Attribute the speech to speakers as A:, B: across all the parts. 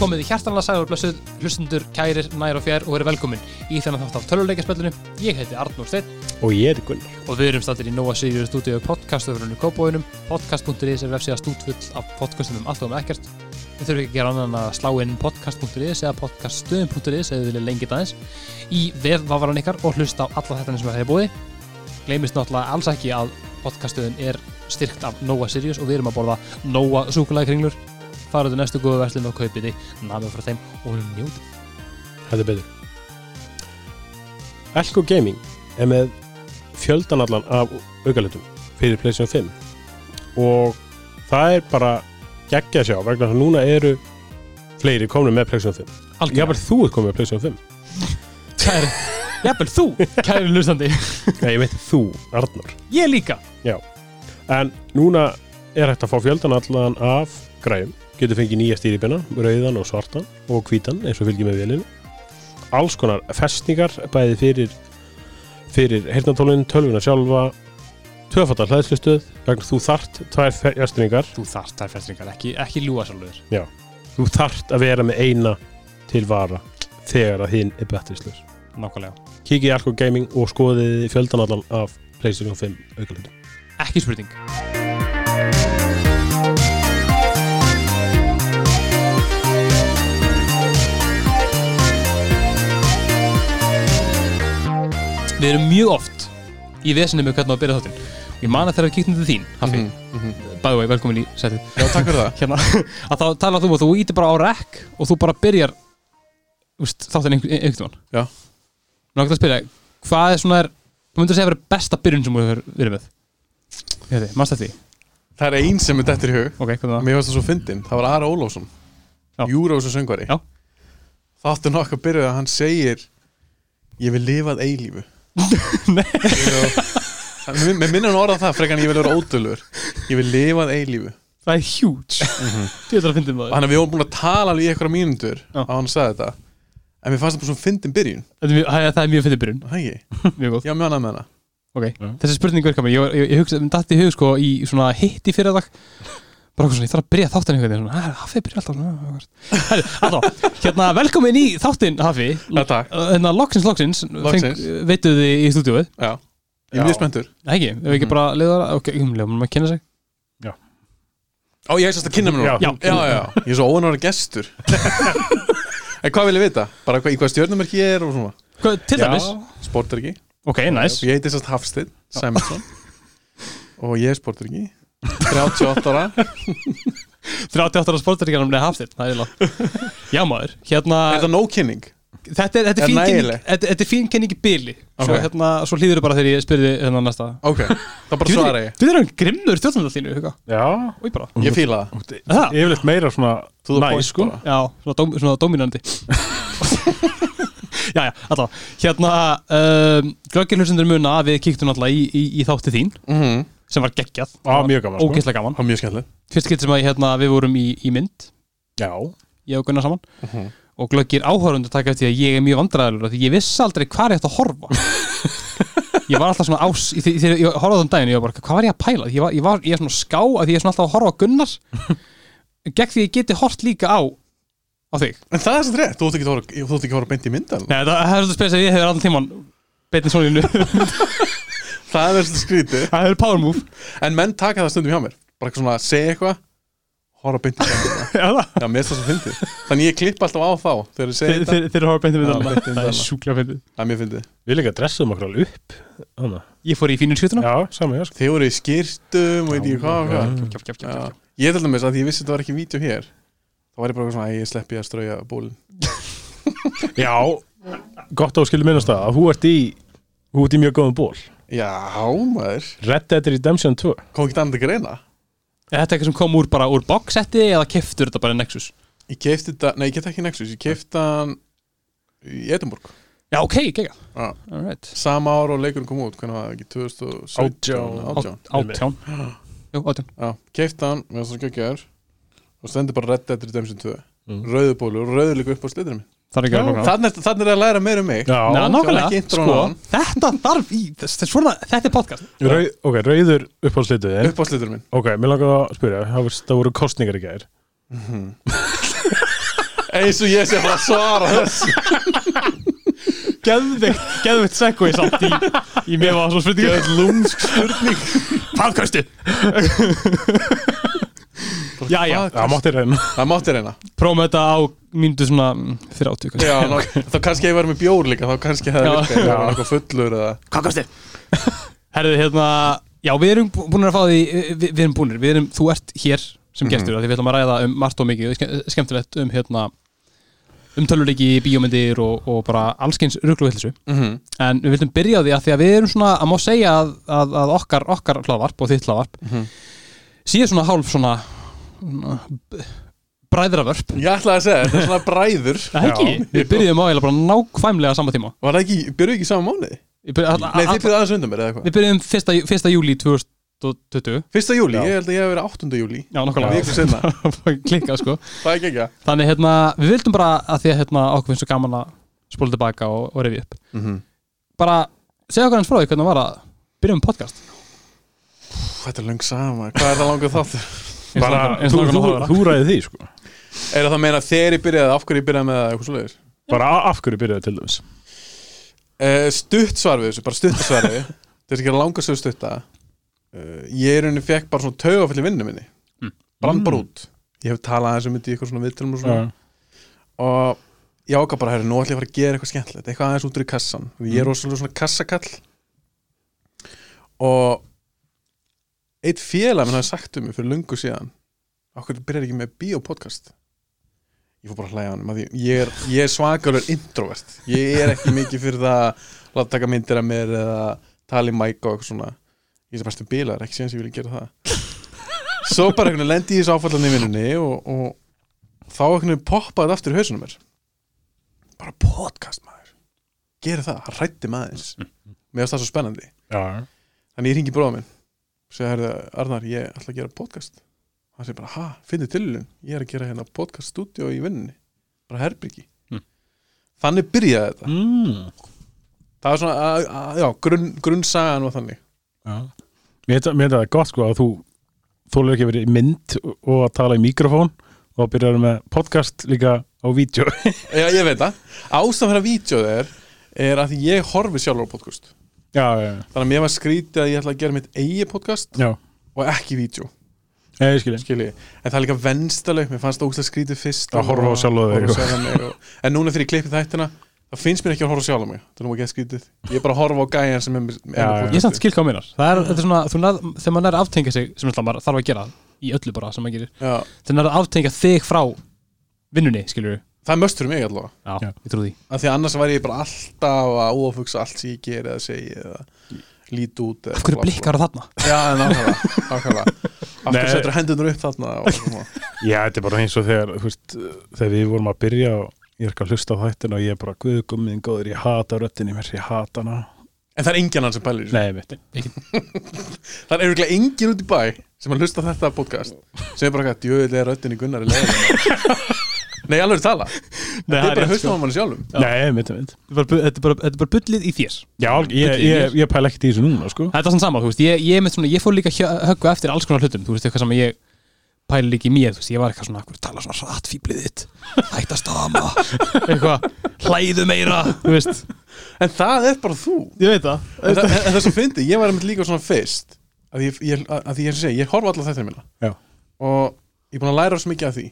A: komið í hjartanlega sæður blessuð hlustundur, kærir, nær og fjær og eru velkomin í þennan þátt af töluleikaspöllinu. Ég heiti Arnór Steinn
B: Og ég heiti Gunnar.
A: og við erum stættir í Nóa Sirius stúdíu podcastöfrunni Kópóinum. Podcast.is er vefsíða stútfull af podcastum um allt og um ekkert. Við þurfum ekki að gera annan en að slá inn podcast.is eða podcaststöðum.is eða við viljum lengi aðeins í vefvafaran ykkar og hlusta á alla þetta sem það er búið. Gleimist náttúrulega alls ekki að podcaststöðun er styrkt af Nóa Sirius og við erum að borða Nóa súkulæðkringlur. Faraðu næstu góðu verslun og kaupið því namið frá þeim og njótið.
B: Þetta er betur. Elko Gaming er með fjöldan allan af aukalutum fyrir PlayStation 5 og það er bara geggja að sjá vegna þess að núna eru fleiri komnir með PlayStation 5. Jafnvel þú ert komið með PlayStation 5.
A: Kæri, jafnvel þú, kæri hlustandi
B: Nei, ég veit þú, Arnar.
A: Ég líka
B: En núna er hægt að fá fjöldan allan af græjum. Getur fengið nýja stýribina, rauðan og svartan og hvítan eins og fylgir með vélinu. Alls konar festningar bæði fyrir, fyrir heyrnatólun, tölvuna sjálfa, tvöfattar hlæðslustöð, vegna þú þart tvær fjastningar.
A: Þú þarft þær festringar, ekki, ekki ljúa sjálfur
B: Þú þart að vera með eina til vara þegar að hinn er betrisleus.
A: Nákvæmlega
B: Kikið í Alko Gaming og skoðið fjöldan allan af PlayStation 5 aukalutum.
A: Ekki spurning Við erum mjög oft í vesinni með hvernig á að byrja þáttinn Ég man að þegar við kíktum til þín, Hafi mm -hmm. By the way, velkomin í setið
C: Já, takk fyrir það
A: hérna, að þá talar þú og þú ítir bara á rekk og þú bara byrjar úst, þáttan einhvern einhvern tímann
C: Já.
A: Mér langt að spyrja, hvað er svona er þú myndir að segja verið besta byrjun sem þú hefur verið með Hérði, mannst þetta því?
C: Það er ein sem er dettur í hug
A: Ok, hvað það?
C: Mér finnst það svo fyndin Það var Ara Ólásson
A: Já.
C: Júrósu söngvari
A: Já.
C: Þáttu nokkuð að byrja að hann segir Ég vil lifað eilífu
A: Nei.
C: Ég- Hann- Mér mér minnir hann orða það frekar en ég vil vera ódölur Ég vil lifað eilífu
A: Það er huge Þú veitur að fyndið
C: Og
A: maður
C: hann er við vorum búin að tala alveg í einhverja mínútur
A: Já.
C: að hann sagði þetta En mér fannst það bara svona fyndin byrjun
A: Þetta er mjög- Það er- það er mjög fyndið byrjun,
C: Er Það ekki?
A: mjög góð
C: Já, mjög annað með hana
A: Ok, þessi spurning virkar mér, ég, var- ég, ég hugsa, mér dætti í hug sko í svona hitti fyrir dag bara okkur svona, ég þarf að byrja þáttin einhvern veginn svona, "Ah, Hafi byrja alltaf svona Herri, alltaf, hérna, velkomin í þáttin Hafi,
C: Já, takk
A: Þannig að loksins, loksins,
C: Loksins.
A: feng- veittuð þið í stúdíóið Mhm.
C: Já Ég
B: Já.
C: er mjög spenntur
A: Nei ekki, ef ekki bara leiðar Ok, um leiðar, maður að kynna sig
C: Ó, ég er sérst að kynna mér núna
B: Já.
C: já, já, ég er svo óanára gestur En hvað vil ég vita? Bara hva, í hvað stjörnumerki ég er og svona
A: Hvað, Til
B: Já.
A: dæmis
C: Sporterki
A: Ok, næs
C: Ég heiti sérst Hafsteinn Sæmundsson Og ég er sporterki 38 ára
A: 38 ára sportaríkjarnum neða hafstitt Það er látt Já maður, hérna
C: Er það nóg kynning?
A: Þetta er, þetta
C: Er
A: er, fín,
C: nægileg?
A: kynning, þetta, þetta er fín kynning í byli Svo
C: Ok.
A: hérna, svo hlýður bara þegar ég spyrði hérna næsta
C: Ok, það bara svara ég
A: Þú erum grimmur stjórnandar þínu, huga
B: Já.
A: Og ég bara
C: Ég fíla það
A: Það,
B: Yfirleitt meira svona
C: To the
B: næ,
C: point
B: sko.
C: bara.
A: já, svona, dóm, svona dominandi Já, já, alltaf Hérna, um, glöggilhusendur muna að Við kíktum alltaf í, í, í þátti þín
C: Mhm.
A: sem var geggjað
B: Já, mjög gaman, sko.
A: ógeðslega gaman
C: Það var mjög skemmtilegt
A: fyrst getur sem að hérna, við vorum í, í mynd
B: Já.
A: ég og Gunnar saman og glöggir áhörundu taka eftir því að ég er mjög vandræðalur því ég vissi aldrei hvað er þetta að horfa ég var alltaf svona ás í- þegar ég horfaði um daginn ég var bara hvað var ég að pæla ég, var, ég, var, ég er svona ská að því ég er svona alltaf að horfa á Gunnar gegn því ég geti hort líka á á þig
C: En það er sérst rétt Þú ætti ekki að horfa- þú átt ekki að horfa beint í myndan
A: Nei, það, það er svona spes að ég hefur allan tíman beinni svona innu
C: Það er sérst skrítið
A: það er power move
C: En menn taka það stundum hjá mér Bara eitthvað svona að segja eitthvað Horfa beint í myndan
A: Já, það.
C: Já, mér er það svo fyndið Þannig ég klippa alltaf á þá Þegar ég segja
A: þeir
C: þetta
A: þeir- þeir horfa beinti
C: Já,
A: myndalana
C: beint í
A: það er
C: myndalana.
A: sjúklega beinti
C: Það er mjög fyndið
B: Við líka dressum okkur alveg upp. Þannig.
A: ég fór í fínum skutuna
B: Já, sama ég, sko.
C: Þið voru í skýrtum og veit ég hvað og hvað. Já.
A: Mm. já,
C: Ég til dæmis að því ég vissi að þetta var ekki vídeo hér þá var ég bara eitthvað svona að ég sleppi að strauja bólin
B: Já, gott á skilum minnast það að þú ert í, þú ert í mjög góðum ból.
C: Já, maður
B: Red Dead Redemption 2.
C: Kom ekki annað að greina
A: Er þetta eitthvað sem kom úr bara úr boxsetti eða keftur þetta bara í Nexus?
C: Ég kefti þetta, nei ég kefti ekki Nexus, ég kefti hann í Edinburgh
A: Já, ok, gegga
C: Já.
A: Alright
C: Sama ára og leikurinn kom út, hvernig var það ekki 2017
B: Átján.
C: Átján.
A: Átján Jú, átján
C: Já, kefti hann, með þess að geggjaður og stendur bara Red Dead Redemption 2
B: Mm.
C: Rauðu bólu og rauðu líka upp á slitinu minn
A: Það er ekki að hloka
C: Þannig er þannig er að læra meira um mig
B: Já,
A: Ná,
C: ekki
A: nákvæmlega,
C: intro
A: sko
C: á hann.
A: Þetta þarf í, þess- þess- svona, þetta er podcast
B: Rau, ok, rauður uppáðslitið þinn.
C: upp á slitinu minn
B: Ok, mér langar að spyrja, það, var, það voru kostningar í gær.
C: eins og ég sé bara að svara þessu
A: Geðvikt, geðvikt segway samt í, í mér var svo spurningu Geðvikt lúmsk spurning Podcasti Já, já,
D: Það mátti reyna
C: það mátti reyna
A: prófum þetta á mínútu svona mm, 30 kannski.
C: já, ná, þá kannski ég var með bjór líka þá kannski
A: Já.
C: hefði virkað, ég var eitthvað fullur eða
A: Herðu, hérna, já, við erum búin að fá því eh, Við, við erum búinir, við erum, þú ert hér sem gestur, mm því við ætlum að ræða um margt og mikið ske- skemmtilegt um hérna um töluleiki, bíómyndir og, og bara allskeins ruggluvillisu
C: Mhm.
A: en við vildum byrja á því að því að við erum svona að má segja að, að, að okkar, okkar hlaðvarp og þitt hlaðvarp mm
C: Mhm.
A: síðan svona hálf svona svona b- bræðravörp
C: ég ætlaði að segja, þetta er svona bræður
A: Það ekki, við byrjuðum á eiginlega bara nákvæmlega sama tíma
C: var það ekki, byrjuðu ekki í sama mánuði?
A: Ég byrja, all,
C: nei, þið byrjuðu aðeins undan mér eða
A: Við
C: eitthvað
A: byrjuðum fyrsta, jú- fyrsta júli 2020
C: fyrsta júli,
D: Já.
C: ég held að ég hef verið 8. júli
A: Já,
C: viku
A: nokkulega
C: sinna,
A: Klikka sko
C: það er ekki ekki
A: Þannig hérna, við vildum bara að því að hérna, okkur finnst svo gaman að spóla tilbaka og, og refi upp
C: Mhm.
A: Bara, segja okkur hans frá því hvernig var að byrja um podcast
C: þetta er löng sama, hvað er það langur þáttur?
A: Eins og
D: Bara,
A: langar- eins og
D: þú,
A: langar
D: þú,
A: að horfa.
D: þú ræði því sko
C: er það að meina þegar ég byrjaði, af hverju ég byrjaði með það eitthvað svoleiðis?
D: Bara a- af hverju byrjaði til dæmis
C: Eh, stutt svar við þessu, bara stutt svar við þess að gera langa sögur stutta uh, ég er henni fekk bara svona taugafell í vinnu minni
A: Mm.
C: brann bara út ég hef talað þessu myndi í eitthvað svona viðtölum og svona
D: Já.
C: og ég ákvað bara, herri, nú ætla ég að fara að gera eitthvað skemmtilegt eitthvað aðeins út úr í kassan og
A: Mm.
C: ég er rosalega svona kassakall og eitt félag minn hafði sagt um mig fyrir lungu síðan okkur byrjar ekki með biopodcast ég fór bara að hlæja á hann ég er, ég er svakalur introvert ég er ekki mikið fyrir það að láta taka myndir af mér eða tala í mæk og eitthvað svona ég er bestu bilar, ekki séðan sem ég vil gera það svo bara einhvern veginn lendi ég í þessu áfallan í vinnunni og, og þá einhvern veginn poppaði þetta aftur í hausunum mér bara podcast maður gera það, hann rætti maður mér finnst það svo spennandi
D: Já.
C: þannig ég ringi bróða minn segja herðu, Arnar, ég ætla að gera podcast hann segir bara, ha, finnir tilhjulun ég er að gera hérna podcast studio í vinninni bara herbyggi
A: Mm.
C: þannig byrjaði þetta
D: Mm.
C: það var svona, að, að, já, grunn, grunnsagan og þannig
D: Mér finnst það- mér finnst það gott sko að þú þólar ekki að vera í mynd og að tala í mikrofón og að byrjaði með podcast líka á vídeo
C: já, ég veit það, ástæðan fyrir að vídeo er er að ég horfi sjálfur á podcast
D: Já, já,
C: þannig að mér var skrítið að ég ætla að gera mitt eigi podcast
D: já,
C: og ekki vídeo
D: já ég skilji
C: skilji, en það er líka venstaleg mér fannst það ógst að skrítið fyrst
D: Að horfa á sjálfa þig.
C: horfa á sjálfa mig og, en núna þegar ég klippið þættina þá finnst mér ekki að horfa á sjálfa mig það er nú ekki að skrítið, ég er bara að horfa á gæjan sem er með
D: Já, já.
A: Ég samt skilka á minnar Það er, þetta er svona, þú nær, þegar maður er að aftengja sig sem ætla maður þarf að gera í öllu bara sem maður gerir
C: já,
A: þegar maður er að aftengja þig frá vinnunni, skilur við
C: það er möst fyrir mig allavega
A: Já,
D: Já.
A: ég trú því
C: af því að annars væri ég bara alltaf að óafugsa allt sem ég geri eða segi eða líti út eða
A: Af hverju
C: bla, bla,
A: blikkar þarna?
C: bla. já, en ákvæða, ákvæða af hverju
D: Nei.
C: setur hendunar upp þarna og, svona.
D: Já, þetta er bara eins og þegar, þú veist, þegar við vorum að byrja og ég er ekki að hlusta á þættin og ég er bara guðgummiðin góður, ég hata röttinni mér, ég hata hana.
C: en það er enginn hann sem pælir í þessu.
D: Nei, mitt.
C: Það er eiginlega engin út í bæ sem að hlusta á þetta podcast sem er bara eitthvað, djöðilega er röddin í Gunnari leiðin Nei, alveg er tala
A: Nei, um
C: Nei, Það er bara
A: rétt,
C: hlusta á manni sjálfum
D: Nei, mitt, mitt.
A: Þetta er bara bu- þetta er bara- þetta er bara bullið í þér
D: Já, ég, ég, ég pæla ekkert í þessu núna, sko.
A: Þetta er svona sama, þú veist, ég, ég, er með svona, ég fór líka hjö- höggva eftir alls konar hlutum, þú veist, eitthvað sem ég pæli líka í mér, þú veist, ég var eitthvað svona, hverju tala svona rætt fýblið þitt, hætt að stama, eitthvað, hlæðu meira, þú veist,
C: En það er bara þú En
A: ég veit það,
C: það, en það sem fyndi, ég var einmitt líka svona fyrst að ég, ég, að því ég segi, ég horfa alltaf þetta minna
D: Já.
C: og ég er búin að læra svo mikið af því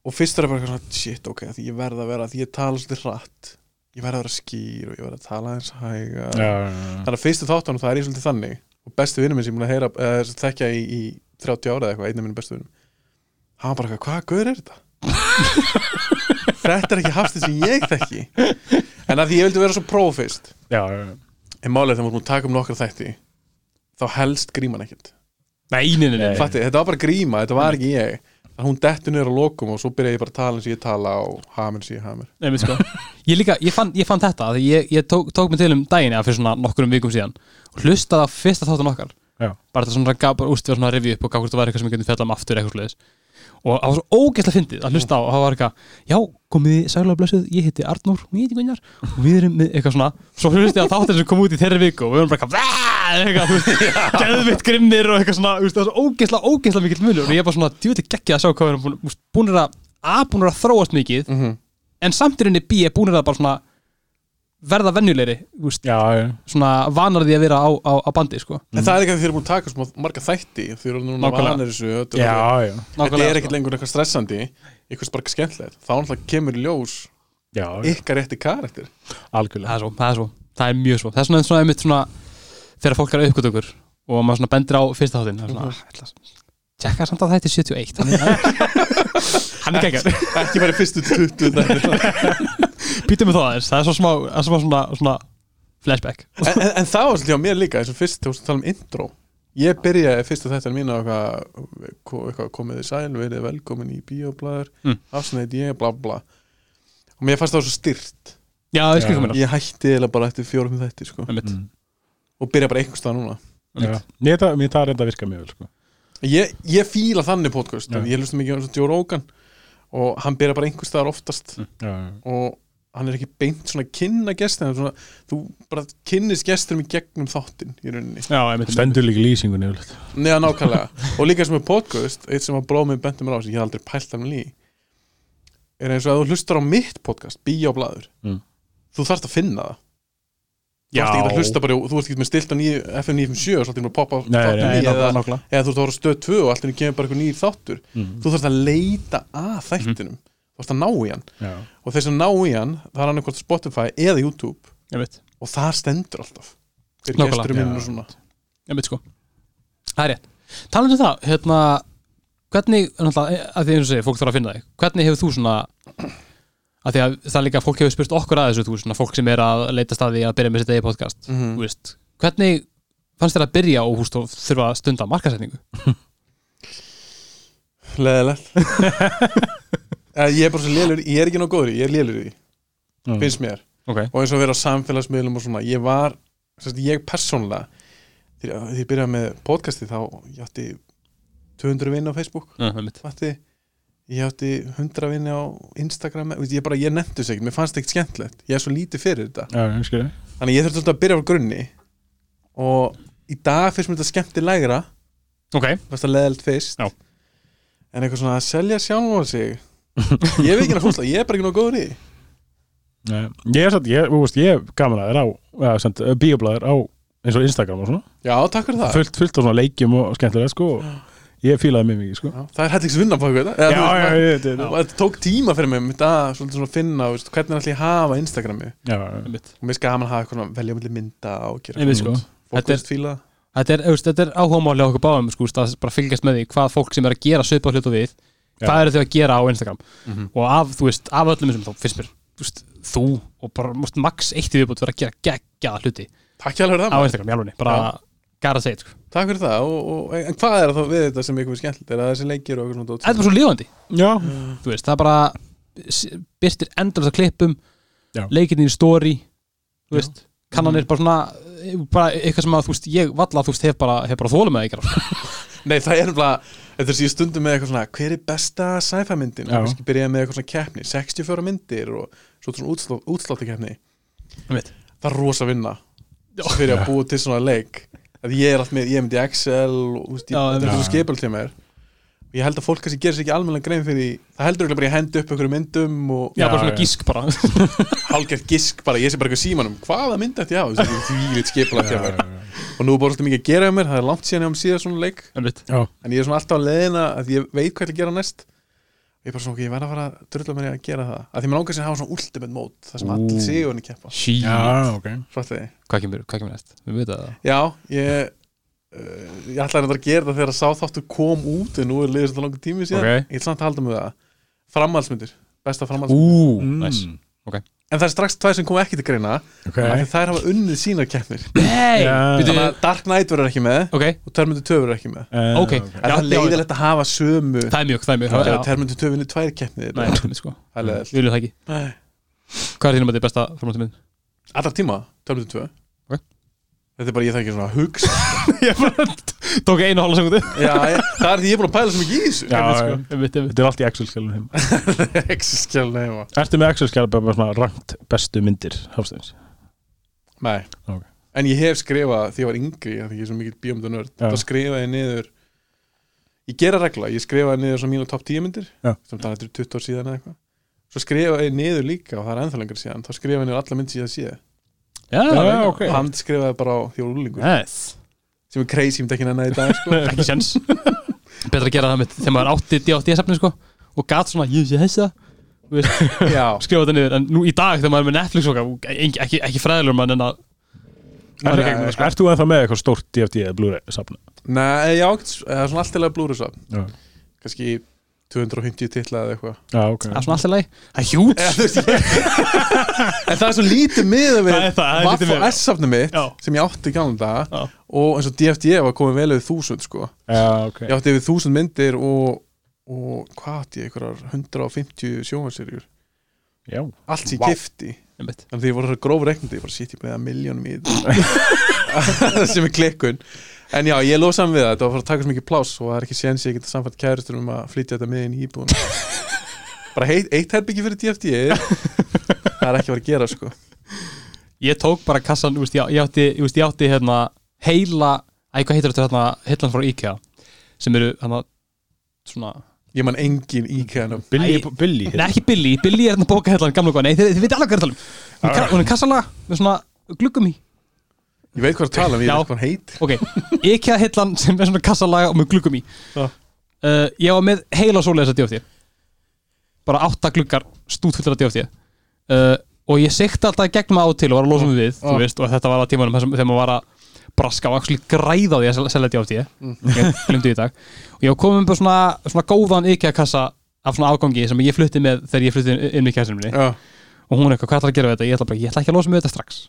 C: og fyrst er það bara eitthvað svona shit, ok, af því ég verð að vera, af því ég tala svolítið hratt ég verð að vera skýr og ég verð að tala eins hægar
D: Já, já,
C: þannig að fyrstu þáttunum það er ég svolítið þannig og bestu vinnum minn sem ég múin að heyra eða, sem þekkja í, í 30 ára eða eitthvað, einn af minnum bestu vinnum hann var bara eitthvað, hvaða guður er þetta? þetta er ekki hafstið sem ég þekki en að því ég vildi vera svo próf fyrst
D: já, já.
C: en málið er þegar maður taka um nokkra þætti þá helst gríman ekkert
A: nei, nei, nei, nei,
D: Nei.
C: Fatti, þetta var bara gríma, þetta var ekki ég þannig að hún dettur niður á lokum og svo byrja ég bara að tala eins og ég tala og hamur eins og ég hamur
A: nei, nei, sko, ég líka, ég fann, ég fann þetta, af því ég, ég tók, tók mig til um daginn, eða fyrir svona nokkurum vikum síðan, og hlustaði á fyrsta þáttan okkar,
D: Já.
A: bara þetta svona, gaf, bara úst, við svona review upp og gaf hvort það var eitthvað sem ég gæti fjalla um aftur eitthvað sliðis, og það var svo ógeðslega fyndið að hlusta á og það var eitthvað, já, komið þið sælulega blessuð, ég heiti Arnór og ég heiti Gunnar og við erum með eitthvað svona, svo hlusti að þáttir sem kom út í þeirri viku og við erum bara eitthvað, "Vá!" eitthvað, þú veist, geðvitt grimmir og eitthvað svona, þú veist, það var svo ógeðslega, ógeðslega mikill munur og ég er bara svona, djúviti geggja að sjá hvað við erum búin- þú veist, búnir að A búin að þróast mikið
C: mm
A: en samt í rauninni B er búin að bara svona verða venjulegri þú veist,
B: já, já,
A: svona vanar því að vera á, á, á bandi sko.
C: En það er ekki að þið eru búin að taka smá marga þætti Þið eru núna
A: Nákvæmlega.
C: vanir þessu þetta er
B: já,
C: orðið-
B: já.
C: Þetta
A: Nákvæmlega, sko.
C: er ekkert lengur eitthvað stressandi Eitthvað sparka skemmtilegt Þá náttúrulega kemur í ljós
D: já,
C: ykkar rétti karakter
B: algjörlega
A: það er svo, það er svo, það er mjög svo það er svona, svona einmitt svona þegar fólk er auðvitað okkur og maður svona bendir á fyrsta þáttinn
B: Mhm.
A: það er svona, mm -hmm. tjekka samt að þetta er 71 hann er, hann er geggar
C: Ekki bara í fyrstu 20 þættir.
A: býtum við þá aðeins, það er svo smá, það er svo svona, svona flashback
C: en, en, en það var svolítið á mér líka Þessum fyrst, þú veist að tala um intro Ég byrjaði fyrstu þættan mín á eitthvað, ko- eitthvað komið í sæl, verið velkomin í bíoblæður
A: Mm.
C: afsneitt ég, bla bla og mér fannst það svo styrt
A: já, ég skil hvað mér
C: ég hætti eða bara eftir fjórum þætti sko.
A: einmitt,
B: Mm.
C: og byrja bara einhvers staðar núna
B: já. Mér það- mér það er þetta að virka mjög vel sko.
C: Ég, ég fíla þannig podcast
B: Já.
C: ég hlusta mikið á eins og Joe Rogan og hann byrja bara einhvers staðar oftast
B: já, já.
C: og hann er ekki beint svona að kynna gestin svona, þú bara kynnist gestinum í gegnum þáttinn í rauninni
A: já, einmitt, einmitt.
B: stendur líka í lýsingunni yfirleitt.
C: neða nákvæmlega og líka sem er podcast eitt sem að bróð minn benti mér á sem ég hef aldrei pælt af mér lí er eins og að þú hlustar á mitt podcast Bíóblaður
B: Mm.
C: þú þarft að finna það þú
B: Já.
C: ert ekki að hlusta bara á- þú ert ekki með stilt á níu, FM 957 og svolítið með að poppa
B: Nei, nei,
C: þáttinn
B: nei,
C: í eða,
B: nákvæmlega.
C: eða þú ert að horfa á stöð 2 og allt henni kemur bara eitthvað nýr þáttur
B: Mm.
C: þú þarft að leita að þættinum þú þarft að ná í hann
B: Já.
C: og þeir sem ná í hann það er annarkvort Spotify eða YouTube
A: einmitt,
C: og það stendur alltaf hver
A: Nákvæmlega.
C: gestur minn um og
B: Já.
C: svona
A: einmitt sko það er rétt, talandi um það hérna, hvernig, náttúrulega að því eins og segja, fólk þarf að finna þig, hvernig hefur þú svona að því að það er líka að fólk hefur spurt okkur að þessu, þú veist, svona fólk sem er að leita staði að byrja með sitt eigi podcast
C: mm
A: þú veist, hvernig fannst þér að byrja og húst og þurfa að stunda markasetningu
C: leðilegt ég er bara svo lélur ég er ekki nóg góður í, ég er lélur í því
B: Mm.
C: finnst mér
A: ok,
C: og eins og að vera á samfélagsmiðlum og svona ég var, sérst, ég persónlega þegar þegar ég byrjaði með podcasti þá ég átti 200 vinn á Facebook
A: einmitt,
C: átti, ég átti 100 vinn á Instagram, Þú veist, ég bara, ég nefndi þess ekkert mér fannst ekkert skemmtilegt, ég er svo lítið fyrir þetta
B: Já, ég skil þig.
C: þannig að ég þurfti alltaf að byrja frá grunni og í dag finnst mér þetta skemmtilegra
A: ok,
C: fannst það leðilt fyrst
A: Já.
C: en eitthvað svona að selja sjálfan sig ég hef ekki náttúrulega fólkslega, ég er bara ekki náttúrulega góður í því.
B: Nei, ég er satt, ég, þú veist, ég hef gaman að þér á ja, sent, bíoblæður á eins og Instagram og svona,
C: já, takk fyrir það
B: fullt, fullt á svona leikjum og skemmtilega sko, og ég fílaði mjög mikið sko.
C: já, það er hægt ekki vinna bak við þetta
B: Já,
C: Eða,
B: já,
C: þú veist,
B: já,
C: maður-
B: ég- þetta-
C: og þetta tók tíma fyrir mig mitt að svolítið svona finna þú veist, hvernig ætlum ég að hafa Instagrami
B: já, já,
A: einmitt,
C: og mér skal gaman að hafa eitthvað svona velja milli mynda og gera
A: einmitt sko
C: fólk
A: Þetta er-
C: veist fíla það.
A: þetta er, þú veist, þetta er áhugamáli á okkur báðum sko, þú veist, að bara fylgjast með því hvað fólk sem er að gera söpa hlut og við, hvað eru þau að gera á Instagram
C: Mhm.
A: og af, þú veist, af öllum þessum þá finnst mér, þú veist, þú og bara múst max eitt í viðbútt vera að gera geggjaða hluti
C: takk hjá alveg
A: á
C: það,
A: Instagram, jálfunni, bara gara að segja, sko.
C: takk fyrir það og, og, en hvað er það við þetta sem ykkur er skemmtilegt er það þessi leikir og eitthvað svona dót
A: þetta er bara svo lífandi,
B: já,
A: þú veist, það er bara s- birtir endalast að klippum
B: Já. Mhm.
A: leikirni í story þú veist, kannanir bara svona eh, bara eitthvað sem að, þú veist, ég valla þú veist, hef bara, hef bara þólum að eitthvað
C: Nei, það er nefnilega, þetta sé ég stundum með eitthvað svona hver er besta sci-fi myndin
B: Já.
C: og kannski byrjaði með eitthvað svona keppni, 64 myndir og svo svona útslá, útsláttakeppni
A: Einmitt.
C: það er rosa vinna Svo fyrir að búa til svona leik að ég er allt með, ég er með í Excel og þú veist, ég,
A: Já,
C: þetta er
B: einmitt.
C: svo skepul til mér og ég held að fólk kannski gerir sér ekki almennilega grein fyrir því það heldur ekki bara ég hendi upp einhverjum myndum og
A: já,
B: Já,
A: bara svona
B: já.
A: gísk bara
C: hálgert gisk bara, ég sé bara eitthvað í símanum hvaða mynd ætti ég á, því við skepul
B: já,
C: til mér
B: já, já.
C: og nú er bara svolítið mikið að gera hjá mér, það er langt síðan ég á síðan svona leik
A: Einmitt.
C: en ég er svona alltaf á leiðina að ég veit hvað ég ætla að gera næst ég er bara svona, ok, ég verð að fara að drulla mér í að gera það að því mér langar sér að hafa svona ultimate mót það sem
B: Ú.
C: allir sigur henni keppa
A: Shit.
B: já, ok
C: Fattiði.
A: hvað kemur, hvað kemur næst, við veitum það
C: já, ég uh, ég ætlaði reyndar að gera það þegar sá þáttu kom út en nú er liðið svona langur tími síðan
A: Ok.
C: ég ætla samt að halda með það framhaldsmyndir, besta framhaldsmyndir
A: Ú,
B: Mm.
A: næs
C: en það er strax tvær sem kom ekki til greina
B: ok,
C: af því þær hafa unnið sínar keppnir
A: Nei,
B: Já.
A: býtu
C: þannig að Dark Knight verður ekki með
A: Ok,
C: og Terminator 2 verður ekki með
B: Eh,
A: ok
C: en það er leiðilegt að hafa sömu
A: Það er mjög, það er mjög Já,
C: Terminator 2 vinnir tvær keppnir
A: Nei, það er mjög sko
C: það er leiðilegt
A: Við viljum það ekki
C: Nei.
A: Hvað er þínum að þetta er besta framhaldsmynd?
C: Allra tíma, 2002
A: Ok.
C: Þetta er bara, ég þarf ekki svona að hugsa
A: ég bara tók einu hálfa segundu
C: Já, ég, það er því ég er búin að pæla sem ekki í þessu
B: Já, já.
A: Sko, einmitt, einmitt.
B: þetta er allt í Excel-skjálun heim
C: Exoskjáln heima
B: Ertu með Excel-skjálun bara svona rangt bestu myndir Hafsteins?
C: Nei
B: Ok.
C: En ég hef skrifað, því ég var yngri af Því ég er svo mikill bíómyndanörd
B: Já.
C: Þá skrifaði ég niður ég gera regla, ég skrifaði niður svona mínu top 10 myndir
B: Já.
C: sem það er 20 ár síðan eða eitthvað svo skrifaði ég niður líka og það er ennþá lengur síðan þá skrifaði ég niður alla mynd síðan síðan
A: Já,
B: já, ok
C: okay. hann skrifaði bara á því úrlingur
A: yes.
C: sem er crazy, ég myndi ekki nenni það í dag sko.
A: ekki sens betra að gera það með þegar maður átti D8D-safni sko, og gat svona, ég sé þessa Þú veist,
C: já,
A: skrifa þetta niður, en nú í dag þegar maður er með Netflix og eitthvað, ekki, ekki, ekki fræðilegur mann en að
B: Er,
A: maður er gegnum, sko.
B: eh, ert þú ennþá með eitthvað stórt DFD eða Blu-ray safna?
C: neða, já, það er svona alltilega blúrusa
B: Já.
C: kannski 250 titla eða eitthvað
B: Já, ok
A: það er Ah, svona alltaf leið, það er hjút
C: Eða, þú veist, ég- en það er svo lítið miða við
A: Það er það, það er lítið
C: Vaff
A: miðað
C: og
A: við.
C: S-safni mitt
A: Já.
C: sem ég átti í gamla
A: Já.
C: daga og eins og DFD E var komið vel yfir þúsund sko.
B: Já, ok
C: ég átti yfir þúsund myndir og, og hvað átti ég, einhverjar 150 sjónvarserjur
B: Já,
C: allt í
B: Vá.
C: gifti
A: Einmitt.
C: þannig að því ég voru gróf reiknandi, ég bara sýtti ég með að miljónum í þetta sem er klikkun en já, ég loð saman við það, þetta var að fara að taka svo mikið pláss og það er ekki séns ég geta samfætt kærustur um að flytja þetta með inn í íbúðun bara heit, eitt herbyggi fyrir DFD E, það er ekki að vera að gera sko
A: ég tók bara kassan, þú veist, ég, ég átti, ég, veist, ég átti hérna, heila, æ, hvað heitir þetta hérna, heillan frá IKEA sem eru hérna, svona
C: ég man engin íkæðanum
B: Billy,
A: Æ.
B: Billy
A: Nei, ekki Billy, Billy er hérna bóka heillan, gamla góðan, nei, þið, þið veit alveg hvað er að tala um Hún ka- hún er kassalaga með svona gluggum í
C: ég veit hvað það tala um, ég
A: Já.
C: veit hvað hann heit
A: ok, IKEA heillan sem er svona kassalaga og með gluggum í
C: Já.
A: uh, ég var með heila svoleiðis að DFT bara átta gluggar stútfullar að DFT uh, og ég sikti alltaf gegnum á og til og var að losa mig við, þú veist, og þetta var að tímanum þessum, þegar maður var að braska og actually græða á því að sel- selja DFT
C: Mhm.
A: ég glemdi í dag og ég var komin með bara svona, svona góðan IKEA kassa af svona afgangi sem ég flutti með þegar ég flutti inn- inn í kæsum minni
C: já,
A: og hún er eitthvað, hvað ætlar að gera við þetta? Ég ætla bara, ég ætla ekki að losa mig við þetta strax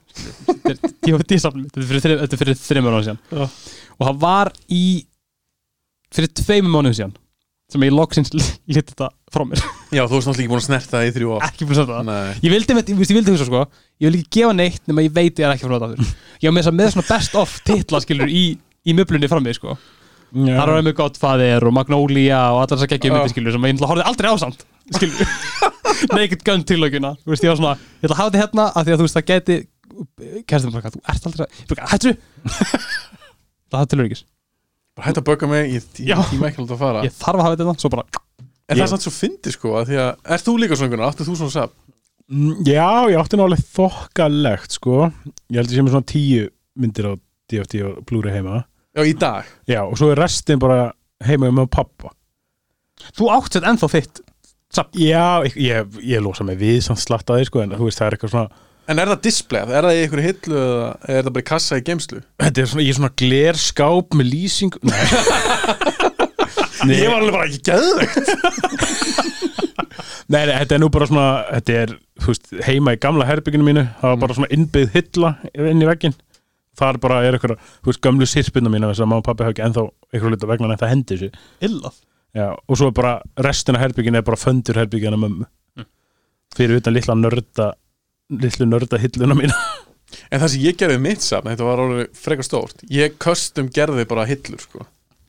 A: Þetta er D&D safnið mitt. Þetta er fyrir þrim- þetta er fyrir þreymur mánuðum síðan og það var í fyrir tveimur mánuðum síðan sem ég loksins lítið þetta frá mér
C: já þú varst náttúrulega ekki búin að snerta það í þrjú ár
A: ekki búin að setja það
C: Nei.
A: ég vildi, með, ég, veist, ég vildi hugsa sko ég vil ekki gefa neitt nema ég veit ég er ekki frá þetta aftur ég var með þess að með svona best of titla skilur í, í möblunni fram mig sko
B: Já,
A: þar var einmitt gott faðir og Magnolia og allar þess að geggjum
C: Já.
A: myndi skilur sem ég náttúrulega horfði aldrei á samt skilur, naked gun tilökuna þú veist, ég var svona, ég ætla að hafa þetta hérna af því að þú veist, það geti kærstum bara, þú ert aldrei að, bara, hættu það hafa tilökis,
C: bara hætt að bögga mig, ég, ég,
A: Já.
C: ég tíma ekki að láta að fara
A: ég þarf að hafa þetta hérna svo bara,
C: en það er samt svo fyndi sko að því að er þú líka svona einhvern áttu þú svona sap
B: Mm, já, ég átti nálega þokkalegt sko Ég held ég sé með svona tíu myndir á DFD og Blu-ray heima
C: já í dag
B: Já, og svo er restin bara heima með pappa
A: þú átt þetta ennþá þitt
B: Já, ég, ég, ég losa mig við samt slatta því sko En þú veist, það er eitthvað svona
C: En er það displayð? Er það í einhverju hillu eða er það bara í kassa í geimslu?
B: Þetta er svona, ég er svona glerskáp með lýsing Nei, nei,
C: Ég var alveg bara ekki geðvegt
B: nei, nei, þetta er nú bara svona Þetta er, þú veist, heima í gamla herbygginu mínu Það
C: Mm.
B: var bara svona innbyggð hilla inn í veggin Þar bara er eitthvað, þú veist, gömlu sirpina mína Þess að mamma og pappi hafa ekki ennþá eitthvað hluta vegna En það hendi þessu
A: illað
B: Já, og svo er bara restina herbyggin er bara föndur herbyggina mömmu
C: Mm.
B: fyrir utan litla nörda litlu nörda hilluna mína
C: En það sem ég gerði við mitt safn, þetta var orðið frekar stórt Ég custom gerði bara hillur sko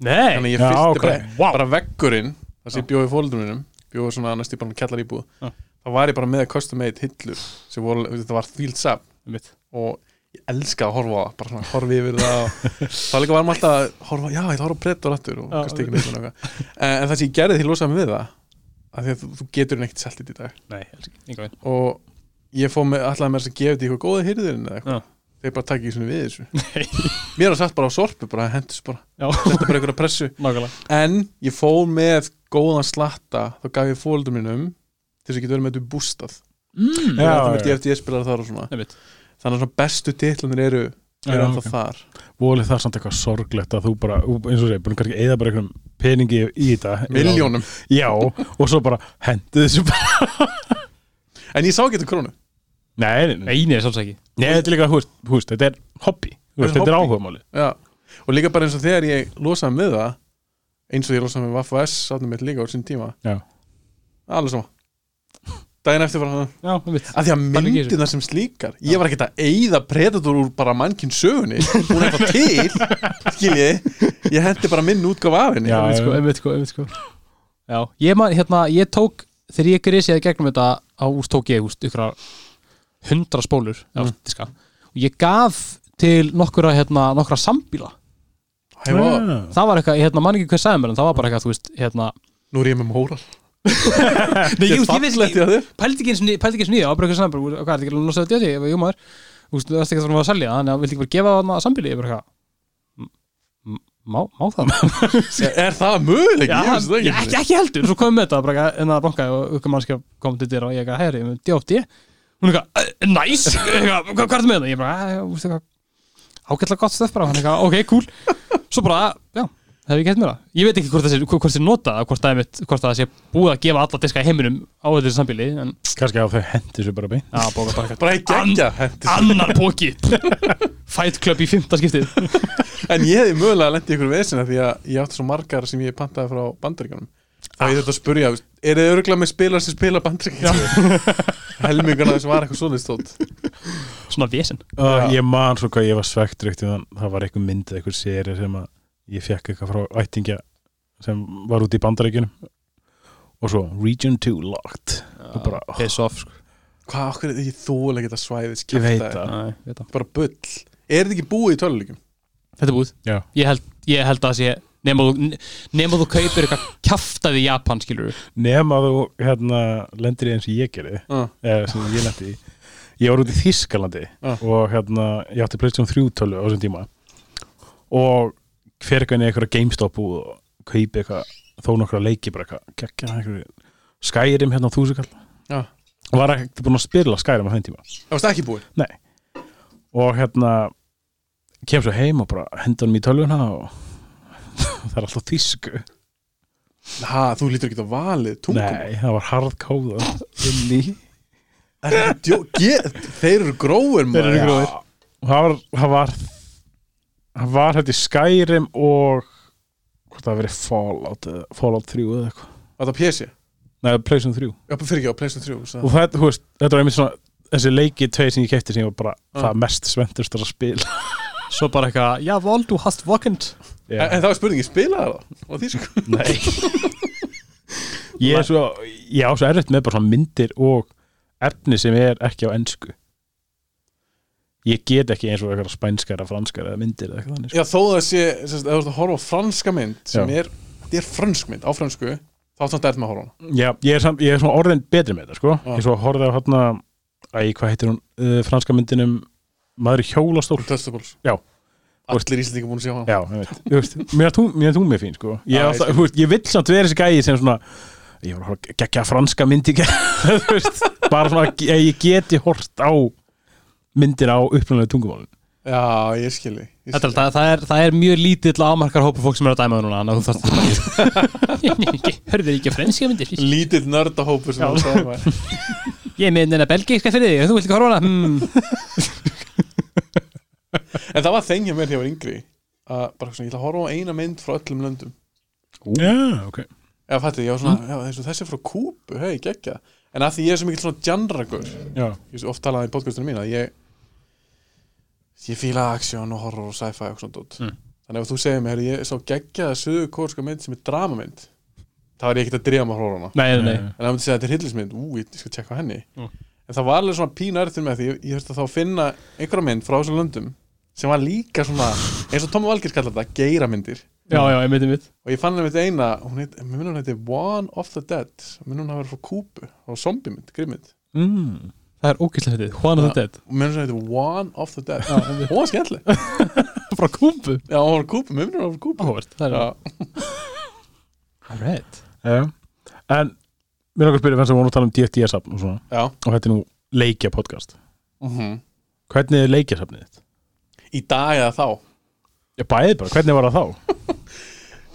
A: nei,
C: Þannig að
B: Já,
C: ég fyllti
B: ok.
C: bara, bara veggurinn Það sem ég bjóði fóldrum minnum Bjóði svona annars ég bara kellar íbúð
A: Já.
C: Það var ég bara með custom made hillur sem voru, þetta var þvíld safn
A: mitt
C: og ég elska að horfa á það, bara svona horfi yfir það og það líka var maður alltaf að horfa, já, ég ætla að horfa á Predator aftur og
A: Já.
C: kannski ekki með svona eitthvað en, en það sem ég gerði því losaði mig við það af því að þú, þú getur henni ekkert seltið í dag
A: nei, alls ekki, engan veginn.
C: og ég fóð með allavega með þess að gefa þetta í eitthvað góða hyrðurinn eða eitthvað, þeir bara takk ekki svona við þessu mér var satt bara á sorpu, bara hendis bara
A: já,
C: þetta bara einhverja pressu,
A: nákvæmlega
C: en ég fóð með góðan slatta, þá gaf ég fóldum minnum til þess að geta verið með þetta í bústað
A: mm.
C: og þetta
B: já.
C: með DFD spilar þar og svona
A: Einmitt.
C: þannig að svona bestu titlanir eru, eru
B: Já,
C: já,
B: ok.
C: þar
B: volið það er samt eitthvað sorglegt að þú bara eins og segja, búin kannski eða bara einhverjum peningi í þetta
C: miljónum
B: já, og svo bara hendið þessu bara
C: En ég sá ekki þetta krónu
B: nei, nei, nei,
A: nei, nei, sáls ekki
B: nei þetta er líka hú veist, hú veist, þetta er hobby Þú veist,
C: Þetta er
B: þetta er
C: hobby.
B: áhugamáli
C: Já. Og líka bara eins og þegar ég losaði með það eins og ég losaði með Vaff og S sáttum mitt líka á sín tíma
B: Já.
C: Alveg sama Dæin eftir var það
A: já, mitt
C: Af því að
A: Bara ekki í þessu.
C: myndina sem slíkar Ég var ekkert að eyða predator úr bara mannkinn sögunni Hún er það til Skiljiði Ég hendi bara minn útgáf af henni
B: Já,
A: einmitt sko,
B: já.
A: einmitt sko, einmitt sko Já, ég man, hérna, ég tók þegar ég grísiði gegnum þetta á úst tók ég, úst, ykkur hundra spólur, mm. diska, og ég gaf til nokkura, hérna, nokkura sambíla
C: Hæ, vá,
B: Ah.
A: það var eitthvað, hérna, mann ekki hver sagði mér en það var bara eitthvað, þú veist, hérna
C: nú er ég með móral
A: Nei,
C: Ég
A: jú,
C: er
A: ég veist
C: fallegt í
A: ekki,
C: að þér
A: pældi ekki eins og pældi ekki eins og nýja, það var bara eitthvað saman, bara, hvað, er ekki að losa þetta djátti, jú maður, þú veist, það er ekki að það var að selja, þannig að vildi ekki bara gefa það sambíli, ég bara eitthvað, m- m- má, má það?
C: Er- Er það möguleik?
A: Já,
C: Ég veist það
A: ekki,
C: ekki
A: ekki, ekki heldur, svo komum við þetta, bara eitthvað, en það bankaði og ykkur mannskja kom til dyr og ég eitthvað, herri, djátti, hún eitthvað, "Eh, næs, eitthvað, hvað hvað ertu með það? Ég bara, "Eh, þú veist eitthvað, ágætlega gott stöf bara, hann eitthvað, ok, cool, svo bara, já, það hef ég gett mér það ég veit ekki hvort það sé, hvort þið nota það, hvort það, er mitt, hvort það sé búið að gefa alla diska í heiminum á þessu sambíli en
B: kannski að þau hendi sér bara beint
A: já, bóka bara
C: Bara ekki
A: Ann-
C: ekki að hendi
A: eitthvað annar póki Fight Club í fymta skiptið
C: En ég hefði mögulega lendið ykkur vesina því að ég átti svo margar sem ég pantaði frá bandaríkanum Þá ég þurfti að spurja, veist, er þið örgulega með spilar sem spila bandaríkanum? Helmingarna þess var eitthvað svoleiðst þótt
A: svona vesen
B: Uh,
C: Já.
B: ég man svo hvað ég var svegt reykt það var eitthvað myndið, eitthvað seri sem að ég fekk eitthvað frá ættingja sem var út í bandaríkjunum og svo Region 2 locked og bara, oh,
A: piss off sko.
C: Hvað, okkur er því þóla geta svæðis
B: ég veit
C: kjaftaði?
B: það
A: Æ, veit það.
C: Bara bull Er þetta ekki búið í töluleikum?
A: þetta er búið
B: Já.
A: ég held, ég held að það sé nema þú, nema þú kaupir eitthvað kjaftaði í Japan skilur
B: nema þú hérna lendir í eins og ég gerði
C: Uh.
B: eða Eh, sem ég lendi í ég var út í Þískalandi
C: Ah.
B: og hérna ég átti Playstation 3 tölu á þessum tíma og fer eitthvað inn í eitthvað GameStop búð og kaupi eitthvað þó nokkra leiki bara eitthvað geggja eitthvað skærim hérna á þúsukall
C: Já.
B: var ekkert búin að spila skærim á þeim tíma
C: Það varst ekki búið
B: nei og hérna kem svo heim og bara henda hann í tölvuna og það er alltaf þýsku
C: Ha, þú lítur ekki á valið, tungum
B: nei, það var harðkóða inn í
C: Er þetta djó, get, Þeir eru grófur maður
B: Já. Og það var það var það var hætti Skyrim og hvort það hafi verið Fallout eða Fallout 3 eða eitthvað
C: Var það PC?
B: Nei, Playstation 3
C: Já, fyrir ekki á PlayStation 3 þú sagði.
B: og þetta, þú veist, þetta var einmitt svona þessi leiki tvei sem ég kefti sem ég var bara
C: Já.
B: það mest sventust að spila
A: svo bara eitthvað, já, vol, þú hast vokend
C: En, en það var spurningi, spilaði það? Og því sko
B: Nei Ég er svo ég á svo erfitt með bara svona myndir og efni sem er ekki á ennsku Ég get ekki eins og eitthvað spænskar eða franskar eða myndir eða eitthvað þannig sko.
C: Já, þó það sé, sérst, ef þú ert að horfa á franska mynd sem
B: Já.
C: er, þetta er fransk mynd á fransku, þá áttu þetta erð með að horfa á hana
B: Já, ég er, samt, ég er svona orðin betri með þetta sko.
C: Já.
B: Ég svo horfði á hérna Æ, hvað heitir hún, uh, franska myndinum Maður í hjólastól
C: Testables
B: Já.
C: Um Allir íslendingar búin að sjá hana
B: Já, ég veit, þú veist, mér er tún, mér er tún mér fín sko. Ég,
C: Já,
B: ah,
C: ég
B: alltaf, þú veist, ég vill samt vera þessi gæi sem svona Ég var að horfa geggja franska myndi Þú veist, bara svona að að ég geti hort á myndir á upplunlega tungumálun
C: Já, ég skilji ég
A: Þetta, er-
C: skilji.
A: það, það, er, það er mjög lítill ámarkar hópa fólk sem er að dæma það núna þannig að þú þarft að hörður ekki franska myndir
C: Lítill nördahópur sem
A: Já.
C: það sagði maður
A: ég er með neina belgíska fyrir þig, þú vilt ekki horfa á hana hmm.
C: En það var þeng hjá mér þegar ég var yngri að bara svona, ég ætla að horfa á eina mynd frá öllum löndum
B: Já, ok
C: Eða fætti, ég var
A: Mm.
C: svona, já, þessu, þessi er frá Kúbu, hei, geggja En að því ég er svo mikill svona djandragur
B: Já,
C: Ég veist, oft talaði í podcastinu mín að ég ég fíla aksjón og horror og sci-fi og svona dót
A: Mm.
C: þannig að ef þú segir mér, ég sá geggjaða söðu kórska mynd sem er dramamynd þá er ég ekkert að dreyja maður horrorna
A: nei, nei, nei.
C: en það myndi segja að þetta er hillismynd, ú, ég skal tjekka á henni
A: Mm.
C: en það var alveg svona pínærtur með því ég, ég þurfti þá að finna einhverja mynd frá þessum löndum sem var líka svona eins og Tom Valgir kallar þetta, geiramyndir
A: já, já, ég myndi mitt
C: og ég fann henni þetta eina, hún heit, mér minnum hún heiti One of the Dead, mér minnum hún hafa verið frá Kúbu og zombiemynd, grimmynd
B: mm.
A: það er ógæslega fyndið, Juan of the Dead
C: og mér minnum hún heiti One of the Dead hún var skemmtileg
A: frá Kumbu
C: Já, hún var kúpa, mér finnir hún var kúpa
A: áhvert, það er
C: Já,
A: alright
B: Já. En mér langar að spyrja fannst að vona að tala um DFDS-safn og svona
C: já.
B: og þetta er nú leikja podcast
C: Mm
B: Hvernig er leikjasafnið þitt?
C: Í dag eða þá
B: Ég bæði bara, hvernig var það þá?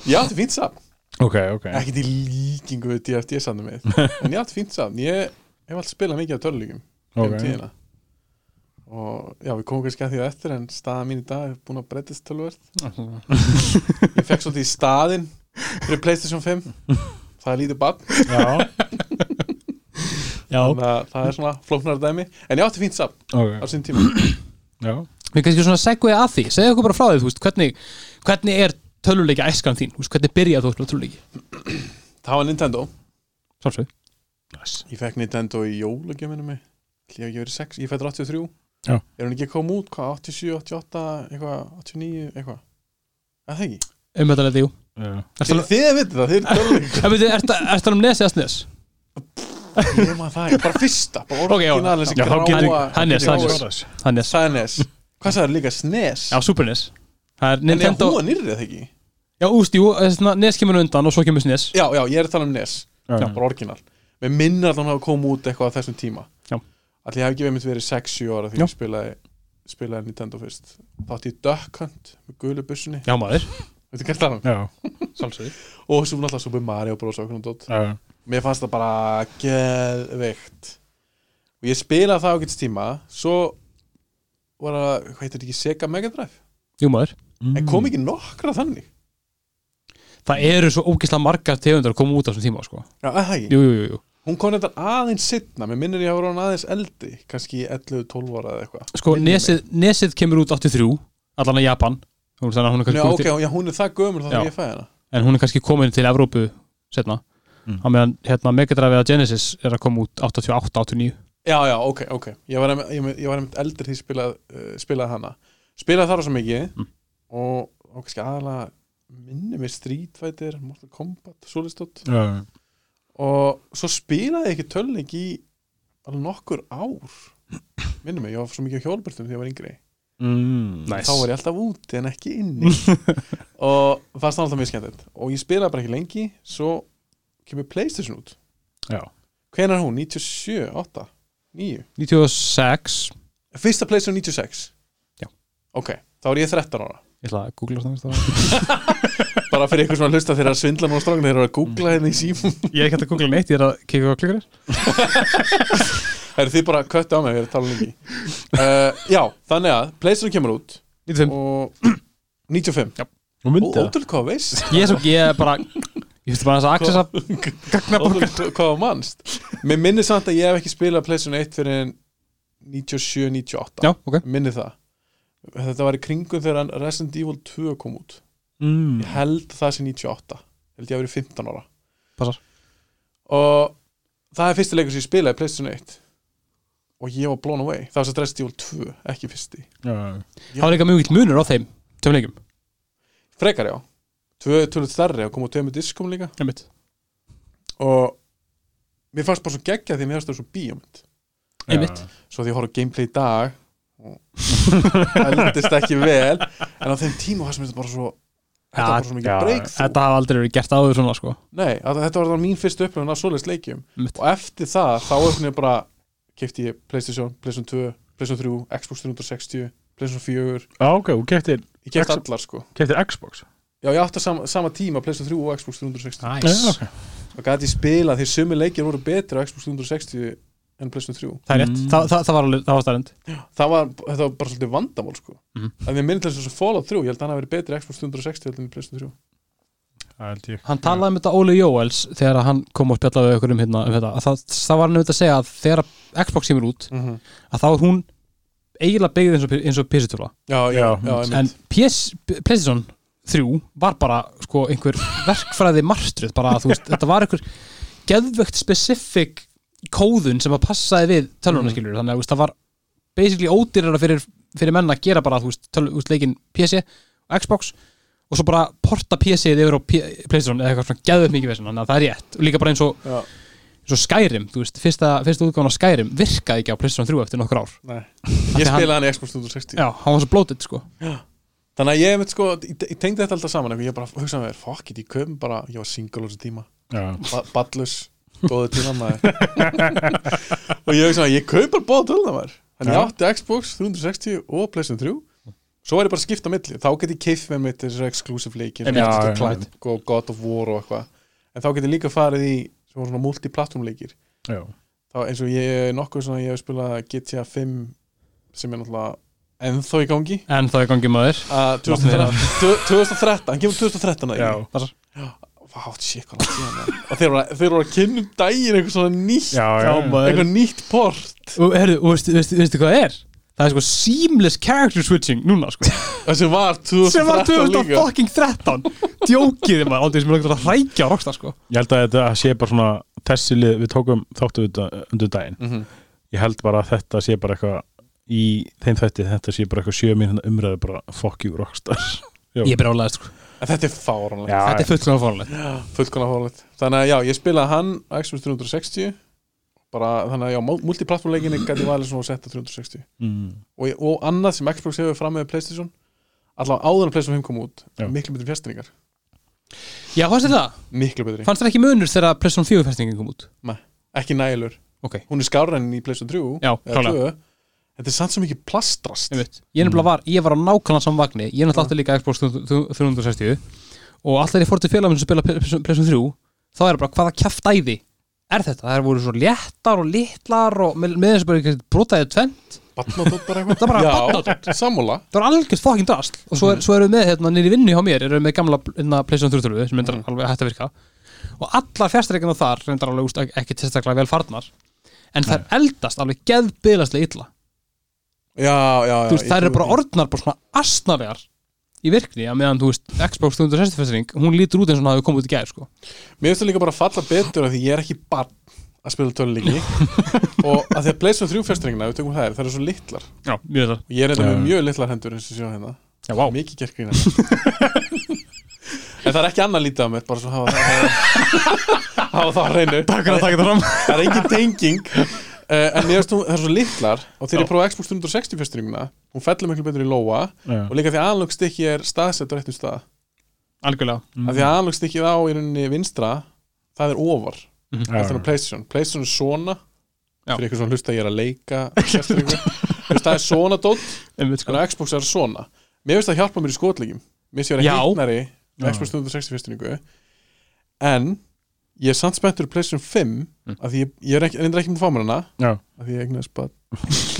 C: Ég átti fínt safn,
B: Ok, ok
C: ekki til líkingu við DFD safnum við En ég átti fínt safn, ég hef alltaf spilað mikið af töluleikum um
B: Ok.
C: tíðina Og já, við komum kannski að því að eftir En staða mín í dag er búin að breytast tölvöld Ég fekk svolítið í staðinn fyrir Playstation 5 Það er lítið bann
B: Já,
A: já,
C: Þannig að það er svona flóknar dæmi En ég átti fínt safn á
B: ok
C: sín tíma
B: Já,
A: við kannski svona segja að því segja okkur bara frá því, þú veist, hvernig hvernig er töluleiki æskan þín, þú veist, hvernig byrjaði þú að spila töluleiki,
C: Það var Nintendo
A: sjálfsög
B: nice
C: Ég fekk Nintendo í jólagjöfinu mig Ætli Ég hef ekki verið 6, ég fættur 83
B: Já.
C: Er hún ekki að koma út, hvað, 87, 88, eitthvað, 89, eitthvað að það ekki
A: um þetta leiti, jú Ertu
C: Þið,
A: alveg-
C: þið að vita það, þið er dölvig
A: En veitu, ertu ertu að tala um nes eða snes?
C: Ég maður það, ekki, bara fyrsta Bara
A: Ok, já.
C: orginal, þessi
B: Já, þá getur-
C: gráa
A: hann er- hann er-
B: Svaras.
A: Það er nes,
C: Sanes Hvað sagði líka SNES?
A: já, super nes Það er
C: en er
A: Nintendo,
C: hún nýrrið það ekki?
A: já, úst, jú, eh, svona, nes kemur undan og svo kemur E snes
C: Já, já, ég er að tala um NES
B: Já.
C: Bara orginal Mér minnir að hann hafa komið út eitthvað á þessum tíma
A: Já.
C: Allir hafi ekki verið 6-7 ára því ég spilaði, spilaði Nintendo fyrst Þá átti ég Duck Hunt með gulu bussunni
A: Já, maður,
C: Veitir hvað það er?
B: Já,
A: sálsögur
C: Og svo náttúrulega Super Mario Bros. og okkur og dót
B: já,
C: Mér fannst það bara geðveikt Og ég spilaði það á getur tíma Svo var það, hvað heitir þetta ekki, Sega Mega Drive
A: Jú, maður
C: En
A: Mm.
C: kom ekki nokkra þannig
A: Það eru svo ógeðslega margar tegundar að koma út á þessum tíma, sko
C: Já, að það ekki
A: Jú, jú, jú, jú
C: Hún kom þetta aðeins sittna, mér minnir ég að vera hann aðeins eldi, kannski 11-12 ára eða eitthvað.
A: Sko,
C: Minnir mig.
A: nesið, nesið kemur út 83 Allan að Japan Hún- Þannig að hún er
C: Já,
A: kannski
C: ok,
A: komin til,
C: já, hún er það gömur þá
A: Já.
C: þegar ég fæði hana.
A: En hún er kannski komin til Evrópu setna
B: Mm.
A: Á meðan, hérna, Megadrive eða Genesis er að koma út 88, 89
C: Já, já, ok, ok. Ég var, einmitt- ég, var- ég var einmitt eldur því ég spilað, uh, spilaði hana. Spilaði þar á svo mikið
A: Mm.
C: og, og kannski aðalega minni með Street Fighter, Mortal Kombat, Solistot.
B: Mm. já
C: Og svo spilaði ég ekki tölning í alveg nokkur ár. Minnum mig, ég var svo mikið á hjólbörtum því ég var yngri.
B: Mm.
A: Nice.
C: þá var ég alltaf úti en ekki inni og fannst það alltaf mjög skemmtilegt og ég spilaði bara ekki lengi svo kemur Playstation út
B: Já.
C: hvenær er hún? 97, 8, 9
A: 96
C: fyrsta Playstation 96
A: Já.
C: ok, þá er ég 13 ára
A: Ég ætla að googla snart
C: bara fyrir ykkur sem að hlusta þeirra að svindla núna stráknir þeirra að googla hérna í símum
A: Ég er ekki hægt að googla neitt, ég er að kika á klikkar
C: er þið bara köttu á mig, við erum að tala lengi uh, já, þannig að Playstation kemur út
A: 95
C: og 95
B: Hún
C: og
B: myndi það
C: ótrúlega hvað þú veist
A: Ég er svo, ég er bara Ég finnst bara þess að accessa
C: Ótrúlega hva- hvað þú mannst Mér minnir samt að ég hef ekki spilað Playstation 1 fyrir en 97-98
A: Já, ok
C: Minni það Þetta var í kringum þegar Resident Evil 2 kom út
B: mm.
C: Ég held það sé 98 Held ég að verið 15 ára
A: Passar.
C: Og það er fyrsti leikur sem ég spilaði Playstation 1 Og ég var blown away Það var satt Resident Evil 2, ekki fyrsti
B: Já,
A: Það var líka mjög mjög munur á þeim Tveim leikum
C: Frekar já Tvö tölvöld stærri og kom á tveimur diskum líka
A: Einmitt.
C: Og mér fannst bara svo geggja því að mér fannst það svo bíómynd
B: já.
A: Einmitt.
C: svo því ég horf á gameplay í dag og eldist ekki vel en á þeim tíma var sem þetta bara svo þetta var bara svo mikið
B: já,
C: breakthrough
A: Þetta hafa aldrei verið gert áður svona sko
C: nei, að, þetta var það mín fyrstu upplöfun af svoleiðs leikjum
A: Einmitt.
C: og eftir það, þá öfnir bara kefti ég Playstation, Playstation 2 Playstation 3, Xbox 360 Playstation 4,
B: Já, ok, hún keftir,
C: ég kefti
B: Xbox-
C: allar sko
B: keftir Xbox
C: já, ég átti á sama, sama tíma Playstation 3 og Xbox 360
B: Já,
A: Nice
B: ok.
C: og gæti ég spila því sumi leikir voru betri á Xbox 360 en Playstation 3
A: Það er rétt,
B: Mm.
A: Þa, það, það var alveg, það var starrend
C: það var, þetta var bara svolítið vandamál sko.
A: Mhm.
C: að við minnum til þess að Fallout 3 ég held að hann hafi verið betri í Xbox 360 heldur en í Playstation 3
B: Það held ég
A: Hann talaði um þetta Óli Jóels þegar hann kom og spjallaði við okkur um hérna um þetta að það, það var hann auðvitað að segja að þegar Xbox kemur út
C: mm -hmm.
A: að þá er hún eiginlega byggð eins og, eins og PC-tula
C: já, já,
B: Já,
C: já, já
A: en PS, PlayStation 3 var bara sko einhver verkfræði martröð bara að þú veist, þetta var einhver geðvögt specific kóðun sem að passaði við tölvunum
C: Mhm.
A: skilur þannig að þú veist, það var basically ódýrara fyrir, fyrir menna að gera bara þú veist, töl, þú veist leikinn PC og Xbox og svo bara porta PC-ið yfir á P PlayStation eða eitthvað svona geðvögt mikið veginn þannig að það er rétt og líka bara eins og,
C: Já.
A: eins og Skyrim þú veist, fyrsta, fyrsta útgáfan á Skyrim virkaði ekki á PlayStation 3 eftir nokkur ár
C: Nei. ég
A: Af því hann-
C: spilaði hann í Xbox 360
A: Já, hann var svo blótið sko
C: þannig að ég, veit, sko, ég, ég tengdi þetta alltaf saman eitthvað. ég bara hugsaði með þér, fuck it, ég köfum bara ég var single á þessu tíma,
B: Já,
C: ba ballus góðu tíma maður og ég hugsaði, ég kaup bara bóða tölna maður þannig ég átti Xbox 360 og Playstation 3 svo er ég bara að skipta á milli þá get ég keift með mitt þessu exclusive leikir
B: Einmitt.
C: Ratchet
B: Já, já,
C: and Clank og God of War og eitthvað en þá get ég líka farið í sem voru svona multiplatform leikir
B: já
C: þá eins og ég nokkuð svona ég hef spilað GTA 5 sem er náttúrulega ennþá í gangi
A: en það er gangið maður
C: að 2013 tvö- 2013, hann kemur 2013 að
B: Já,
C: ég vátt shit hvað langt síðan maður. og þeir voru, að- þeir voru að kynna um daginn eitthvað svona nýtt
B: já, já, já.
C: eitthvað nýtt port
A: Og herru, og veistu, veistu, veistu hvað það er? Það er sko seamless character switching núna sko
C: það sem var
A: sem var
C: 2013 líka
A: 2013 djókið þið maður ándið sem er ekkert að hrækja á Rockstar sko
B: Ég held að þetta sé bara svona þessi lið við tókum þáttu undir daginn
C: Mhm.
B: Ég held bara að þetta sé bara eitthvað í þeim þætti, þetta sé bara eitthvað sjö mínúna umræði bara fuck you rockstar Jú.
A: Ég er brjálæðist sko.
C: En þetta er fáránlegt
B: Já,
A: Þetta er fullkomlega fórlega
C: Fullkona fáránlegt Þannig að já, ég spilaði hann Xbox 360 Bara, þannig að já, multiplattformleikinni gæti valið svona að setja 360
B: mm.
C: og, og annað sem Xbox hefur fram með Playstation allavega áður en Playstation 5 kom út
B: Já.
C: miklu betri fjastringar
A: Já, fannst þér það?
C: miklu betri,
A: Fannst þér ekki munur þegar Playstation 4 festingin kom út?
C: ekki nælur
A: Ok.
C: hún er skárra enn í Playstation 3
A: Já,
C: eða
A: klálega
C: 2. þetta er samt sem ekki plastrast
A: Ég, ég, nefnilega var, ég var á nákvæmlega saman vagni Ég náttúrulega átti líka Xbox 360 Og alltaf ég fór til félagum sem spila Playstation PlayStation 3 Þá er það bara hvaða kjaftæði Er þetta? Það voru svo léttar og litlar Og með, með þessu bara eitthvað brotaðið tvennt
C: Batnadótt bara eitthvað
A: Það er bara
C: Já,
A: barnadótt.
C: Sammála
A: Það var algjörð fokkin drast Og svo, er, svo erum við með hérna nýri vinnu hjá mér Erum við með gamla hérna, Playstation 3 Sem myndar alveg hægt að virka Og allar fjastreikina þar Reyndar alveg úst, ekki tilstaklega vel farnar En þær eldast alveg geðbiðlaslega illa
C: Já, já, já
A: þú veist,
C: ég
A: það eru
C: trúi
A: bara
C: því.
A: orðnar bara svona astnarlegar í virkni að meðan, þú veist, Xbox 360 festring hún lítur út eins og hún hafi komið út í gæð, sko
C: Mér finnst það líka bara að falla betur af því ég er ekki barn að spila töluleiki og að því að Playstation 3 fjastringina, við tökum þær, það eru svo litlar
A: Já, mjög það
C: og ég er þetta
B: Já.
C: með mjög litlar hendur eins og sjá hérna
B: Já, vá
C: mikið gert grín að mér. en það er ekki annað lítið á mér bara svo hafa það hafa, hafa það á hreinu
A: Takk að taka það fram
C: það er engin tenging uh, en ég veist, hún- það er svo litlar og þegar ég prófa Xbox 360 fyrstringuna hún fellur miklu betur í lóa
B: Já.
C: og líka því aðlögstykki er staðsett á réttum stað
A: Algjörlega,
C: mm. því aðlögstykkið á í rauninni vinstra það er ofar
B: Já.
C: þannig að Playstation, Playstation er svona
A: Já.
C: fyrir ykkur svona hlusta að ég er að leika sérstrengu. Þú veist, það er svona dótt
A: einmitt, sko
C: en á Xbox er svona mér finnst það hjálpa mér í skotleikjum mér finnst ég vera
A: Já.
C: hittnari með Xbox 360 fyrstningu en ég er samt spenntur í PlayStation 5 mm. að því ég, ég er ekki, reyndar ekki með að fá mér hana
B: Já.
C: að því ég egnaði spad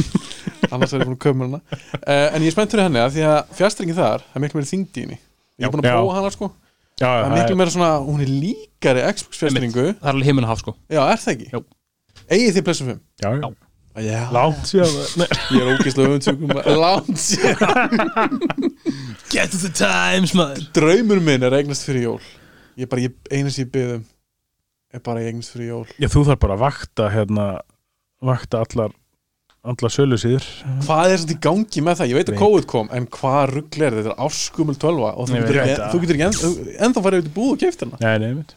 C: annars er ég búin að köpa mér hana uh, en ég er spenntur í henni að því að fjastringin þar það er miklu meira þyngd í henni ég er búin að
B: Já.
C: prófa hana sko
B: Já,
C: það er
B: það
C: miklu meira svona, hún er líkari Xbox fjastringu,
A: Það er alveg heiminn að hafa, sko
C: já er það ekki
A: Jó.
C: eigið þið PlayStation 5
B: já, já.
C: Já,
B: Lánt síðan Nei,
C: ég er ógeðslega öfundsjúkum Lánt sér
A: Get to the times, maður
C: draumur minn er að eignast fyrir jól ég bara, ég, eina sem ég byggðum er bara að ég eignast fyrir jól
B: Já, þú þarf bara að vakta hérna, vakta allar allar sölu síður
C: hvað er þetta í gangi með það, ég veit að
B: Veit.
C: COVID kom en hvað rugl er þetta, þetta er áskumul 12 og þú
B: Ég
C: getur,
B: veit
C: ekki,
B: það.
C: þú getur ekki enn, þú- ennþá farið út í búð og keift hérna
B: Nei, nei, mitt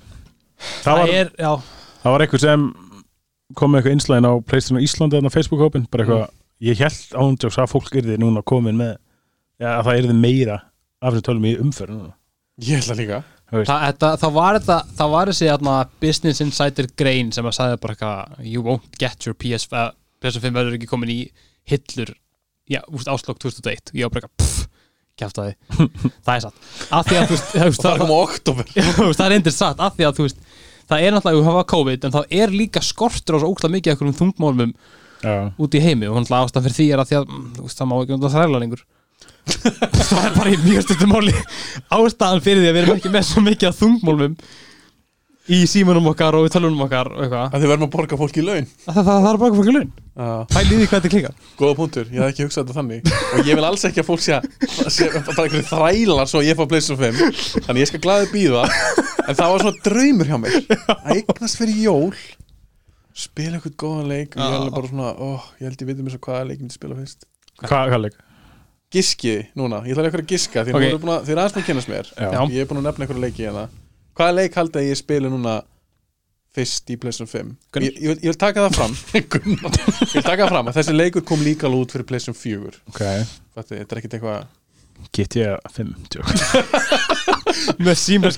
A: Það
B: Það var,
A: er, já,
B: það var eitthvað sem kom með eitthvað einslæðin á Playstation á Íslandi þannig á Facebook-hópin, bara eitthvað ég held ándjóks að fólk yrði núna komin með já, að það yrði meira af þessum tölum í umferð núna
C: ég ætla líka,
A: það, þetta, það var þetta það var þessi, þarna, Business Insider grein sem að sagði bara eitthvað You won't get your PS, uh, PS5 verður ekki komin í hillur já, úst, áslokk 2001 Ég var bara eitthvað, pff, kæft að Það er satt Af því að, þú veist, það,
C: það kom á oktober
A: Já, þú veist, það er endur satt af því að þú veist það er náttúrulega, við hafa COVID en það er líka skortur á svo ógla mikið okkur um þungmálmum
B: Já,
A: út í heimi og hann ástæðan fyrir því er að því að mm, þú veist, það má ekki undan þræla lengur það er bara í mjög stundum máli ástæðan fyrir því að við erum ekki með svo mikið af þungmálmum í símanum okkar og í tölunum okkar og eitthvað,
C: að þið verðum að borga fólki í laun
A: það, það, það er bara eitthvað fyrir laun
C: ah,
A: pæliði hvað þetta klikkar
C: góða punktur, ég hef ekki hugsað þetta þannig og ég vil alls ekki að fólk sé, að- sé bara einhverju þrælar svo að ég fá Playstation 5 þannig ég skal glaðið býða en það var svona draumur hjá mér að eignast fyrir jól spila eitthvað góðan leik og ég
A: Ah.
C: er alveg bara svona, ó, ég held ég veitum eins og hvaða leik ég myndi spila fyrst
B: hvað hva leik?
C: Giskið núna, ég ætla eitthvað að giska því
A: Ok.
C: okay. að, þið er aðeins búin að kynast mér
B: Já.
C: ég er búin að nefna eitthvað leiki hérna hvaða leik haldið að ég spila núna fyrst í Playstation 5
A: Gunnar.
C: ég, ég, vil, ég vil taka það fram ég vil taka það fram að þessi leikur kom líka alveg út fyrir Playstation 4
B: Ok,
C: Fætti, þetta er ekkert eitthvað
B: GTA 5 tjók.
A: með símans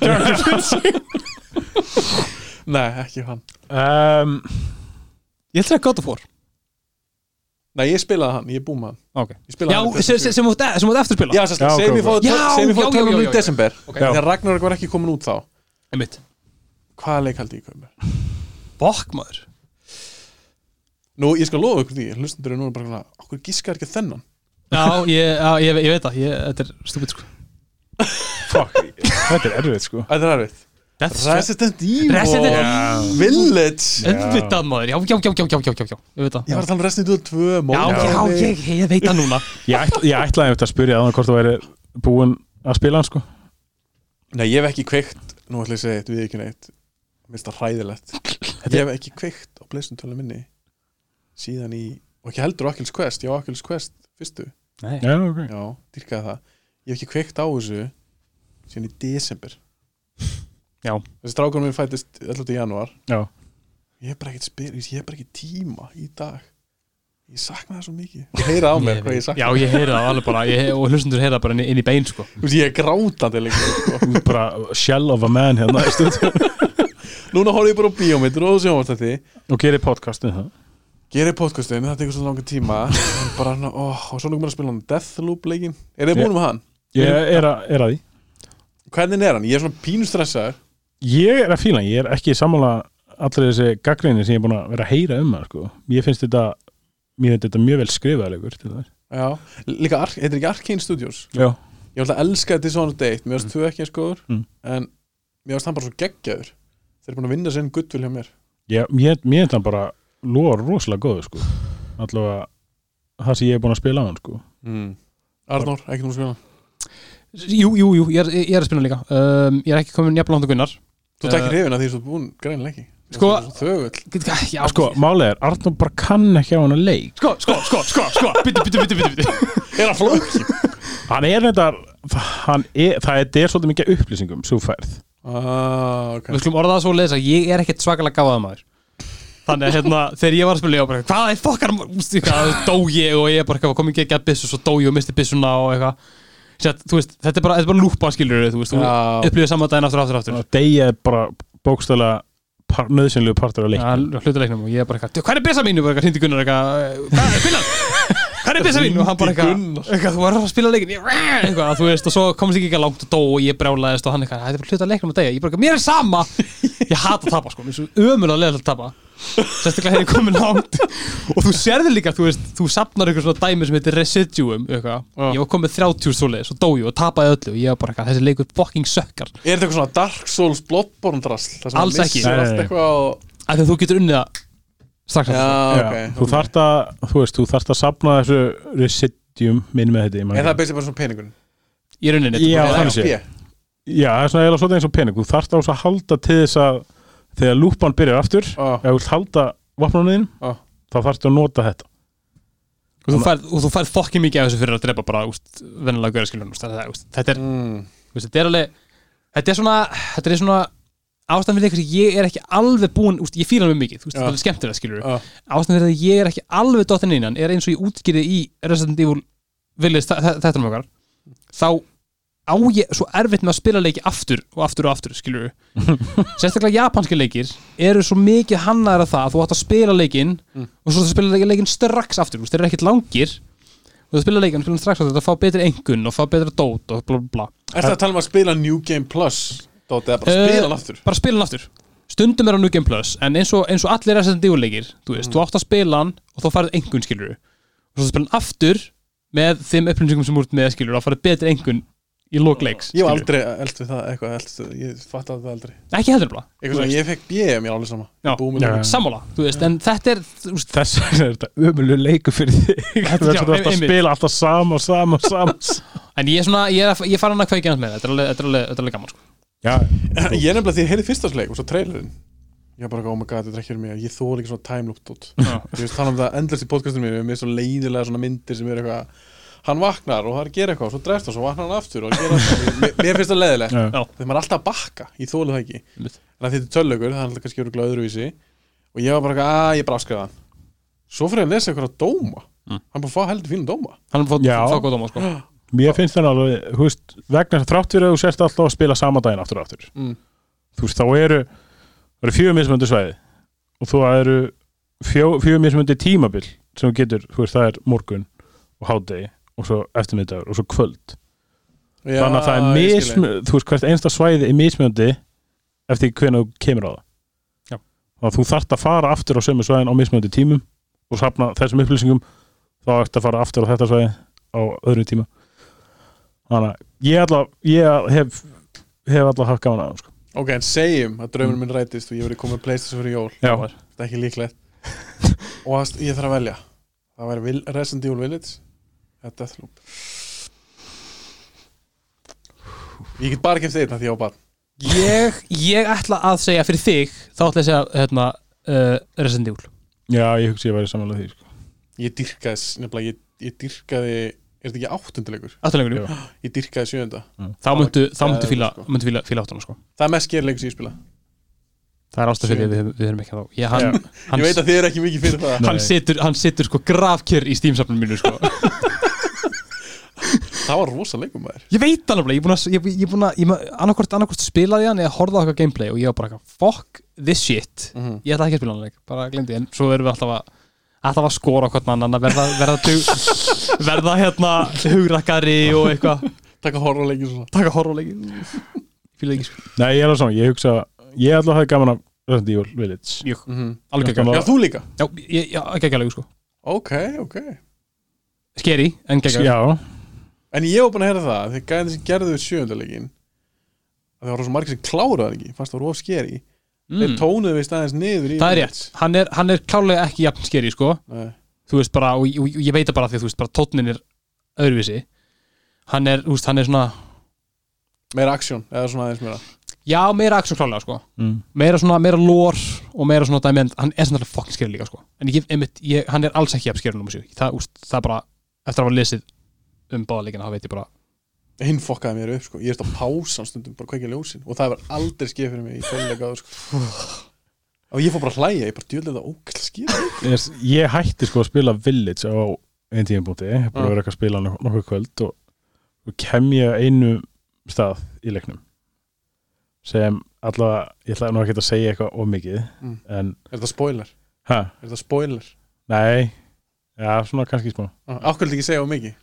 C: Nei, ekki hann
B: um,
A: ég ætla að God of War
C: Nei, ég spilaði hann, ég er búið með hann
A: okay.
C: Ég spilaði
A: já,
C: hann
A: sem, sem, sem, þú átt- sem þú ert eftir spila
C: Já, sem
B: Já,
C: sem
B: ok,
C: ég fóði
A: Já,
C: sem ég
A: já,
C: fóði
A: já,
C: tölum
A: já,
C: í
A: já.
C: desember
A: Ok.
C: Þegar Ragnarök var ekki komin út þá
A: einmitt,
C: Hvaða leik haldi ég komið?
A: bokk maður
C: Nú, ég skal lofa ykkur því Hlustendur er núna bara svona Okkur gískar ekki á þennan
A: já, ég, já, ég, ég veit það, ég, þetta er stúpid sko
B: Fuck, þetta er erfið sko
C: Æ, Það er erfið Resident Evil
A: Resident
C: Village
A: Öðvitað maður, já, já, já, já, já, já, já, já, ég veit það
C: Ég var að tala um Resident Evil 2
A: Já,
C: Móðir.
A: já, ég, ég veit það núna
B: Ég, ætla, ég ætlaði einmitt að spyrja þannig hvort þú væri búin að spila hann sko
C: Nei, ég hef ekki kveikt Nú ætla ég að segja eitt, við ekki neitt Mér finnst það hræðilegt Ég hef ekki kveikt á Playstation tölum minni Síðan í Og ekki heldur á Oculus Quest Ég á Oculus Quest fyrstu
B: Já, ok
C: Já, dyrkaði það Ég hef ekki kveikt á þessu síðan í desember
A: Já.
C: þessi strákunum minn fættist 11. januar
B: Já.
C: ég er bara ekki spyr, ég er bara ekki tíma í dag ég sakna það svo mikið ég heyra á mér
A: Ég
C: hvað ég
A: veit.
C: sakna
A: Já, ég heyri það alveg bara ég, og hlustundur heyri það bara inn í, inn í bein sko.
C: Þú veist, ég er grátandi líka sko.
B: Þú ert bara shell of a man hérna í stúdíu.
C: núna horfði ég bara á bíómyndur og sjónvartætti
B: og gerir podcast um það
C: gerir podcastin, það tekur svo langan tíma en bara, ná- ó, og svo lukkum við að spila hann Deathloop leikinn, er þið
B: Ég-
C: búin með hann?
B: ég er, að, er að því
C: hvernig er hann? Ég er svona pínu stressaður
B: ég er að fíla, hann. ég er ekki sammála allri þessi gaggrinni sem ég er búin að vera að heyra um það sko. ég finnst þetta mér finnst þetta mjög vel skrifaðalegur til þess
C: já, líka, Ar- heitir ekki Arkane Studios
B: já,
C: ég ætla að elska þetta svona deitt, mér varst þú ekki eins góður
B: Mm.
C: en mér varst hann bara svo geggjaður þeir eru búin að vinna sinn guttvill hjá mér
B: ég, mér mér finnst það bara lóar rosalega góðu sko. allavega það sem ég er búin að spila á hann sko.
C: mm. Arnór, ekki nú skona
A: Jú, jú, jú, ég er, ég er að spila líka um, Ég er ekki komin jafnlega hónda Gunnar
C: þú ert ekki
A: Eh,
C: hrifin að því þú ert búin greinilega ekki
A: Sko-
C: þögull
A: Get- Já,
B: sko, málið er, Arnur bara kann ekki á hann að leik
A: sko, sko, sko, sko, sko Bitti, bitti, bitti, bitti, bitti
C: er hann flóki?
B: hann er þetta hann er, það er, þetta er svolítið mikið af upplýsingum svo færð
C: ah, ok
A: Við skulum orða það svo leis að ég er ekkert svakalega gáðað maður Þannig að hérna, þegar ég var að spila ég var bara, hvað er fokkar Úst, eitthvað, dó ég og ég bara eitthvað kom ekki ekki að byssu svo dó ég og misti byssuna og eitthvað Sett, þú veist, þetta er bara, þetta er bara lúpa skilur þú veist, þú
C: Já.
A: upplifir saman daginn aftur aftur aftur
B: og degja er bara bókstæðlega par, nöðsynlegu partur af leik
A: Já, hlutaleiknum og ég er bara eitthvað, hvað er byrsa mín? Og bara eitthvað, hindi Gunnar eitthvað, "Eh, hvað er Gunnar? Hvað er byrsa mín? Og hann bara eitthvað, eitthvað, þú er að spila leikin, ég, eitthvað, þú veist, og svo komst ég ekki eitthvað langt og dó og ég brjálaðist og hann eitthvað, þetta er bara hlutaleiknum að degja, ég bara eitthvað, mér er sama, ég hata að tapa, sko, mér er svo ömulega leðilegt að tapa, sérstaklega þegar ég er komin langt og þú sérði líka, þú veist, þú sapnar eitthvað svona dæmi sem heitir residuum, eitthvað,
C: Já.
A: ég var komið 30 svoleiðis og dó ég og tapaði öllu og ég var bara eitthvað, þessi leikur fucking sökkar,
C: er þetta eitthvað svona Dark Souls Bloodborne drasl það sem
A: Alls
C: hann
A: ekki.
C: missir
B: Nei, nei,
C: allt
B: nei.
C: eitthvað og...
A: af því að þú getur unnið það strax aftur.
C: já, ok
B: þú þarft að, þú veist, þú þarft að sapna þessu residium minn með þetta ég man
C: er það
B: ekki.
C: basically bara svona peningun?
A: í rauninni,
B: Já,
C: Eða
B: þannig sé.
C: XP?
B: já, það er svona eiginlega svolítið eins og pening þú þarft á þess að halda til þess að þegar lúpan byrjar aftur ef
C: Ó,
B: þú vilt halda vopnunniðin
C: Ó.
B: þá þarftu að nota þetta
A: og þú færð, og þú færð fokkin mikið af þessu fyrir að drepa bara úst, vennilega gauðar skilur úst, þetta, úst, þetta, er,
C: mm.
A: úst, þetta er alveg þetta er svona, þetta er svona ástæðan fyrir því að ég er ekki alveg búin úst, ég fíla hann mjög mikið, úst,
C: Já.
A: þetta er skemmtilega skilur
C: Já.
A: ástæðan fyrir því að ég er ekki alveg dottin innan er eins og ég útskýrði í Resident Evil Village þa- þa- þetta um okkar þá á ég svo erfitt með að spila leiki aftur og aftur og aftur skilur sérstaklega japanski leikir eru svo mikið hannaðar að það að þú átt að spila leikinn
C: Mm.
A: og svo þú spila leikinn, leikinn strax aftur þú veist, þeir eru ekkert langir og þú spila leikinn, spila hann strax aftur þetta fá betri engun og fá betra dót og bla bla bla
C: Er það að tala um að spila New Game Plus Dóti, eða bara
A: Eh,
C: spila hann aftur
A: bara spila hann aftur stundum er á New Game Plus en eins og, eins og allir Resident Evil leikir þú
B: Mm.
A: veist, þú átt að spila hann og þá farið engun skilur og svo þú spila hann aftur með þeim upplýsingum sem úr með skilur og þá farið betri engun í lókleiks
C: Ég var aldrei eld við það eitthvað eld, Ég fatt að það aldrei
A: ekki heldur bara
C: Eitthvað svona, ég fekk BM, ég er alveg sama
A: Já.
C: Búmið
B: Já.
A: sammála, þú veist, en þetta er þú veist,
B: þess vegna er þetta ömulegu leiku fyrir þig
A: Þetta-
B: þú
A: já,
B: þarft að
A: einmitt.
B: spila alltaf sama og sama og sama já,
A: En ég er svona, ég er, að- ég fara hann að kveikja hans með þetta er alveg, þetta er alveg, þetta er alveg gaman sko
C: Ég er nefnilega því að heyrði fyrsta sleik og svo trailerinn Ég var bara, oh my god, þetta er ekki fyrir mig Ég þóð líka svona time loop dot Ég veist tala um það endlust í podcastinu mínu Með svo leiðilega svona myndir sem eru eitthvað Hann vaknar og það er að gera eitthvað og svo drefst hann, svo vaknar hann aftur og gera eitthvað Mér- Mér finnst það leiðilegt
B: Já.
C: Þegar maður er alltaf að bakka, ég þólu það ekki
A: Einmitt.
C: En að þetta er tölugur, það er alltaf kannski örugglega öðruvísi Og ég var bara, að ég bara afskrifa hann Svo fyrir ég að lesa eitthvað að dóma
B: Mm.
C: Hann bara fá heldur fínum dóma
A: Hann fótt
B: Já.
A: þá góð dóma sko
B: mér finnst það alveg, þú veist, vegna þess að þrátt fyrir að þú sérst alltaf að spila sama daginn aftur og aftur
C: Mm.
B: þú veist, þá eru það eru fjögur mismöndu svæði og þú eru fjó, fjögur mismöndu tímabil sem þú getur, þú veist, það er morgun og hádegi og svo eftirmiddagur og svo kvöld
C: Já,
B: þannig að það er
C: ég skil þig.
B: mismöndu, þú veist, hvert einsta svæði er mismöndu eftir því hvernig þú kemur á það
A: Já.
B: þannig að þú þarft að fara aftur á sömu svæðin á mismöndu tímum og safna þessum upplýsingum þá ert að fara aftur á þetta svæði á öðrum tíma þannig að ég, ætla, ég hef, hef alltaf haft gaman að sko.
C: Ok, en segjum að draumur minn rætist og ég verið komið með Playstation fyrir jól
B: Já.
C: Þetta er ekki líklegt Og að, ég þarf að velja Það væri Vil- Resident Evil Village eða Deathloop Ég get bara kemst einn að því ég á barn
A: Ég, ég ætla að segja fyrir þig Þá ætla ég að segja, hérna, uh, Resident Evil
B: Já, ég hugsi ég væri samanlega því sko.
C: Ég dyrkaði, s- nefnilega, ég, ég dyrkaði er þetta ekki áttunduleikur?
A: afturleikunum,
C: Ég dyrkaði sjöunda
A: þá myndu, þá myndu
C: Það er
A: fíla,
C: sko.
A: myndu fíla, fíla áttuna sko.
C: Það er mest skeri leikur sem ég spila
A: það er ástæð fyrir því að við, við erum ekki þá ég, hann,
C: Ég
A: hann,
C: veit að þið er ekki mikið fyrir það
A: hann, situr, hann situr sko grafkjör í Steam-safnum mínu sko.
C: Það var rosa leikum maður
A: ég veit alveg, ég er búin að ég, ég búin að, ég, annarkvort, annarkvort spilaði hann eða horfði á okkar gameplay og ég var bara eitthvað, fuck this shit
C: Mhm.
A: ég ætla ekki að spila hann leik, bara glemdi en svo erum við alltaf að alltaf að skora hvort mann annan verða, verða, dug, verða hérna hugrakari og eitthvað
C: Takk að horfa leikin svona
A: taka horfuleiki fíla ekki sko
B: Nei, ég er alveg saman, ég hugsa Ég ætla að hafa gaman af Resident Evil Village
A: Jú,
C: Mhm.
A: alveg
B: Þetta
A: geggjala
B: var-
C: Já, þú líka
A: já, ég- já, geggjala sko
C: Ok, ok
A: skeri, en geggjala
B: Já,
C: En ég var búin að heyra það Þegar gæðin sem gerðu sjöundalegin Það var rosa margir sem kláraði hann ekki Fannst það var rosa skeri Þeir
A: mm,
C: tónuðu við staðins niður í
A: það er rétt, hann er, hann er klálega ekki jafn skeri sko
C: Nei.
A: þú veist bara, og, og, og ég veit það bara af því að þú veist bara tónnin er öðruvísi hann er, þú veist, hann er svona
C: Meira aksjón Eða svona aðeins meira
A: já, meira aksjón klálega sko
B: mm.
A: meira svona, meira lór og meira svona dæmi en hann er svona fokkin skeri líka sko en ég, einmitt, ég, hann er alls ekki jafn skeri nummer 7 það, úst, það bara, eftir að hafa lesið um báðleikina, þá veit ég bara
C: Hinn fokkaði mér upp sko Ég eftir að pása hann stundum Bara kveikja ljósin Og það var aldrei skeið fyrir mig Í tölulega áður sko Og ég fór bara að hlæja Ég bara djöðlega það ókvæl skeri
B: ég, ég hætti sko að spila Village á einn tíðanbúti Ég hef bara
C: Mm.
B: verið eitthvað að spila nokkuð nokkuð kvöld og, og kem ég að einu stað í leiknum sem allavega, ég ætla nú ekki að segja eitthvað of mikið
C: Mm.
B: en,
C: Er það spoiler?
B: hæ,
C: Er það spoiler? Ah,
B: nei já, svona kannski smá
C: Akkur vil ekki segja á mikið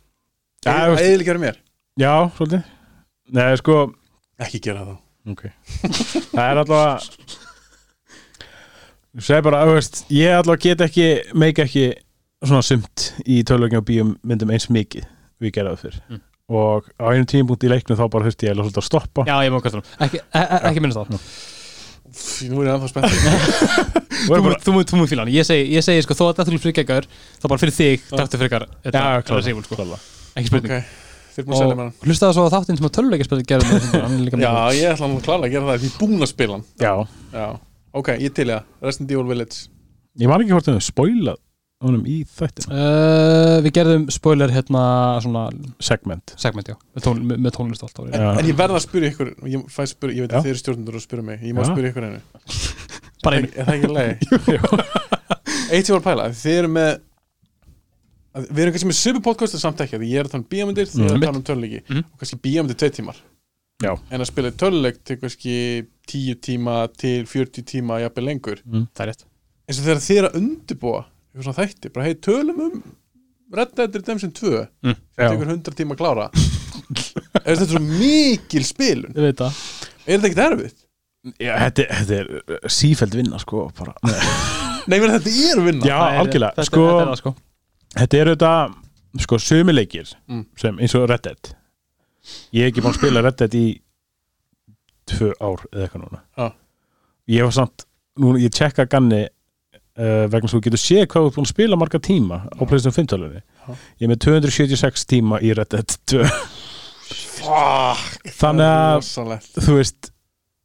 B: Já, þú veist-
C: Eða gera mér
B: já, svolítið, nei, sko
C: Ekki gera það
B: Ok Það er allavega Þú segir bara, þú veist Ég allavega get ekki, meik ekki svona sumt í tölvögin og bíómyndum eins mikið og ég gerði það fyrr
A: Mm.
B: og á einum tímapunkt í leiknum þá bara þurfti ég eiginlega svolítið að stoppa
A: já, ég má hvað það ekki, e- e- ekki minnast á það
C: Pff, Nú er ég ennþá spennt
B: og
A: Þú
B: er
A: múið,
B: bara,
A: þú múið, þú múið fíla hann Ég segi, ég segi sko, þó að þetta fyrir geggar þá bara fyrir þig, taktu fyrir þetta
B: Já,
A: er
B: klára,
A: að segja, sko.
B: klára.
A: ekki spurning
C: Ok Þeir búin að selja mér hann
A: og hlustaðu svo á þáttinn sem að tölvuleikjaspil gerði með hann er líka
C: Já,
A: mjög
C: ég ætla hann að klála að gera það Ég er búin að spila hann
B: já,
C: Já Ok, ég til ég það Resident Evil Village
B: ég man ekki hvort þau spoilað honum í þættin
A: uh, við gerðum spoiler hérna svona
B: segment
A: segment já með, tón, með, með tónlist og allt árið
C: En,
B: Já.
C: en ég verða að spyrja ykkur Ég, fæ spyr, ég veit
B: Já.
C: að þeir eru stjórnundur að spyrja mig Ég má
B: Já.
C: spyrja ykkur einu
A: bara
C: Er
A: einu
C: er það ekki leið? Eitt sem var að pæla Þið eru með að- Við erum kannski með sömu podcastur samt ekki af Því ég er að tala um bíamundir Þið
B: Mm.
C: eru að tala um töluleiki
A: Mhm.
C: Og kannski bíamundir tvei tímar
B: Já.
C: En að spila töluleik til kannski 10 tíma til 40 tíma jafnvel lengur
A: það er rétt
C: eins og þegar þið er að undirbúa eitthvað svona þætti, bara hei, tölum um Red Dead Redemption 2
A: Mm,
C: sem tekur 100 tíma að klára er þetta svo mikil spilun
A: ég veit það
C: er þetta ekkert erfitt?
B: já, þetta, þetta er sífæld vinna sko bara.
C: Nei, meni, þetta er vinna
B: já, algjörlega,
A: sko
B: sko
A: þetta er það sko
B: þetta eru þetta sko sömuleikir
C: Mm.
B: sem eins og Red Dead ég er ekki búin að spila Red Dead í tvö ár eða eitthvað núna
C: Já.
B: ég var samt núna, ég tjekka ganni uh, vegna svo þú getur séð hvað þú er búin að spila marga tíma á Playstation 5 tölunni
C: Já.
B: ég er með 276 tíma í Red Dead 2
C: Fuck, það
B: þannig
C: er
B: að
C: rosalegt
B: þú veist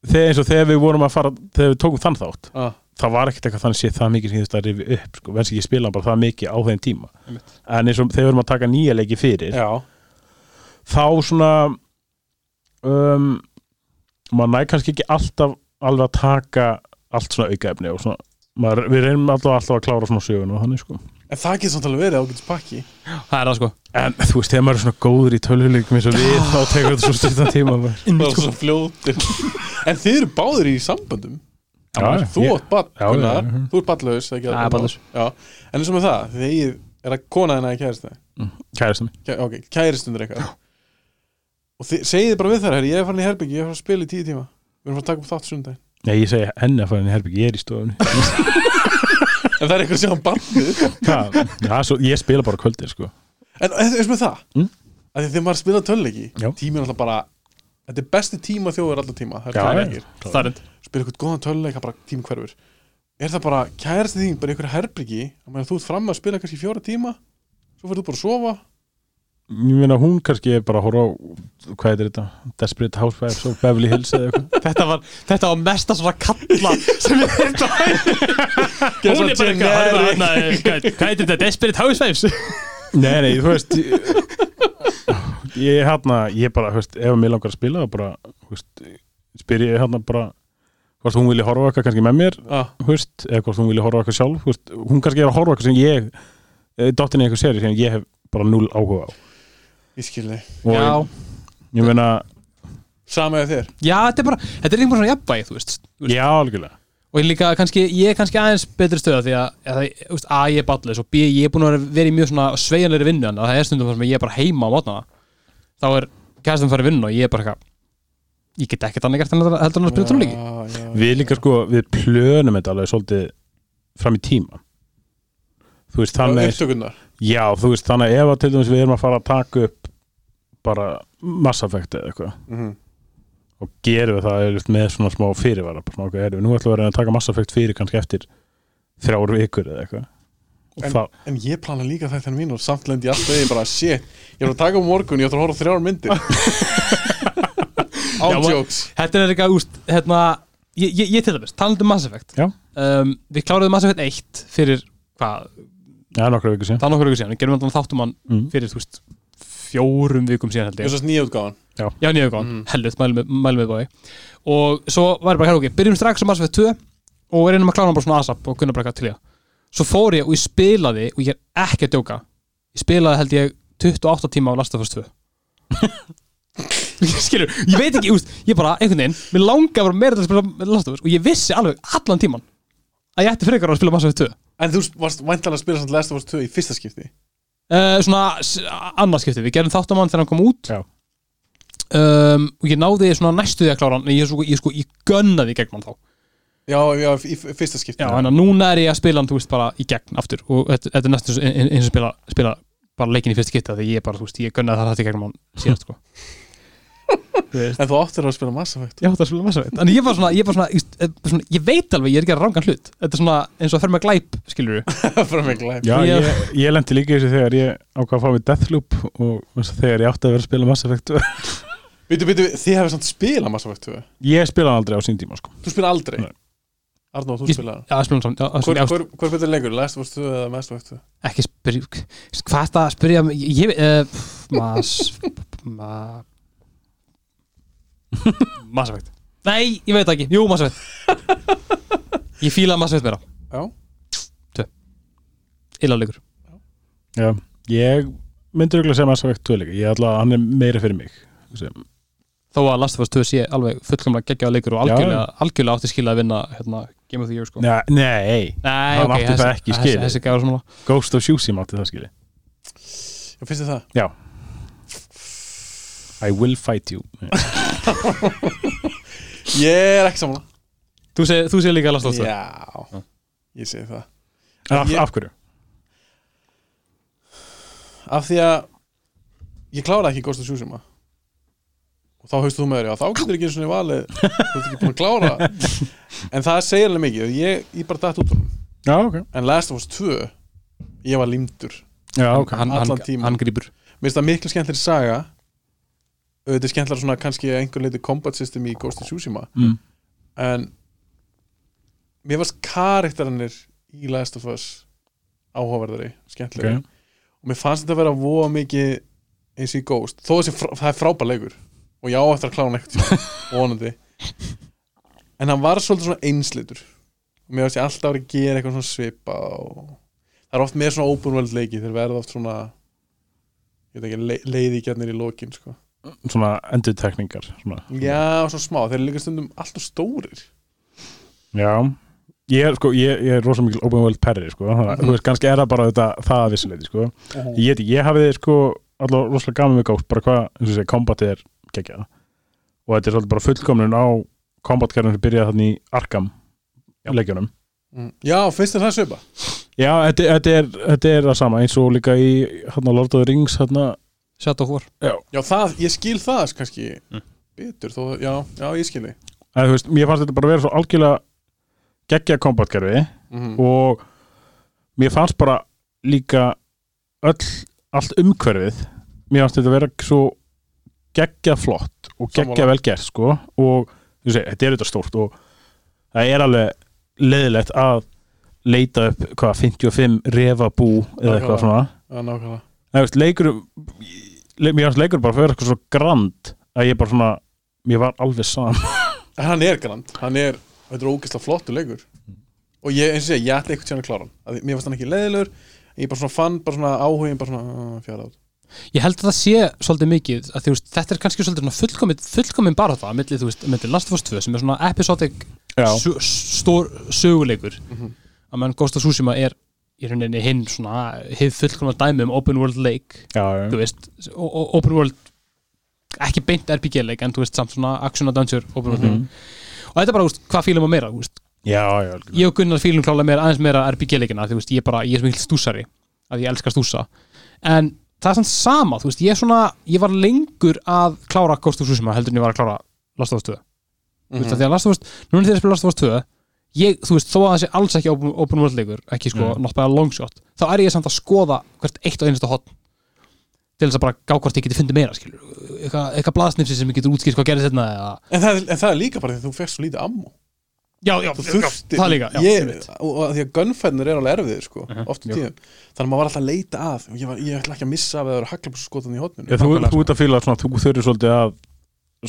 B: þegar eins og þegar við vorum að fara þegar við tókum þann þátt
C: Ah.
B: það var ekkert eitthvað þannig sé það mikið sem ég þurfti að rifi upp sko, verðs ekki ég spila hann bara það mikið á þeim tíma en eins og þegar við erum að taka nýja leiki fyrir
C: já,
B: þá svona um, maður næ kannski ekki alltaf alveg að taka allt svona aukaefni og svona maður, við reynum alltaf, alltaf að klára svona söguna og þannig sko
C: en það getur samt alveg verið ágætis pakki
A: það er það sko
B: en þú veist, þegar maður er svona góður í tölvuleikum eins og við þá tekur þetta svo styrtan tíma maður.
C: það er svo
B: sko.
C: fljótir en þið eru báðir í samböndum
B: já,
C: þú
B: ég-
C: átt ball,
B: já,
C: Gunnar,
B: já, já.
C: þú ert balllaus það er ekki
A: Já,
C: að-
A: ballalaus.
C: já, en eins og með það, þegar ég er að kona hennar í kærasta
B: kærastan mín.
C: Kæ- ok, kæristundur eitthvað og þið, segið þið bara við þar herri, ég er farin í herbyggi, ég er farin að spila í tíu tíma við erum farin að taka upp þátt sundag
B: Nei, ég segi henni að fara henni herbyggi, ég er í stofunni
C: en það er eitthvað sem hann bandið
B: Það, það, er svo, ég spila bara kvöldið sko
C: en eins eins með það
B: Mm.
C: að því að þegar maður spila tölleiki
B: Já.
C: tíminn er alltaf bara þetta er besti tíma þjóður allar tíma það er
B: Já,
C: tölleikir
B: klára.
A: það er rétt
C: spila eitthvað góðan tölleika bara tími hverfur er það bara kærasti þín bara í einhverju herbyggi og meðan þú ert fram að spila kannski í fjóra tíma svo fyrir þú bara að sofa
B: Ég meina hún kannski er bara að horfa á hvað heitir þetta, Desperate Housewives og Beverly Hills eða eitthvað
A: þetta var þetta var mesta svona kalla sem við þetta hún er bara eitthvað
C: generic.
A: hérna, hérna, hvað hvað heitir þetta Desperate Housewives
B: Nei, nei, þú veist ég- ég hérna, ég bara, hefst, ef mér langar að spila þá bara, hefst, spyr ég hérna bara hvort hún vilja horfa eitthvað kannski með mér
C: ah,
B: hefst, eða hvort hún vilja horfa eitthvað sjálf hefst, hún kannski er að horfa eitthvað sem ég eh, dottin í eitthvað seri sem ég hef bara null áhuga á
C: Ég skil þig
B: og
A: Já,
B: ég, ég meina,
C: Sama eða þér
A: já, þetta er bara, þetta er líka bara svona jafnvægi, þú veist
B: já, algjörlega
A: og ég líka kannski, ég er kannski aðeins betri stöða því að, að það- þú veist, A, ég er ballis og B, ég er búin að vera- vera í mjög svona sveigjanleiri vinnu en það er stundum þar sem ég er bara heima á mótnana þá er kæstum farið vinnu og ég er bara eitthvað ég get ekkert annað gert en að- heldur hann að spila tónleiki
C: Já, já.
B: Við líka sko, við plönum þetta alveg svolítið fram í tíma Þú veist,
C: Og
B: þannig
C: upptökurnar
B: Já, þú veist, þannig ef að til dæmis við erum að fara að taka upp bara massafekti eða eitthvað
C: Mhm.
B: og gerum við það eða, með svona smá fyrirvara bara, svona, ok, erum við nú ætlum við að reyna að taka massafekt fyrir kannski eftir þrjár vikur eða eitthvað og þá,
C: En ég plana líka þetta hérna mín og samt lendi ég alltaf í bara shit, ég er að taka um morgun, ég ætla að horfa á þrjár myndir
A: Já,
C: All
A: ma-
C: jokes
A: Þetta er eitthvað, úst, hérna ég, ég, ég til dæmis, talandi um Mass Effect
B: Já.
A: um, Við kláruðum Mass Effect 1 fyrir, hvað,
B: já, nokkra vikur síðan
A: það er nokkur viku síðan við gerum alltaf þáttum hann
B: Mm.
A: fyrir, þú veist fjórum vikum síðan held ég
C: Ég svo nýja útgáðan
A: Já, nýja góðan, mm. helvut, mælum við bóði Og svo var ég bara, hér ok, byrjum strax um Mass Effect 2 og reynum að klára hann bara svona ASAP og kunna bara eitthvað til ég Svo fór ég og ég spilaði og ég er ekki að djóka Ég spilaði held ég 28 tíma á Last of Us 2 Skilur, ég veit ekki, úst, ég bara, einhvern veginn Mér langaði bara meira til að spila Last of Us og ég vissi alveg allan tíman að ég ætti frekar að spila Mass Effect 2
C: En þú varst væntanlega að spila samt Last of Us 2 í fyrsta skipti
A: uh, svona s- annarskipti, við gerum þáttamann þegar hann kom út
B: Já.
A: um, og ég náði svona næstu því að klára hann en ég, sko, ég, sko, ég gönnaði í gegn hann þá
C: Já, já, í f- fyrsta skipti
A: já, en að núna er ég að spila hann, þú veist, bara í gegn aftur og þetta, þetta er næstu eins- eins og spila, spila bara leikin í fyrst geta því ég bara, þú veist, ég gönnaði það þetta í gegn hann síðast, sko
C: En þú áttir að spila Mass Effect
A: já, það er svona massa veit, en ég var svona, ég var svona, ég, eh, svona, ég veit alveg, ég er ekki að rángan hlut þetta er svona eins og að fer með glæp, skilur
C: Fyrir mig glæp
B: Já,
A: Já.
B: ég, ég lendi líka í þessu þegar ég ákvað að fá við Deathloop og þess að þegar ég átti að vera að spila massafekt
C: Býtu, býtu, þið hefur samt spilað Mass Effect 2
B: Ég spila hann aldrei á sín tíma sko.
C: Þú spila aldrei
B: Nei.
C: Arnó, þú
A: Ég-
C: spila
A: já, spilum saman, já,
C: Hvor,
A: spilum, já,
C: hvor, hvor betur leikur, Last of Us 2 eða Mass Effect 2
A: ekki spyrja hvað er það að spyrja mig? ég, ég uh, mas ma, Mass Effect nei, ég veit það ekki, jú Mass Effect ég fíla Mass Effect meira
C: Já.
A: tvö illa leikur
B: Já, ég myndi auðvitað segja massafekt 2 líka Ég ætla að hann er meira fyrir mig sem,
A: þó að Last of Us 2 sé alveg fullkomlega geggjaða leikur og
B: Já,
A: algjörlega, algjörlega átti skilja að vinna hérna, Game of the Year sko
B: Nei, nei
A: Nei,
B: Hann átti það
A: þessi-
B: ekki
A: þessi-
B: skilið.
A: Þessi gæður svona
B: Ghost of Tsushima átti það skili
C: Já, finnst þið það?
B: Já I will fight you
C: Ég er ekki saman
A: Þú segir þú segir líka Last of Us 2
C: Já, ég segi það
B: af,
C: Ég-
B: af hverju?
C: Af því að ég klára ekki Ghost of Tsushima og þá haustu þú með þér, já, þá getur ekki eins og niður valið þú ert ekki búin að klára en það segir alveg mikið, ég, ég bara datt út úr honum.
B: Já, ok,
C: en Last of Us 2 ég var límdur
B: já, ok
A: hann,
C: Allan
A: hann,
C: tímann.
A: hann grýpur
C: Mér finnst það miklu skemmtlir saga auðvitað er skemmtlar svona kannski að einhver leiti combat system í Ghost of Tsushima
B: Mm.
C: en mér varst karakterannir í Last of Us áhugaverðari, skemmtlir
B: okay.
C: og mér fannst þetta að vera voða mikið eins og í Ghost, þó þessi frá, það er frábær leikur og ég á eftir að klára hann ekkert vonandi en hann var svolítið svona einslitur og mér finnst ég alltaf að vera að gera eitthvað svona svipa og það er oft með svona open world leiki þeir verða oft svona ég veit ekki, le leiðigjarnir í lokin sko.
B: Svona endurtekningar svona.
C: já, svona smá, þeir eru líka stundum alltaf stórir
B: Já Ég er, sko, ég, ég er rosa mikil open world perri sko. mm -hmm. veist, kannski er það bara þetta, það að vissuleiti sko. ég, veit ekki, ég hafi sko, allavega rosalega gaman með Ghost bara hvað, eins og segja, kombatið er geggjað og þetta er svolítið bara fullkomnun á kombatkerðin sem byrjaði þannig í Arkham leikjunum
C: mm. já, finnst þér það svipa?
B: Já, þetta, þetta, er, þetta er það sama eins og líka í hérna, Lord of the Rings hérna,
A: Shadow of War
C: já, það, ég skil það kannski betur, þó, já, já, ég skil þig
B: að, þú veist, mér fannst þetta bara vera svo algjörlega geggja kombatkerfi
C: Mhm.
B: og mér fannst bara líka öll, allt umhverfið mér fannst þetta vera svo geggja flott og geggja
C: Sammála.
B: vel gert sko og þú sé, þetta er þetta stórt og það er alveg leiðilegt að leita upp hvað 55 refabú eða
C: Nákvæmlega.
B: eitthvað svona
C: já, nákvæmlega
B: Nei, veist, leikur le- mér fannst leikur bara að vera eitthvað svo grand að ég bara svona, mér var alveg sam
C: En hann er grand, hann er, þetta er ógeðslega flottur leikur og ég, eins og ég, segi, ég ætla einhvern tíðan að klára hann að mér fannst hann ekki leiðilegur ég bara svona fann, bara svona áhugin, bara svona fjara át
A: ég held að það sé svolítið mikið að þú veist, þetta er kannski svolítið svona fullkomin, fullkomin bara það, milli, þú veist, milli Last of Us 2 sem er svona episodic
B: já, Mhm.
A: su- stór söguleikur að menn Ghost of Tsushima er í rauninni hinn svona, hinn fullkomna dæmi um open world leik,
B: já,
A: þú
B: já,
A: veist o- o- open world, ekki beint RPG leik en þú veist, samt svona action adventure open world leik, og þetta er bara, þú veist, hvað fílum að meira, þú veist,
B: já, já, algjörlega.
A: ég og Gunnar fílum klálega meira, aðeins meira RPG-leikina þú veist, ég, bara, ég er sem ekki stúsari að ég elska stúsa en það er samt sama, þú veist, ég er svona ég var lengur að klára Ghost of Tsushima heldur en ég var að klára Last of Us 2 þú veist, af því að Last of Us, núna þegar ég spila Last of Us 2 ég, þú veist, þó að það sé alls ekki open, open world leikur, ekki sko,
B: Mm.
A: mm. not by a long shot þá er ég samt að skoða hvert eitt og einasta hotn til þess að bara gá hvort ég geti fundið meira, skilur eitthvað, eitthvað blaðsnipsi sem ég getur útskýrt hvað gerðist hérna eða,
C: en það, er- en það er líka bara því að þú fyrst svo lítið ammo
A: já, já,
C: þú
A: já,
C: þurfti,
A: það líka, já,
C: ég,
A: einmitt.
C: og, og því að gunfennir er alveg erfiðir sko, oft um tíðum þannig að maður var alltaf að leita að ég, var, ég ætla ekki að missa af að það eru haglabússkotan í hotninu
B: Ég, þú, þú ert að fíla svona, þú þurfir svolítið að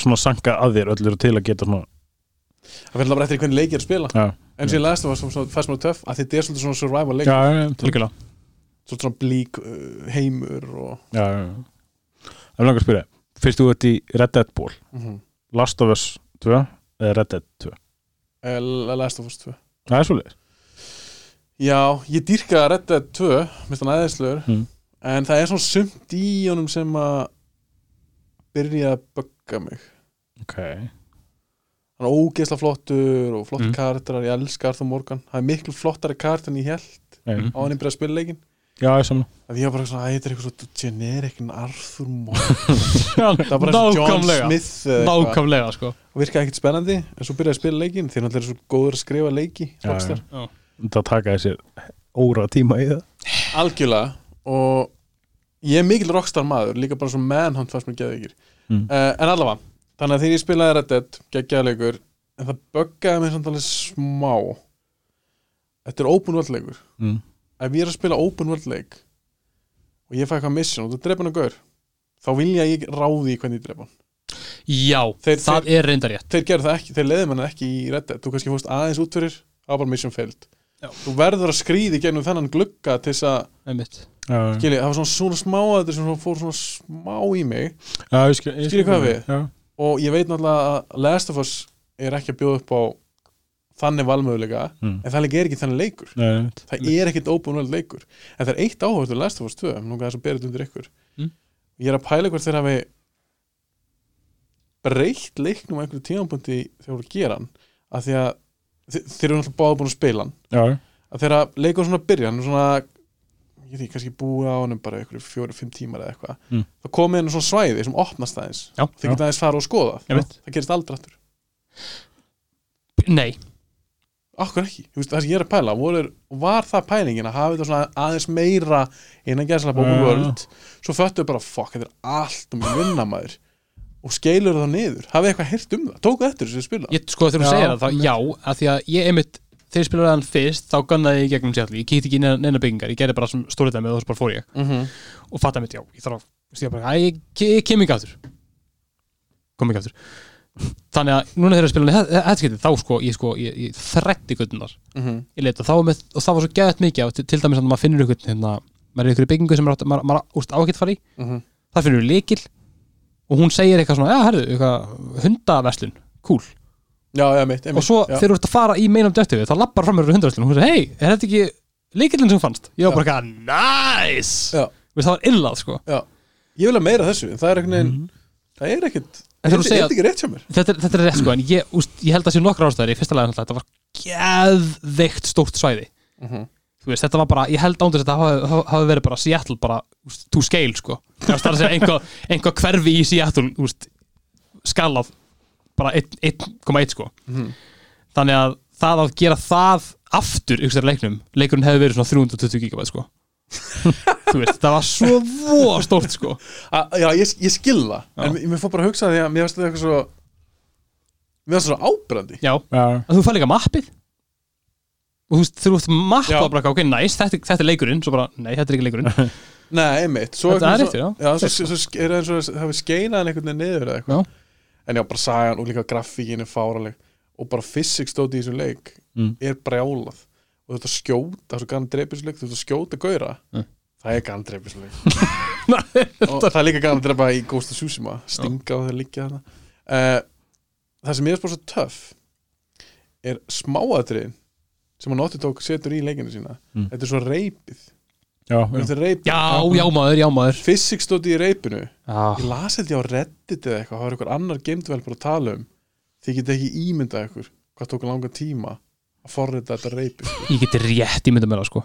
B: svona sanka að þér öllur til að geta svona,
C: það fyrir bara eftir hvernig leik ég er að spila
B: já,
C: en sem ég læst það var svona, fæst maður töff að þetta er svolítið svona survival leik
B: já, já, já,
A: Algjörlega.
C: svolítið svona blík uh, heimur og,
B: já, já, já. Það er langar að spyrja, fyrst þú ert í Red Dead Ball,
C: mm -hmm.
B: Last of Us 2 eða Red Dead 2?
C: Eh, læst það fórst tvö
B: Það er svolítið.
C: Já, ég dýrka að redda 2 minnst hann aðeinslegur
B: Mm.
C: en það er svona sumt í honum sem að byrja að bögga mig
B: Ok.
C: hann er ógeðslega flottur og flott
A: Mm.
C: mm. karakterar, ég elska Arthur Morgan það er miklu flottari karakter en ég held
B: Mm.
C: á hann ég byrja að spila leikin
B: Já, ég samla.
C: að ég var bara svona, æ, þetta er eitthvað svo generic en Arthur Morgan það var bara eins og John
A: Nákvæmlega.
C: Smith eða eitthvað.
A: Nákvæmlega sko
C: og virkaði ekkert spennandi en svo byrjaði að spila leikin þeir náttúrulega eru svo góður að skrifa leiki
B: Já,
C: Rockstar.
B: Það taka þessi óra tíma í það.
C: algjörlega og ég er mikil rockstar maður líka bara svo manhunt fannst mér geðvíkir mm.
B: Mm.
C: en allavega, þannig að þegar ég spilaði Red Dead geggjaðleikur, en það böggaði mér samt alveg smá þetta er open world leikur
B: Mm.
C: ef ég er að spila open world leik og ég fæ eitthvað mission og þú drepa hann að gaur þá vilja ég ráði í hvernig ég drepa hann
A: Já,
C: Þeir-
A: það
C: þeir-
A: er reyndar rétt
C: þeir gerðu það ekki, þeir leiði manna ekki í Red Dead þú kannski fórst aðeins út fyrir, það var bara mission failed
A: Já.
C: þú verður að skrýði gennum þennan glugga til þess að
A: einmitt.
B: Já, já.
C: Skilji, það var svona, svona smá aðeins sem svona fór svona smá í mig
B: Já, ég skil, ég
C: Skilur hvað við?
B: Já,
C: og ég veit náttúrulega að Last of Us er ekki að bjóða upp á þannig valmöðuleika
B: Mm.
C: en það líka er ekki þannig leikur
B: Nei, nei, nei.
C: það er ekkit open world leikur en það er eitt áhverð til Last of Us 2 núna þess að bera þetta undir ykkur
A: Mm.
C: ég er að pæla hvort þeir hafi breytt leiknum á einhverju tímanbúndi þegar voru að gera hann að því að þe- þeir eru náttúrulega báða búin að spila hann
B: já, já.
C: að þegar leikur svona byrja hann er svona, ég veit ekki, kannski búið á honum bara ykkur fjóri, fimm tímar eða eitthvað
B: Mm.
C: þá komið hann svona svæði sem opnast aðeins
A: Já,
C: þeir geta aðeins fara og skoða
A: Ég veit.
C: það gerist aldrei aftur,
A: Nei,
C: okkur ekki Þú veist, það sem ég er að pæla, voru, var það pælingin að hafa þetta svona aðeins meira innan gæðslega
B: Já,
C: bókum
B: já, já.
C: völd svo föttu bara, fuck, þetta er allt um vinna maður og skeilur það niður hafið eitthvað heyrt um það, tóku eftir þessu spila
A: ég, sko þegar þú
B: Já,
A: segir það þá,
B: einmitt.
A: Já, að því að ég einmitt þegar ég spilaði hann fyrst, þá gannaði ég í gegnum sér ég kíkti ekki inn neina byggingar, ég gerði bara sem stóri dæmi og þess bara fór ég
C: mm -hmm.
A: og fatta mitt, já, ég þarf að þú veist, ég bara, æ, ég, ke- ég kem ekki aftur kom ekki aftur þannig að núna þegar ég spila hann þetta skipti, þá sko, ég sko, ég, ég þrætti guttunar
C: Mm -hmm.
A: ég leita, þá var með, og það var svo geðt mikið af- til, til dæmis að maður finnur ykkur hérna, maður er ykkur í einhverri byggingu sem maður, átt- maður, maður úst, á ekkert fara í
C: mhm.
A: það finnur við líkil og hún segir eitthvað svona, já, herðu, eitthvað hundaverslun, cool
C: já, já, mitt, einmitt
A: og svo
C: já.
A: þegar þú ert að fara í meinum dættu við, þá lappar fram með hundaverslun og hún segir, hei, er þetta ekki líkilinn sem þú fannst? Ég var bara eitthvað, nice
C: Já.
A: Þú veist, það var illað, sko
C: ég vil að meira þessu, en það er einhvern veginn það er ekkert,
A: Mhm. En þegar þú
C: er
A: segir
C: þetta ekki rétt hjá mér
A: þetta, er- þetta er rétt, sko, en ég, úst, ég held að sé nokkra ástæður í fyrsta lega, þetta var geðveikt stórt svæði
C: Mhm.
A: þú veist, þetta var bara, ég held ándur að þetta hafi- hafi hafi verið bara Seattle, bara úst, to scale, sko, það var starf að segja einhvað einhvað hverfi í Seattle, úst skalað, bara 1,1 1,1, sko
C: Mhm.
A: þannig að það að gera það aftur ykkur þessari leiknum, leikurinn hefði verið svona 320 gigabæt sko þú veist, það var svo voða stórt sko
C: A, já, ég, ég skil það
A: Já.
C: En mér- mér fór bara að hugsa því að mér finnst þetta eitthvað svo Mér finnst þetta svo ábrandi
A: já,
B: Já,
A: að þú fær líka mappið og þú veist, þú veist
C: Já.
A: mappa bara, ok, næs, nice, þetta, er- þetta er leikurinn svo bara, nei, þetta er ekki leikurinn
C: Nei, einmitt svo
A: Þetta er
C: eitthvað
A: rétt,
C: svo- Já, svo, svo, svo er það eins og það hafi skeinaðan einhvern veginn niður eða
A: Já.
C: eitthvað En já, bara sagan og líka grafíkin er fáraleg Og bara physics stóti í þessum leik
B: Mm.
C: Er brjálað Og þú ert að skjóta, svo gana dreipisleik Þú ert að skjóta gaura
A: Mm.
C: Það er gana dreipisleik Og það er líka gana dreipa í Ghost of Tsushima Stinga og það líka þarna uh, Það sem ég er spóð svo töff Er smáatriðin Sem hann ótti tók setur í leikinu sína
B: Mm.
C: Þetta er svo reipið
B: já, já.
C: Þetta er reipið
A: Já, já maður, já maður
C: Physics stóti í reipinu
A: Já,
C: Ég las held ég á Reddit eða eitthvað Það var eitthvað annar gamedeveloper að tala um Þið getið ekki ímyndað ykkur Hvað tók langa tíma að forrita þetta reipi sko.
A: ég geti rétt ímynda mér það sko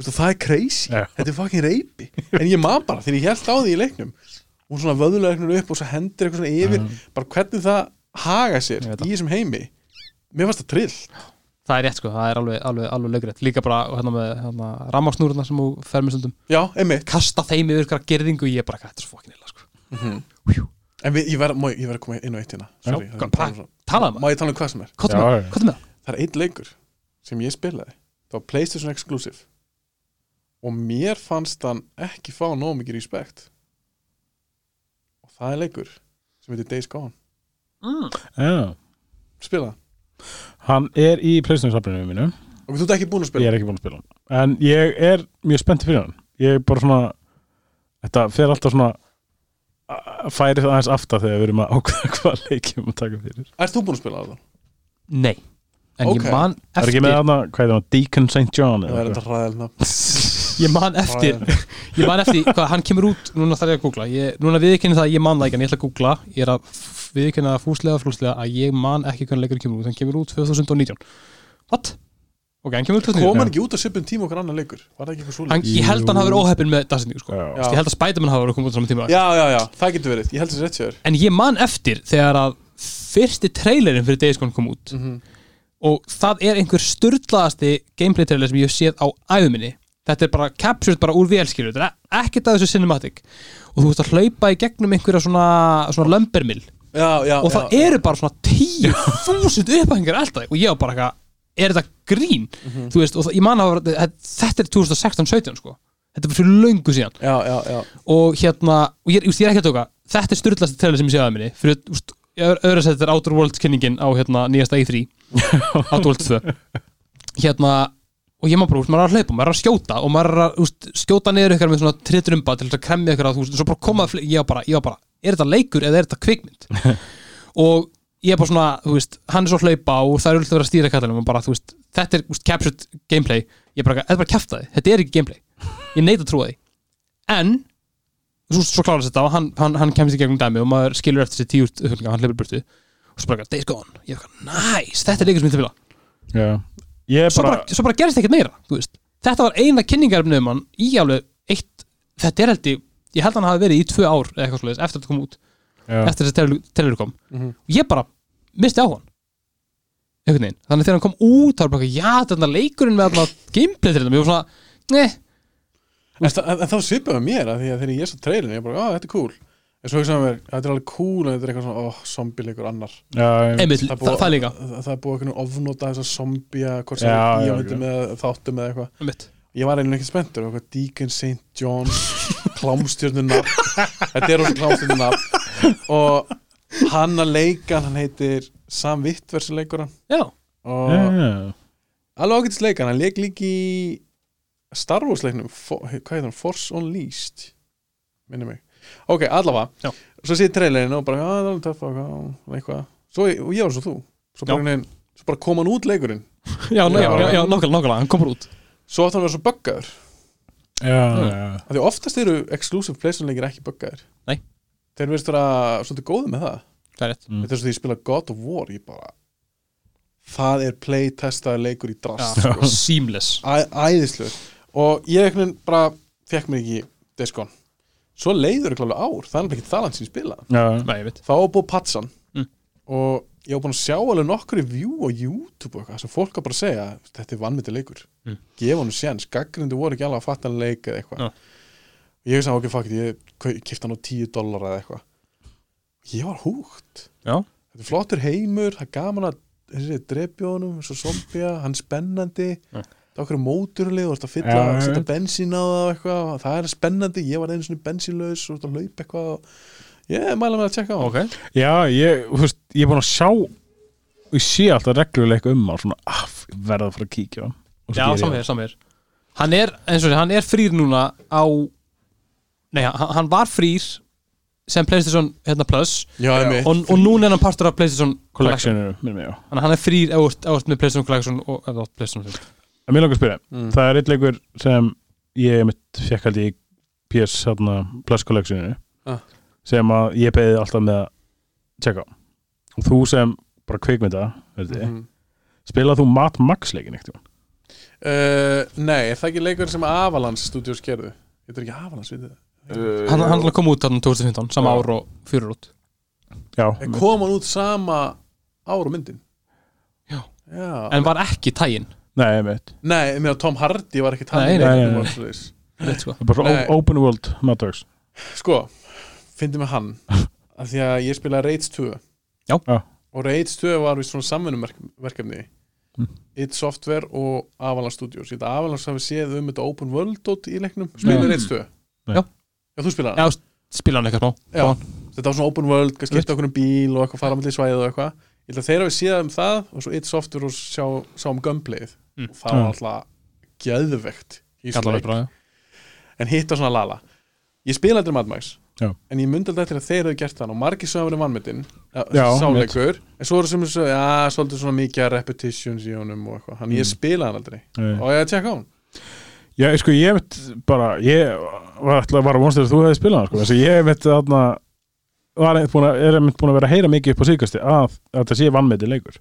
C: Vistu, Það er crazy,
B: Já.
C: þetta er fucking reipi En ég man bara, þegar ég held á því í leiknum Hún svona vöðulega eitthvað upp og svo hendir eitthvað svona yfir Bara hvernig það haga sér
A: Ég veit
C: í þessum heimi Mér fannst það trill
A: Það er rétt sko, það er alveg, alveg, alveg lögrið Líka bara hérna með hérna, rammarsnúruna sem þú fer með stundum
C: Já, einmitt
A: Kasta þeim yfir ykkur gerðingu Ég er bara, þetta er svo fokkin illa sko
C: En við, ég verð má ég- ég verð að koma inn á eitt hérna Sorry, það er
A: kom,
C: bara
A: takk.
C: svo-
A: Talaðu
C: Má
A: maður,
C: ég tala um hvað sem er?
A: hvað
B: Já,
A: með
B: já,
A: það?
B: já.
A: Hvað með það?
C: það er einn leikur sem ég spilaði það var Playstation Exclusive og mér fannst hann ekki fá nóg mikið respekt og það er leikur sem heitir Days Gone
B: já.
C: spila það
B: hann er í Playstation-safninu mínu
C: og þú ert ekki búin að
B: ég
C: spila
B: er ekki búin að spila hann en ég er mjög spennt fyrir hann ég er bara svona þetta fer alltaf svona a- færi það aðeins aftar þegar við erum að ákveða hvað leikjum að taka fyrir
C: yeah. ert þú búin að spila það?
A: Nei, en
C: Ok.
A: ég man
B: er ekki
A: eftir
B: með hana, hvað er það, Deacon St. John
C: það
B: eða
C: er
B: eitthvað?
C: þetta ræðilna
A: Ég man eftir Ég man eftir, hvað, hann kemur út Núna þarf ég að googla ég, Núna viðkynni það, að ég man það ekki En ég ætla að googla Ég er að viðkynna það fúslega og flúslega Að ég man ekki hvernig leikur kemur út Hann kemur út 2019 What? Ok, hann kemur út 2019
C: kom hann ekki út á svipum tíma okkar annar leikur var það ekki eitthvað svo
A: hann, Ég held að hann hafi verið óheppin með dagsetningu sko.
B: Já.
A: Ég held að Spiderman hafi verið að koma út á sama tíma
C: já, já, já, það getur verið ég held þessi rétt sér
A: En ég man eftir þegar að Fyrsti trailerinn fyrir Days Gone kom út
C: Mhm.
A: Og það er einhver sturdlaðasti Gameplay trailer sem ég hef séð á æfuminni Þetta er bara captured bara úr vélskilu Þetta er ekkert af þessu cinematic Og þú veist að hlaupa í gegnum einhverja svona, svona lömbermill
C: já, já,
A: Og það
C: já,
A: eru bara svona tíu þúsund upphæðingar alltaf Og ég var bara eitthvað, er þetta grín?
C: Mhm.
A: Þú veist, og það, ég man að þetta er 2016-17 sko Þetta er fyrir löngu síðan
C: já, já, já.
A: og hérna, og ég, just, ég er ekki að tóka þetta er styrlasti trailer sem ég séð að minni fyrir, just, öðru að þetta er Outer Worlds kynningin á hérna, nýjasta E3 Outer Worlds 2 hérna, og ég maður bara, úst, maður er að hlaupa, maður er að skjóta og maður er að úst, skjóta niður ykkur með svona tritrumba til þess að kremja ykkur að þú veist, og svo bara koma fle- ég var bara, ég var bara, er þetta leikur eða er þetta kvikmynd og ég er bara svona, þú veist, hann er svo að hlaupa og það er alltaf að vera að stýra kallanum og bara, þú veist, þetta er úst, captured gameplay ég er bara, þetta er bara kjaftaði, þetta er ekki gameplay ég neita að trúa því en svo, svo klárast þetta og hann, hann, hann kemst í gegnum dæmi og maður skilur eftir sér tíu uppfylgningar, hann hleypur í burtu og svo bara, eitthvað, days gone, ég er eitthvað, nice þetta er leikur sem ég ætla að vilja,
B: Já. ég er
A: svo
B: bara,
A: bara, svo bara gerist ekkert meira þú veist, þetta var eina kynningarefnið um hann í alveg eitt, þetta er held ég ég held að hann hafi verið í tvö ár eða eitthvað svoleiðis eftir að þetta kom út,
B: já,
A: eftir þess að telur kom
C: Mhm.
A: og ég bara misti á hann einhvern veginn, þannig að þegar hann kom út þá var bara, eitthvað, já, þetta leikurinn með þarna gameplay til þetta, ég var svona, nei
C: En, en, en þá svipaði mér að því að þegar ég svo treilin ég bara, á, þetta er cool en svo ekki saman mér, þetta er alveg cool en þetta er eitthvað svona, ó, zombie leikur annar
B: já, já,
A: einmitt,
C: er
A: það,
C: búið-
A: það, það líka
C: það, það er búið einhvern veginn ofnóta þess að zombja
B: Já,
C: hvort sem það er
B: já,
C: ímyndum eða þáttum eða eitthvað
A: einmitt.
C: ég var einhvern veginn spenntur eitthvað Deacon St. John klámstjörnunab þetta er hún klámstjörnunab og hann að leika hann heitir Sam Vittversi leikuran
A: já,
C: og
B: já, já.
C: alveg ágætis leikan hann leik líki í Star Wars leiknum For, hvað heitir hann, Force Unleashed minni mig, ok, allavega
A: Já.
C: svo sé ég trailerinn og bara, já, það er alveg töff og eitthvað, eitthvað, svo ég, og ég var svo þú svo bara, neinn, svo bara kom hann út leikurinn
A: já, já,
C: Já.
A: já, já nokkala, nokkala, hann kom bara út
C: svo átti hann að vera svo buggaður
B: já, já.
C: af því oftast eru exclusive playstation leikir ekki buggaður
A: Nei.
C: þeir verðist vera svolítið góði með það
A: það er rétt
B: Mm.
C: þetta er svo því ég spila God of War ég bara, það er playtestaður leikur í drast sko.
A: Já, seamless
C: Æ- æðislegur og ég einhvern veginn bara fekk mér ekki Descon svo leiður ekki alveg ár, það er nefnilega ekki það land sem ég spila
B: já.
A: Nei, ég veit
C: þá var búið patsan
A: Mm.
C: og ég var búin að sjá alveg nokkru view á YouTube og eitthvað sem fólk að bara að segja þetta er vannmyndi leikur,
A: Mm.
C: gefa hann séns gaggrindu voru ekki alveg að fatta hann leik eða eitthvað
A: Já.
C: og ég sagði ok, fuck it, ég kau- keypti hann á 10 dólar eða eitthvað ég var húgt
A: Já.
C: þetta er flottur heimur, það er gaman að þessi drepjónum, svo zombja, hann er spennandi það er okkur móturlið og þú ert að fylla
B: Já,
C: og setja
B: einmitt.
C: bensín á það og eitthvað og það er spennandi, ég var einu svona bensínlaus og þú ert að laupa eitthvað og ég mæla mig að tjekka á
A: Ok,
B: Já, ég, þú veist, ég er búin að sjá og ég sé alltaf regluleik um hann svona, ah, ég verða að fara að kíkja á hann Og svo
A: já,
B: geri ég
A: samir, samir Hann er, eins og þessi, hann er frýr núna á Nei, hann, hann var frýr sem Playstation hérna plus
C: Já, einmitt.
A: og, og núna er hann partur af Playstation
B: það. Collectioninu, minnum ég á
A: Þannig að hann er frýr ef þú ert- ef þú ert með Playstation Collection og ef þú átt Playstation 5
B: En mér langar að spyrja,
C: Mm.
B: það er eitt leikur sem ég mitt fekk held ég í PS hérna, Plus Collectioninu
C: Ah.
B: sem að ég beðið alltaf með að checka á og þú sem bara kvikmynda mm -hmm.
C: Mhm.
B: spilað þú Mat Max leikin eitt
C: Uh, nei, er það ekki leikur sem Avalans Studios gerðu? Þetta er ekki Avalans, veitu það?
A: Hann, hann er að koma út þarna 2015, sama ár og fyrir út
B: Já,
C: En kom hann út sama ár og myndin?
A: Já.
C: Já.
A: En var ekki tægin
B: nei, mitt
C: Nei, ég meina Tom Hardy var ekki
A: Nei,
C: talið
B: nei, nei,
A: Rétt sko
B: bara
C: Nei.
B: o- open world Mad Max
C: Sko, fyndi mig hann af því að ég spilaði Raids 2
A: Já.
B: Já.
C: og Raids 2 var við svona samvinnumverkefni
B: Mm.
C: id Software og Avalanche Studios Ég held að Avalanche hafi séð um þetta Open World dot í leiknum, spilaði
B: Nei.
C: Raids 2
B: Nei.
A: Já.
C: Já, þú spilaði hann?
A: Já, spila hann eitthvað smá
C: Já. þetta var svona open world, skipta okkur um bíl og eitthvað fara með svæðið og eitthvað ég held að þeirra við síðan um það og svo eitt software og sjá, sjá um gömpleið
A: Mm.
C: og það var
B: Já.
C: alltaf geðvegt í þessum
A: Kallar
C: leik.
A: við bara, já
C: en hitta svona lala ég spila aldrei Mad Max
B: Já.
C: en ég myndi aldrei eftir að þeir eru gert þann og margir sem hafa verið vannmetinn
B: Já,
C: sáleikur, en svo eru sem þessu já, svolítið svona mikið repetitions í honum og eitthvað, hann ég spila hann aldrei
B: Nei.
C: og ég að tjekka á hann
B: Já, sko, ég mitt bara ég var alltaf bara vonst þegar þú hefði spilað hann, sko, þess að ég mitt þarna var einmitt búin að, er einmitt búin að vera að heyra mikið upp á síkasti að, að þetta sé vannmeti leikur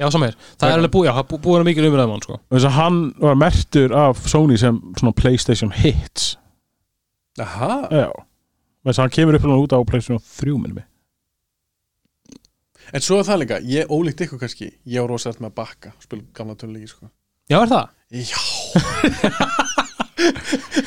A: Já, samir, það er alveg búið, já, það er búið að mikil umræðum hann sko
B: þess að hann var mertur af Sony sem svona Playstation Hits
C: Aha,
B: já þess að hann kemur upp út á Playstation 3 minnum við
C: en svo er það líka, ég ólíkt ykkur kannski ég á rosa eftir með að bakka, spila gamla töluleiki sko.
A: Já, er það?
C: Já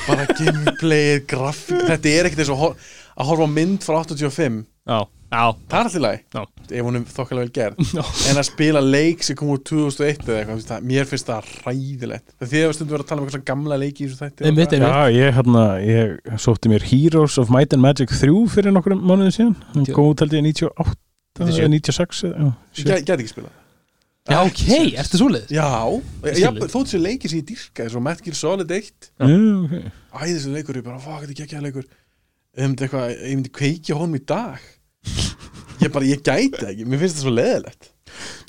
C: Bara gameplayið, grafík Þetta er ekkert eins og hor- að horfa á mynd frá 85
A: Já, já,
C: Það er allt í
A: Já.
C: lagi Ef hún er þokkalega vel
A: Já.
C: gerð En að spila leik sem kom úr 2001 eða eitthvað þú veist það- Mér finnst það ræðilegt Það því að við stundum verið að tala um eitthvað svona gamla leiki í þessu þætti og
A: einmitt,
C: eitthvað.
A: einmitt
B: já ég hérna ég sótti mér Heroes of Might and Magic 3 fyrir nokkrum mánuðin síðan hann
A: Tjó.
B: kom út held ég 98
A: Þetta er
B: eða 96 eða-
C: Ég
B: já,
C: gæ- Gæti ekki spila
A: Já, ok, ertu svoleiðis?
C: Já, já þótt sér leiki sem ég dýrka Svo Metal Gear Solid 1
B: já. já ok
C: Æ, þessi leikur, ég bara, fuck, þetta er geggjaða leikur Ég myndi eitthvað, ég myndi kveikja honum í dag Ég bara, ég gæti það ekki Mér finnst það svo leðilegt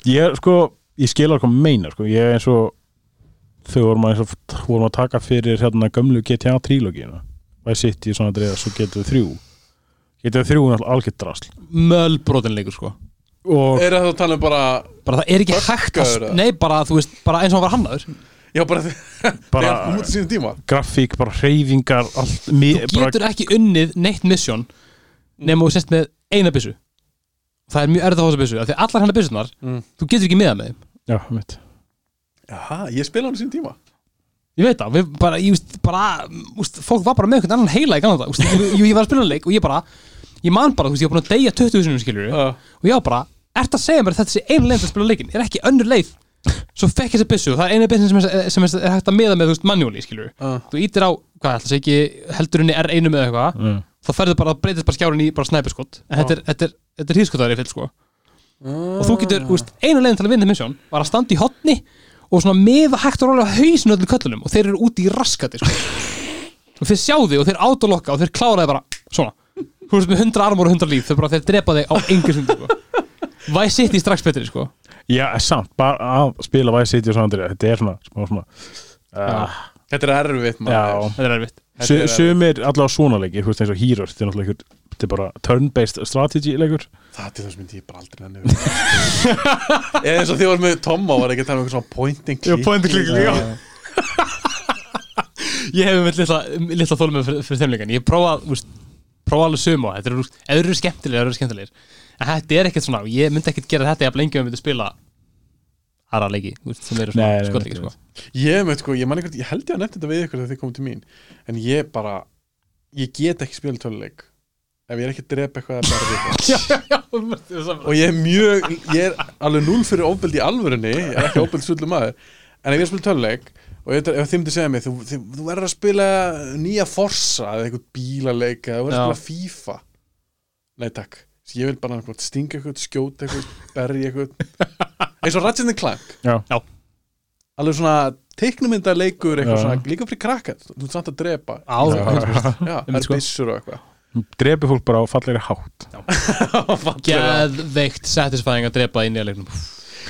B: ég sko, ég skil alveg hvað hann meinar sko, ég er eins og þau vorum að, eins og, vorum að taka fyrir hérna gömlu GTA trílógina Vice City svona dreða, svo getur þrjú getur þrjú er náttúrulega algjörð drasl
A: Mölbrotin leikur sko
B: og
C: Er það að tala um bara
A: Bara það er ekki hægt að,
C: eða?
A: sp- nei, bara, þú veist, bara eins og hann var hannaður
C: Já, bara
B: Bara-
C: Þegar hún mútið sínum tíma
B: grafík, bara hreyfingar allt, mi,
A: Þú getur ekki unnið neitt misjón nema þú sérst með eina byssu Það er mjög erfið að fá þessa byssu af Því allar hennar byssunar,
C: Mm.
A: þú getur ekki meða með þeim
B: já, mitt
C: Jaha, ég spila hún sínum tíma
A: Ég veit það, við bara, ég veist, bara úst, Fólk var bara með einhvern annan heila í gangan það úst, ég, ég, ég var að spila hann leik og ég bara Ég man bara, þú veist, ég var búin að deyja 20 sinum skiljur
C: Já.
A: Og ég var bara, ert að segja mér að þetta sé einu leið til að spila leikin Er ekki önnur leið Svo fekk ég þessi byssu og það er eina byssu sem, er- sem er hægt að meða með, þú veist, manjóli skiljur
C: Já.
A: Þú ítir á, hvað ætla sé ekki heldurinni R1 eða eitthvað
B: mm.
A: þá ferðu bara að breytist bara skjárin í bara snæpiskott en þetta er, þetta er, þetta er hýrskotaður í fyll sko
C: ah.
A: og þú getur, þú veist, einu leiðin til að vinna misjón var að standa í hotni og svona meða hægt og rólega hausinu öllum köllunum og þeir eru úti í raskati sko. og þeir sjá þig og þeir autolokka og þeir klára þig bara svona þú veist með 100 armur og 100 líf þeir bara þeir drepa þig á engir stundu sko. Vice City strax betri sko
B: já, samt, bara að spila Vice City og svona dreða, þetta er svona smá, smá uh,
C: Þetta er erfitt maður
B: já,
A: þetta er erfitt
C: Þetta
B: Su-
C: er erfitt.
B: sumir allavega svona leikir, þú veist eins og Heroes þetta er náttúrulega einhver- þetta er bara turn-based strategy leikur
C: Það til þess myndi ég bara aldrei henni Eða eins og því var með Tomma var ekki að tala um eitthvað svona point and click
A: já ég hef með litla, litla þólum fyrir, fyrir þeimleikan ég prófa, úst, prófa alveg suma þetta eru eða þeir eru skemmtilegir, eða eru skemmtilegir en þetta er ekkert svona, ég myndi ekkert gera þetta jafn lengi um ég myndi spila aðra leiki, úst, sem eru
B: Nei, nei,
A: svona
B: nei,
A: skollleiki
B: nei.
A: sko.
C: Ég veit sko, ég man eitthvað, ég held ég að nefndi þetta við ykkur þegar þið komum til mín En ég bara, ég get ekki spila töluleik Ef ég er ekki að drepa eitthvað að berða eitthvað
A: já, já, já þú veist, þú veist,
C: og ég er mjög, ég er alveg núl fyrir ofbeldi í alvörunni, ég er ekki ofbeldi sullu maður en ef ég spil töluleik og ef, ef þið myndir segja mig þú, þið, þú verður að spila nýja Forza eða eitthvað bílaleika, þú verður að
A: Já.
C: spila FIFA nei takk, ég vil bara einhvern, stinga eitthvað, skjóta eitthvað berja eitthvað eins og Ratchet and Clank
B: Já.
A: Já.
C: alveg svona teiknumynda leikur eitthvað
B: Já.
C: svona, líka fyrir krakka, þú ert samt að drepa
A: Á,
C: já, það er
A: Ah, sko.
C: byssur og eitthvað
B: drepi fólk bara á fallegri hátt
A: Geðveikt satisfæðing að drepa í nýja leiknum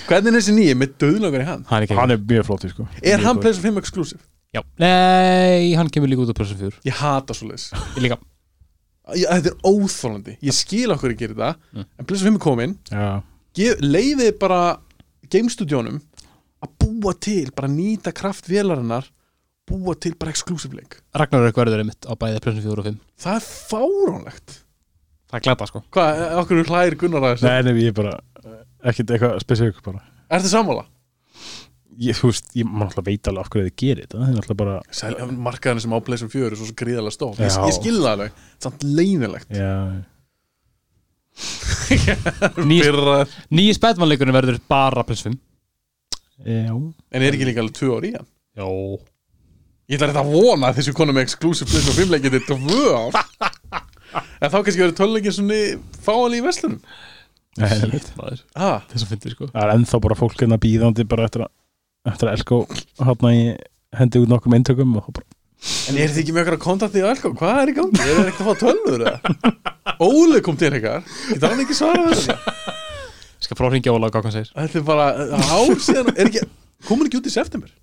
C: hvernig er þessi nýja með döðlökar í hann?
A: Hann er
B: hann er mjög flott sko.
C: er hann Playstation 5 exclusive?
A: Já. Nei, hann kemur líka út á pressum fjör
C: ég hata svo leis
A: Ég líka
C: þetta er óþólandi, ég skil okkur að gera það en Playstation 5 er komin
B: Já.
C: Gef- leiði bara game-studjónum að búa til, bara nýta kraft vélarinnar, búa til bara exklusivleik.
A: Ragnar er hverður einmitt á bæði pressum fjör og fimm
C: Það er fáránlegt.
A: Það er glata sko
C: Hvað, okkur hlæðir Gunnar að þessu?
B: nei, nei, ég er bara eh, ekkert eitthvað spesifik bara
C: Ertu sammála?
B: ég, þú veist, ég man alltaf veit alveg af hverju þið gerir þetta það er alltaf bara
C: Sæl, markaðin sem á Playstation 4 er svo gríðalega stóð. Ég,
B: Já.
C: ég skil það alveg. Samt leynilegt.
B: já,
A: Nýji
C: Fyrra-
A: nýji Spiderman-leikurinn verður bara pressum fimm
B: já.
C: En er ekki líka alveg tvö ár í hann?
A: Jó
C: Ég ætla þetta að vona að þessu konu með exclusive Playstation 5 leikið er tvö ár. en þá kannski verður tölvleikin svona fáanlega í verslunum.
B: Nei, nei, nei.
A: Shit, maður
C: Ah,
A: Þess að fyndi sko
B: það er ennþá bara fólk hérna býðandi bara eftir að, eftir að elko hérna í hendi út nokkrum eintökum og þá bara,
C: En er þið ekki með okkar að kontakta í Alko? Hvað er í gangi? Er þið ekkert að fá tölvur eða? Óli kom til ykkar Getur hann ekki svarað við þetta?
A: Ég Skal frá hringja Óla og hvað hann segir
C: Þetta er bara ár síðan Er ekki, komur ekki út í september?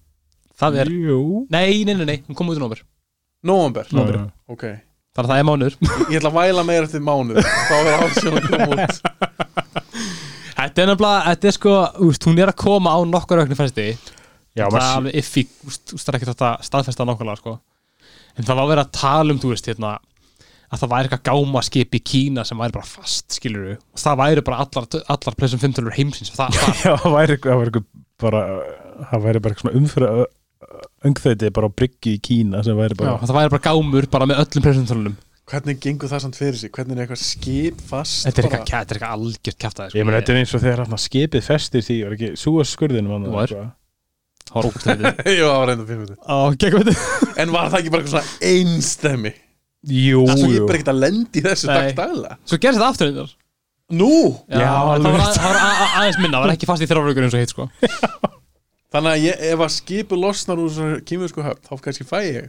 A: Það er
B: jú
A: Nei, nei, nei, nei, hún kom út í nómur
C: Nóvember?
B: Nóvember.
C: Ok
A: Þannig að það er mánuður
C: Ég ætla að væla meira eftir mánuð Þá er ár síðan að koma út
A: Þetta er nefnilega, þetta er sko, úst, hún er að koma á nokkur auknu fæsti
B: já,
A: Það er
B: maður,
A: alveg iffi, úst, úst, það er ekkert hægt að staðfesta nákvæmlega sko En það var verið að tala um, þú veist, hérna að það væri eitthvað gámaskip í Kína sem væri bara fast, skilur við og það væri bara allar, allar plessum fimmtölur heimsins það, það,
B: já, það væri eitthvað- það væri eitthvað bara, það væri bara eitthvað svona umfyrir öngþöyti bara á bryggju í Kína sem væri
A: já,
B: bara
A: það væri bara gámur bara með öllum plessum tölunum
C: Hvernig gengur það samt fyrir sig? Hvernig er eitthvað skip fast?
A: Þetta er
C: bara-
A: eitthvað, þetta er eitthvað algjört kæftæði sko.
B: Ég meina, þetta er eins og þegar hann skipið festir því var ekki súa skurðinum
A: Var. Það var ógust að
C: Jú, það var reynda fyrir
A: Á, gegn veit
C: þetta En var það ekki bara eitthvað svona einstemi?
B: Jú,
C: Það svo ég
B: jú
C: er bara ekkert að lendi þessu
A: Nei.
C: dag daglega
A: Svo gerðist þetta aftur einnig
C: Nú!
A: Já, það var, að, það var að, að, aðeins minna, það var ekki fast í þrjárvíkur eins og hitt sko
C: Þannig að ég, ef að skipu losnar úr þessari kýmjörsku höfn, þá kannski fæ ég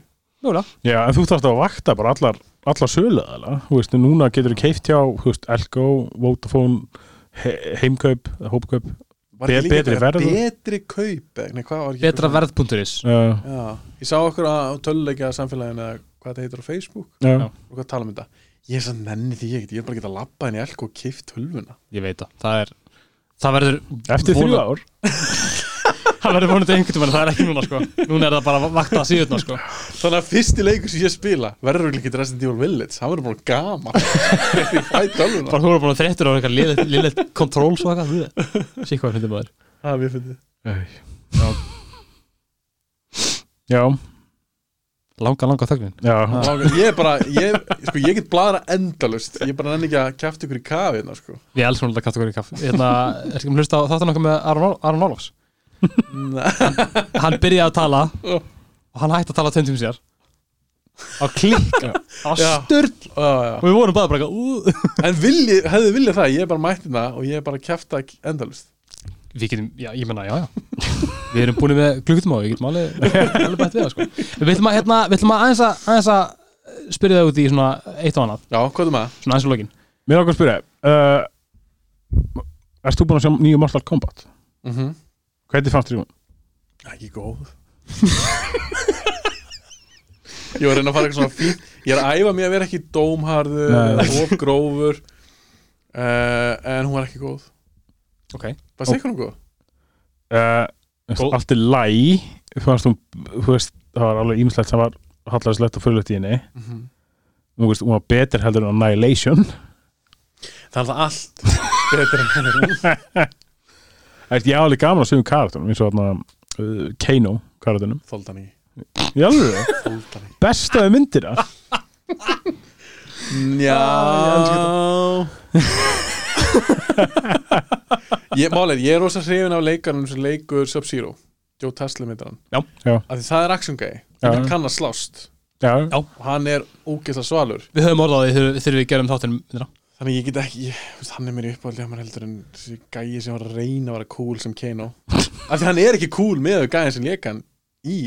A: Núlega
B: Já, en þú þarfst að vakta bara allar, allar söluðala, þú veist, núna getur þú keift hjá, þú veist, Elko, Vodafone he heimkaup, hópkaup
C: Var
B: Be-
C: ekki líka
B: betri
C: eitthvað
B: verð, þú?
C: Betri kaup eða- Nei, hvað var ekki
A: betra verð.is
B: uh,
C: Já, ég sá okkur á töluleika samfélaginu eða hvað þetta heitir á Facebook
B: já.
C: og hvað tala um þetta Ég er sann nenni því ekkert, ég er bara ekki að labba henni elk og kift tölvuna
A: ég veit það, það er það verður
B: Eftir þrjú
A: vona-
B: ár
A: það verður vonandi einhvern tímann, það er ekki núna sko núna er það bara að vakta síðuna sko
C: Þannig að fyrsti leikur sem ég spila verður örugglega ekki Resident Evil Village, það verður bara gama Ég fæ tölvuna
A: bara hún er búin að þreyttur á eitthvað liðið liðið kontról svo eitthvað sík hvað hundið maður
C: Það er mér fyndið
B: Já Já,
A: langa langa þögnin
B: já,
C: Langa- Ég er bara, ég, sko, ég get bladra endalust Ég er bara nenni ekki að kæfti ykkur í kafi hérna, sko.
A: við elskum alltaf kategóri kaff hérna er ekki að hlusta á þáttan okkar með Aron Ol- Aron Ólafs
C: Nei.
A: hann byrjaði að tala og hann hætti að tala tveim tímum sér á klikka á
C: Já.
A: styrl
C: Já, já.
A: og við vorum bara bara eitthvað, ú.
C: En vilji, hefði viljað það, ég er bara mættið það og ég er bara að kæfta endalust
A: við getum já ég menna já já við erum búin með klukkutum á við getum alveg alveg bætt við það sko við ætlum að hérna við ætlum að aðeins að aðeins að spyrja það út í svona eitt og annað
C: Já, hvað er maður?
A: svona aðeins og lokin
B: mér ákveð að spyrja uh, Erst þú búin að sjá nýju Mortal Kombat?
C: Mm
B: Hvernig fannst þér hún?
C: Ekki góð Ég var að reyna að fara eitthvað svona fín Ég er að æfa mig að vera ekki dómharður
B: Nei.
C: eða of grófur uh, En hún var ekki góð
A: ok
C: Bara segja hún góð
B: Uh,
A: Góð.
B: allt er læ fannst hún, þú veist, það var alveg ímislegt sem var hallarslegt og fyrirlegt í henni Nú veist, hún var betur heldur en Annihilation
C: Það er það allt betur en hennar
B: Það er ég alveg gaman að sögum karakterum eins og hérna uh, Kano karakterunum
C: Þóldan ekki
B: Í alveg það,
C: Þóldan
B: bestaði myndir það
C: ekki Já Ég, málið, ég er rosa hrifin af leikarnum sem leikur Sub-Zero Joe Tesla meitar hann
A: Já.
B: Já.
C: Af því það er action guy
B: Já.
C: hann kann að slást
B: já,
C: og hann er ógeðslega svalur
A: Við höfum orðað því þegar- þegar við gerum þáttinum myndina.
C: þannig að ég get ekki, ég, þú veist, hann er mér uppáhaldi hann heldur en þessi gæi sem var að reyna að vera cool sem Kano af því hann er ekki cool með þau gæi sem leika hann í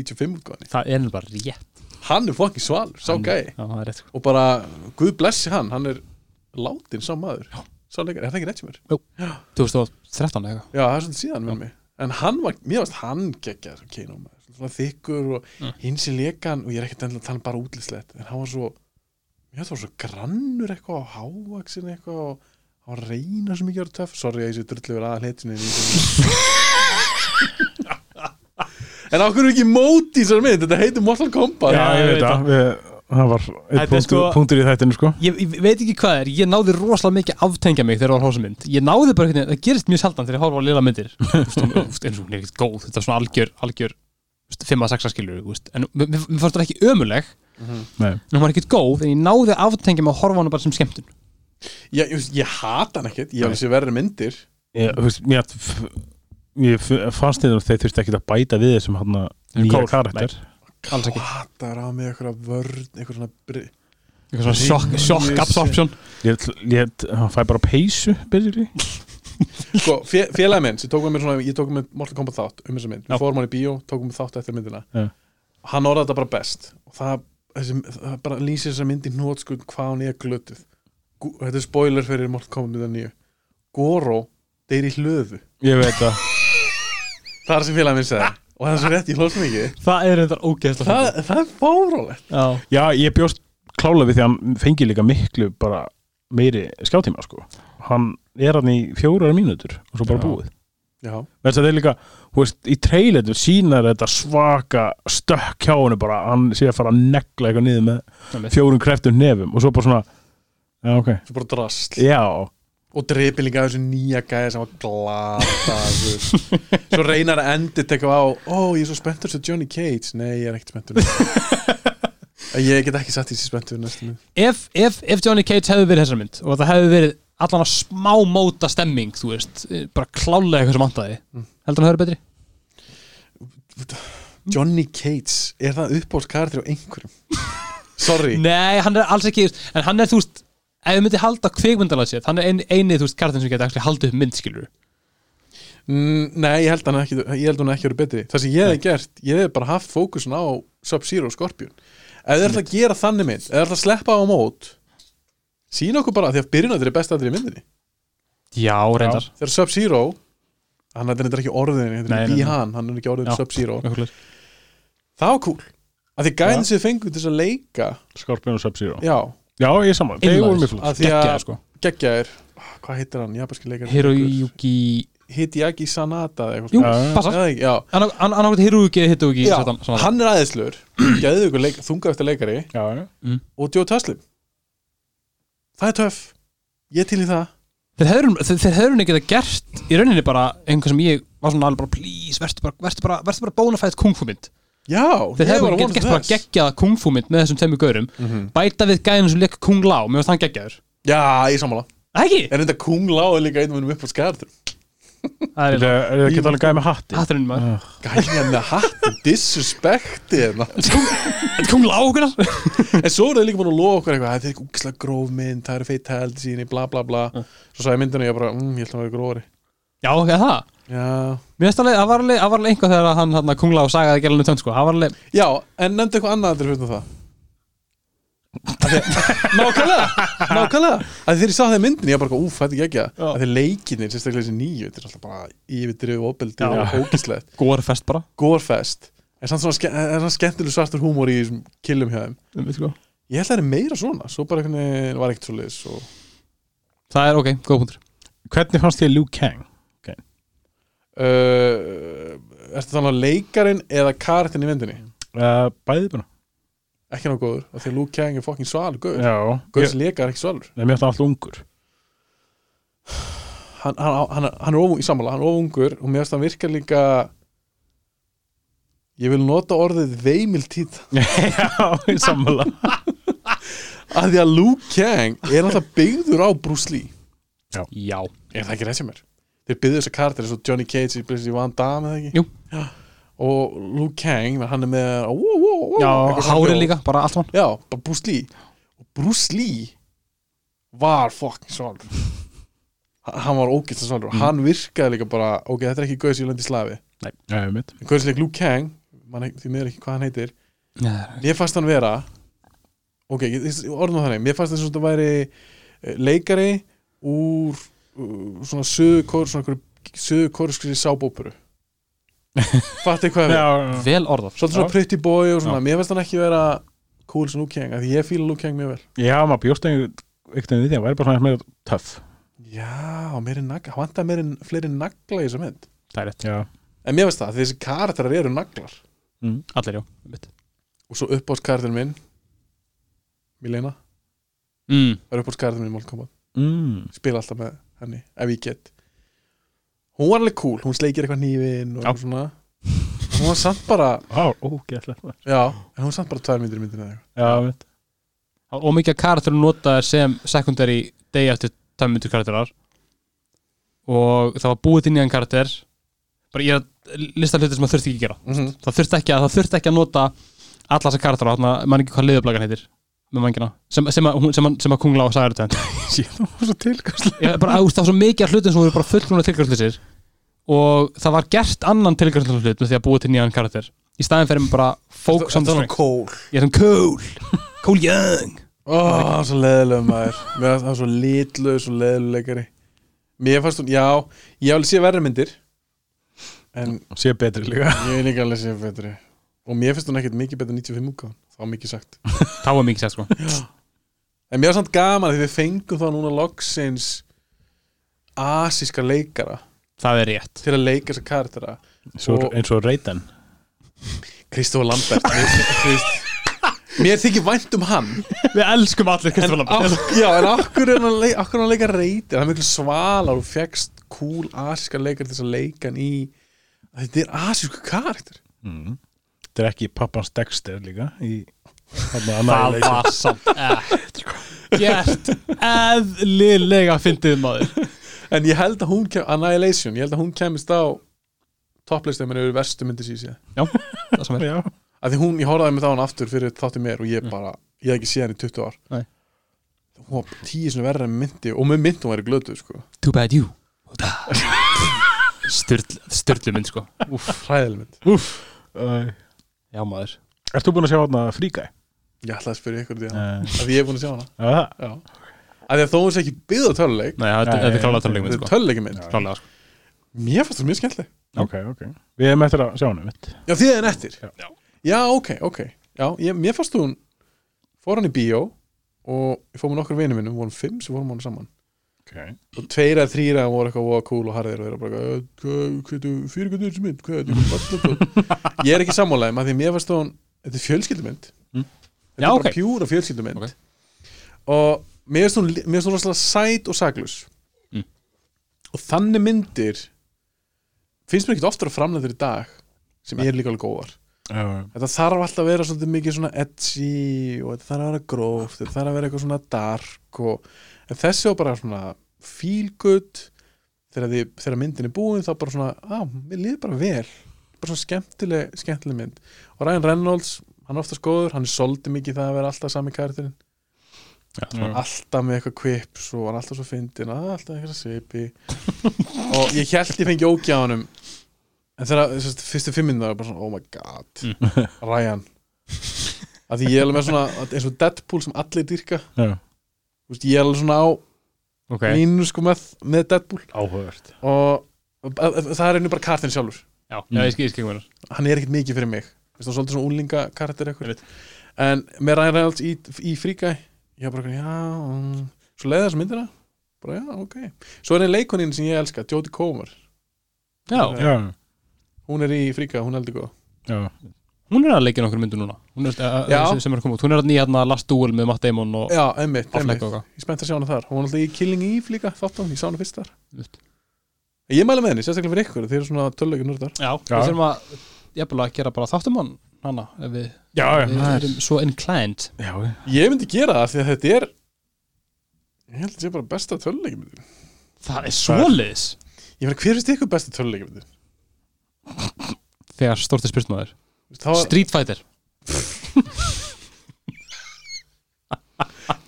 C: 95 útgáðinni
A: Það er nefnilega bara rétt
C: hann er fokkin svalur, sá
A: Hann-
C: gæi
A: Já, það er rétt sko.
C: og bara, guð blessi hann hann er látin sá maður sá leikar, er það ekki rétt sem er?
A: 2013 eða eitthvað
C: Já, það er svolítið síðan með mig En hann var, mér varst hann geggjaður sem Kano maður Svona þykkur og
A: Mm.
C: hinn sem leika hann Og ég er ekkert endilega að tala um bara útlýslegt En hann var svo, mér varst það var svo grannur eitthvað Og hávaksin eitthvað Og hann var að reyna svo mikið að vera töff Sorry að ég sé drullugur aða hletinu En á hverju er ekki móti í þessari mynd Þetta heitir Mortal Kombat
B: já, ég veit það við- það var
A: Þetta er
B: eitt punktur,
A: sko-
B: punktur í þættinu sko
A: ég, ég veit ekki hvað er, ég náði rosalega mikið að aftengja mig þegar það var hósumynd ég náði bara hvernig, það gerist mjög sjaldan þegar ég horfa á lila myndir Þú veist, hún- þú veist, eins og hún er ekkert góð, þetta er svona algjör algjör, þú veist, 5-6 skilur veist. en mér mér fannst það ekki ömuleg
B: Nei.
A: en hún var ekkert góð, en ég náði að aftengja mig að horfa á hana bara sem skemmtun
C: Ég, ég, ég hata hann ekkert, ég hef þessi verri myndir
B: ég, þú veist, mér f- ég f- fannst þeim að þeir þurfti ekkert að bæta við þessum hann nýja
A: Kól,
B: karakter
A: alls ekki,
C: Hata er á mig einhverja vörn Einhverja svona bri-
A: eitthvað svona sjokk, sjokk absorption
B: ég, ég, hann fæ bara peysu basically.
C: sko, fé- félagi minn sem tók með mér svona, ég tók með Mortal Kombat þátt um þessa mynd, við fórum hann í bíó, tókum við þátt eftir myndina
B: Já.
C: hann orðaði þetta bara best og það, þessi, það bara lýsir þessa mynd í hnótskund hvað hún er glötuð Gu- þetta er spoiler fyrir Mortal Kombat mynda nýju Goro deyr í hlöðu
B: ég veit það
C: það er sem félagi minn segði og það er svo rétt, ég hlóð svo mikið
A: það er þetta ógeðslega
C: það, það er fárólegt
A: Já.
B: Já, ég bjóst klála við því að hann fengi líka miklu bara meiri skjáttíma sko. hann er hann í fjórar mínútur og svo bara
C: Já.
B: búið
C: já,
B: Verst að það er líka, hú veist, í trailerinu sínar þetta svaka stökk hjá hennu bara, hann sé að fara að negla eitthvað niður með
A: Einmitt.
B: fjórum kreftum nefum og svo bara svona, já ok
C: svo bara drast
B: Já,
C: og dreipin líka af þessu nýja gæði sem var glataður svo reynar að endur tekja á ó, ég er svo spenntur svo Johnny Cage nei, ég er ekkert spenntur núna. ég get ekki satt í þessi spenntur um næstu minn
A: ef, ef, ef Johnny Cage hefði verið þessar mynd og það hefði verið allan að smá móta stemming, þú veist, bara klálega eitthvað sem andaði,
C: Mm.
A: heldur hann að höra betri?
C: Johnny Cage, er það uppbóls karakter á einhverjum? sorry
A: Nei, hann er alls ekki, en hann er þú veist ef við myndi halda kvikmyndalega séð hann er ein, einið þú veist kartin sem geta actually haldið upp mynd skilur
C: mm, nei, ég held hann ekki ég held hann ekki verið betri það sem ég hef gert, ég hef bara haft fókusin á Sub-Zero Scorpion ef þið ætla að gera þannig mynd, ef þið ætla að sleppa á mót sína okkur bara, því að byrjun þetta er best aðrið í myndinni
A: Já, reyndar
C: þegar Sub-Zero hann er þetta ekki orðin, þetta
B: Nei,
C: er
B: nei,
C: í
B: nei.
C: hann hann er ekki orðin
A: Já.
C: Sub-Zero
A: Nákvæmlega.
C: það var cool, að því gæðin sem þið fengu til þess að leika,
B: Scorpion og Sub-Zero
C: já,
B: Já, ég saman, þeir
A: Einlægir.
B: voru mjög flott
C: að því
A: Geggjaður,
C: að
A: sko.
C: geggjaðir, Ah, hvað heitir hann, japanski leikar
A: Hiroyuki
C: Hideaki Sanada eða eitthvað
A: Jú,
B: Já, já.
A: passar
C: svona. Eða ekki, já,
A: Annarkvæmt Hiroyuki eða Hiroyuki
C: já, hann er aðeinslur gæðið ykkur leik, þunga eftir leikari
B: Já, já,
C: og Joe Taslim það er töff, ég er til í það
A: Þeir hefur henni geta gert í rauninni bara einhver sem ég var svona alveg bara please, verður bara, vertu bara, vertu bara bónafætt kungfúmynd
C: já,
A: Þeir
C: ég
A: hefur
C: var
A: bara
C: að
A: geta
C: vona
A: gert bara
C: þess
A: geggjaða kungfúmynd með þessum tveimur gaurum
C: Mhm.
A: bæta við gæðinu sem leik Kung Lao, mér varst hann geggjaður
C: já, ég sammála,
A: Ekki?
C: en þetta Kung Lao er líka einn munum upp á skarður
A: Það er
B: Þetta er það ekki alveg gæði með hatti
A: hatturinn maður
C: Ah. gæðið með hatt, disrespektið
A: Kung Lao okkur
C: En svo eru þau líka búin að lofa okkur eitthvað Það er eitthvað úkslega gróf mynd, það eru feitt held síni, bla bla bla Svo sagði myndinu og ég bara, mm, ég ætla að vera grófari
A: Já, ok, það
C: Já,
A: Mér finnst alveg, það var alveg, það var alveg einhvað þegar hann hann kungla og sagaði að gera hann tönd sko, það var alveg
C: Já en nefndu eitthvað annað til fyrir það Af því- Nákvæmlega, nákvæmlega að Þegar ég sá það myndinu, ég bara, úf, þetta er ekki
A: Já.
C: að Þegar leikinir, sérstaklega þessi nýju Þetta er alltaf bara yfirdrif opeldi og ógislegt
A: Gorefest bara
C: Gorefest, en samt svona, ske- en svona skemmtileg svartur húmór í þessum killum hjá þeim
A: sko.
C: Ég held að það er meira svona, svo bara einhvern veginn var ekkert svoleiðis og
A: Það er ok, góð punktur
B: Hvernig fannst ég Liu Kang?
C: uh, Ertu þannig að leikarin eða karatinn í myndinni?
B: Uh, bæði bara
C: Ekki ná góður, af því að Luke Kang er fokkin svalur Guður,
B: Já,
C: Guður
B: ég,
C: sem leikar er ekki svalur
B: nei, mér ætla alltaf ungur
C: Hann, hann, hann, hann er ofung í sammála, hann er ofungur og mér finnst hann virka líka Ég vil nota orðið veimil tíð
B: Já, sammála
C: af því að Luke Kang er alltaf byggður á Bruce Lee
A: Já,
C: Er það ekki rétt sem er? þeir byggðu þessa karakter eins og Johnny Cage í Blissy Van Damme eða ekki
A: Jú.
C: Já. og Luke Kang, menn hann er með ó, ó, ó, ó,
A: Já,
C: eitthvað svona
A: hárið
C: hljóð.
A: líka, bara allt hann
C: já, bara Bruce Lee og Bruce Lee var fucking svalur Ha- hann var ógæst að
B: Mm.
C: svalur og hann virkaði líka bara, ok, þetta er ekki gauð sem ég lendi í slafi
B: Já, ég veit.
C: en gauð sem leik Luke Kang man, því miður ekki hvað hann heitir
A: Nei,
C: mér fannst hann vera ok, ég- ég- orðum það þannig, mér fannst þess að þetta væri eh, leikari úr uh, svona söðukór svona söðukórskri sábópuru fattu hvað við
B: Já,
A: Vel orðað
C: svolítið svona pretty boy og svona,
B: Já.
C: mér finnst hann ekki vera cool sem Luke Kang, af því ég fíla Luke Kang mjög vel
B: já, maður bjóst einhvern veginn við því að væri bara svona meira töff.
C: já, meiri nagla, hann vantaði meiri fleiri nagla í þessu mynd,
B: Það er rétt. Já,
C: en mér finnst það, þessi karakterar eru naglar,
B: Mm.
A: Allir, já um einmitt.
C: og svo uppáðskarakterin minn Milena,
A: mm.
C: það er uppáðskarakterin minn í Mortal Kombat
B: mm.
C: spila alltaf með henni ef ég get hún var alveg cool, hún sleikir eitthvað nýfin og
B: Já.
C: svona hún var samt bara
B: Á, ógeðslegt. maður.
C: já, en hún var samt bara tvær myndir í myndinu eða eitthvað.
B: Já, ég veit.
A: Og mikið karakterum notaðir sem secondary day eftir tæmyndur karakterar og það var búið til nýjan karakter bara ég er að lista hluti sem það þurfti ekki að gera
C: Mhm.
A: það þurfti ekki að, það þurfti ekki að nota alla þessa karakterar, þarna, mann ekki hvað liðublagan heitir með mangina, sem, sem, að, hún- sem, að, sem að kungla á sagði þetta
B: Ég það var svo tilkastlega.
A: Ég bara, þú veist, það var svo mikið af hlutum sem voru bara fullkomlega tilgjörslisir og það var gert annan tilgjörslisir hlut með því að búa til nýjan karakter í staðin fyrir bara fókus on the strength
C: cool
A: ég er svona cool, cool young
C: ó, hann var svo leðilega maður Mér fannst hann svo litlu, svo leðilegari mér fannst hún, já ég hef alveg sé verri myndir en
B: Sér betri líka.
C: ég hef líka alveg sé betri og mér finnst hún ekkert mikið betur en 95 úkáðan það var mikið sagt
A: þá var mikið sér sko
C: En mér er samt gaman að því við fengum þá núna loksins asíska leikara
A: það er rétt,
C: til að leika þessa karaktera
B: Svo,
C: Og-
B: eins og Reiten.
C: Kristófa Lambert mér, Krist, mér þykir vænt um hann
A: við elskum allir
C: en,
A: Kristoffer
C: af, já, en af hverju er hann að leika, af hverju er hann að leika reytir hann er miklu svalar og fegst cool asíska leikara til þess að leika hann í þetta er asísku karakter
B: Mm. Þetta er ekki pappans Dexter líka í... þarna
A: það
B: Annihilation.
A: var samt eh, ekki gert eðlilega fyndið maður
C: en ég held að hún kem, Annihilation, ég held að hún kemist á topplistum en eru verstu myndi síðan
A: það sem er
B: Já.
C: að því hún, ég horfði með þá hann aftur fyrir þátti mér og ég bara, ég hef ekki séð hann í 20 ár
A: Nei.
C: hún var tíu sinni verra en myndi og með myndi hún væri glötuð sko
A: too bad you styrlu mynd sko
C: Úf, hræðileg mynd
B: Æ.
A: já maður
B: Ert þú búin að sjá hana fríkæ?
C: Ég ætlaði að spyrja ykkur út í hana
B: Uh,
C: af því ég er búin að sjá hana
B: uh,
C: Já. af því að þó hún sé ekki byggð á töluleik
A: Nei, þetta þetta er klálega törnleik mynd
C: þetta er
A: sko
C: töluleiki mynd
A: klálega sko
C: mér fannst það mjög skemmtileg
B: ok, ok Við erum eftir að sjá hana mitt
C: já því það er nettir
B: Já.
C: já ok, ok já, ég, mér fannst hún fór hann í bíó og ég fór með nokkur vinum minnum, við vorum fimm sem fórum á hana saman
B: okay.
C: og tveir að þrýra voru eitthvað voða cool og harðir og þeirra bara eitthvað, "Eh, hvað er þetta, fyrir hvað er þessi mynd hvað er þetta, hvað er þetta ég er ekki sammálaðum að því mér varst hún, þetta er fjölskyldumynd
B: Mm.
C: þetta
A: Já,
C: er
A: ok.
C: bara pjúra fjölskyldumynd
A: Ok.
C: og mér varst hún mér varst hún rosalega sæt og saklus
A: Mm.
C: og þannig myndir finnst mér ekkert oftar að framlega í dag sem er líka alveg góðar
B: uh,
C: þetta þarf alltaf að vera svolítið mikið svona edgy og þetta þarf að vera gróft þetta þarf að vera eitthvað svona dark og, en þessi var bara svona feel good þegar, því, þegar myndin er búin þá bara svona, á, mér líður bara vel bara svona skemmtileg, skemmtileg mynd og Ryan Reynolds, hann er oftast góður hann er svolítið mikið í það að vera alltaf sami karakterinn
A: Mm.
B: já.
C: alltaf með eitthvað kvips og hann er alltaf svo fyndin að alltaf eitthvað svipi og ég held ég fengi ógja á honum en þegar þessast fyrstu fimm minnum var ég bara svona oh my god, Ryan að því ég er alveg með svona eins og Deadpool sem allir dyrka
B: Já.
C: Þú veist, ég er alveg svona á
A: ok
C: mínu sko með, með Deadpool
B: Áhugavert
C: og að- að- það er einu bara kartin sjálfur
A: já já, ég skil ég skil hvað þú meinar.
C: hann er ekkert mikið fyrir mig Vist, hann er svolítið svona úlinga karakter
B: Ég veit.
C: eitthvað en með Ryan Reynolds í, í fríkæ ég var bara, eitthvað, já mm. svo leiði þessu myndina bara, já, ok svo er einn leikonin sem ég elska, Jodie Comer
A: Já,
B: Já,
C: hún er í fríkæ, hún er heldur góð
B: já
A: hún er að leikja nokkur myndu núna Hún er, uh,
C: Já.
A: sem, sem er að koma út, hún er að nýja hérna Last Duel með Matt Damon og
C: já, emmitt,
A: Affleck
C: emmitt,
A: og
C: ég er spennt að sjá hana þar hún var alltaf í Killing Eve líka, þáttan, ég sá hana fyrst þar
A: eitthvað
C: ég mæli með henni, sérstaklega fyrir ykkur, þeir eru svona töluleikir nördar
A: Já, við
B: Já.
A: þurfum að jafnilega að gera bara þáttum hann hana, ef við,
B: Já, já,
A: við
B: það er-
A: erum svo inclined
B: já
C: ég myndi gera það, af því að þetta er ég held að þetta er bara besta töluleikir
A: Það er svoleiðis
C: Ég Ég meina, hver finnst ykkur besti töluleikjum?
A: þegar stortið spyrst maður
C: Það var
A: Street Fighter,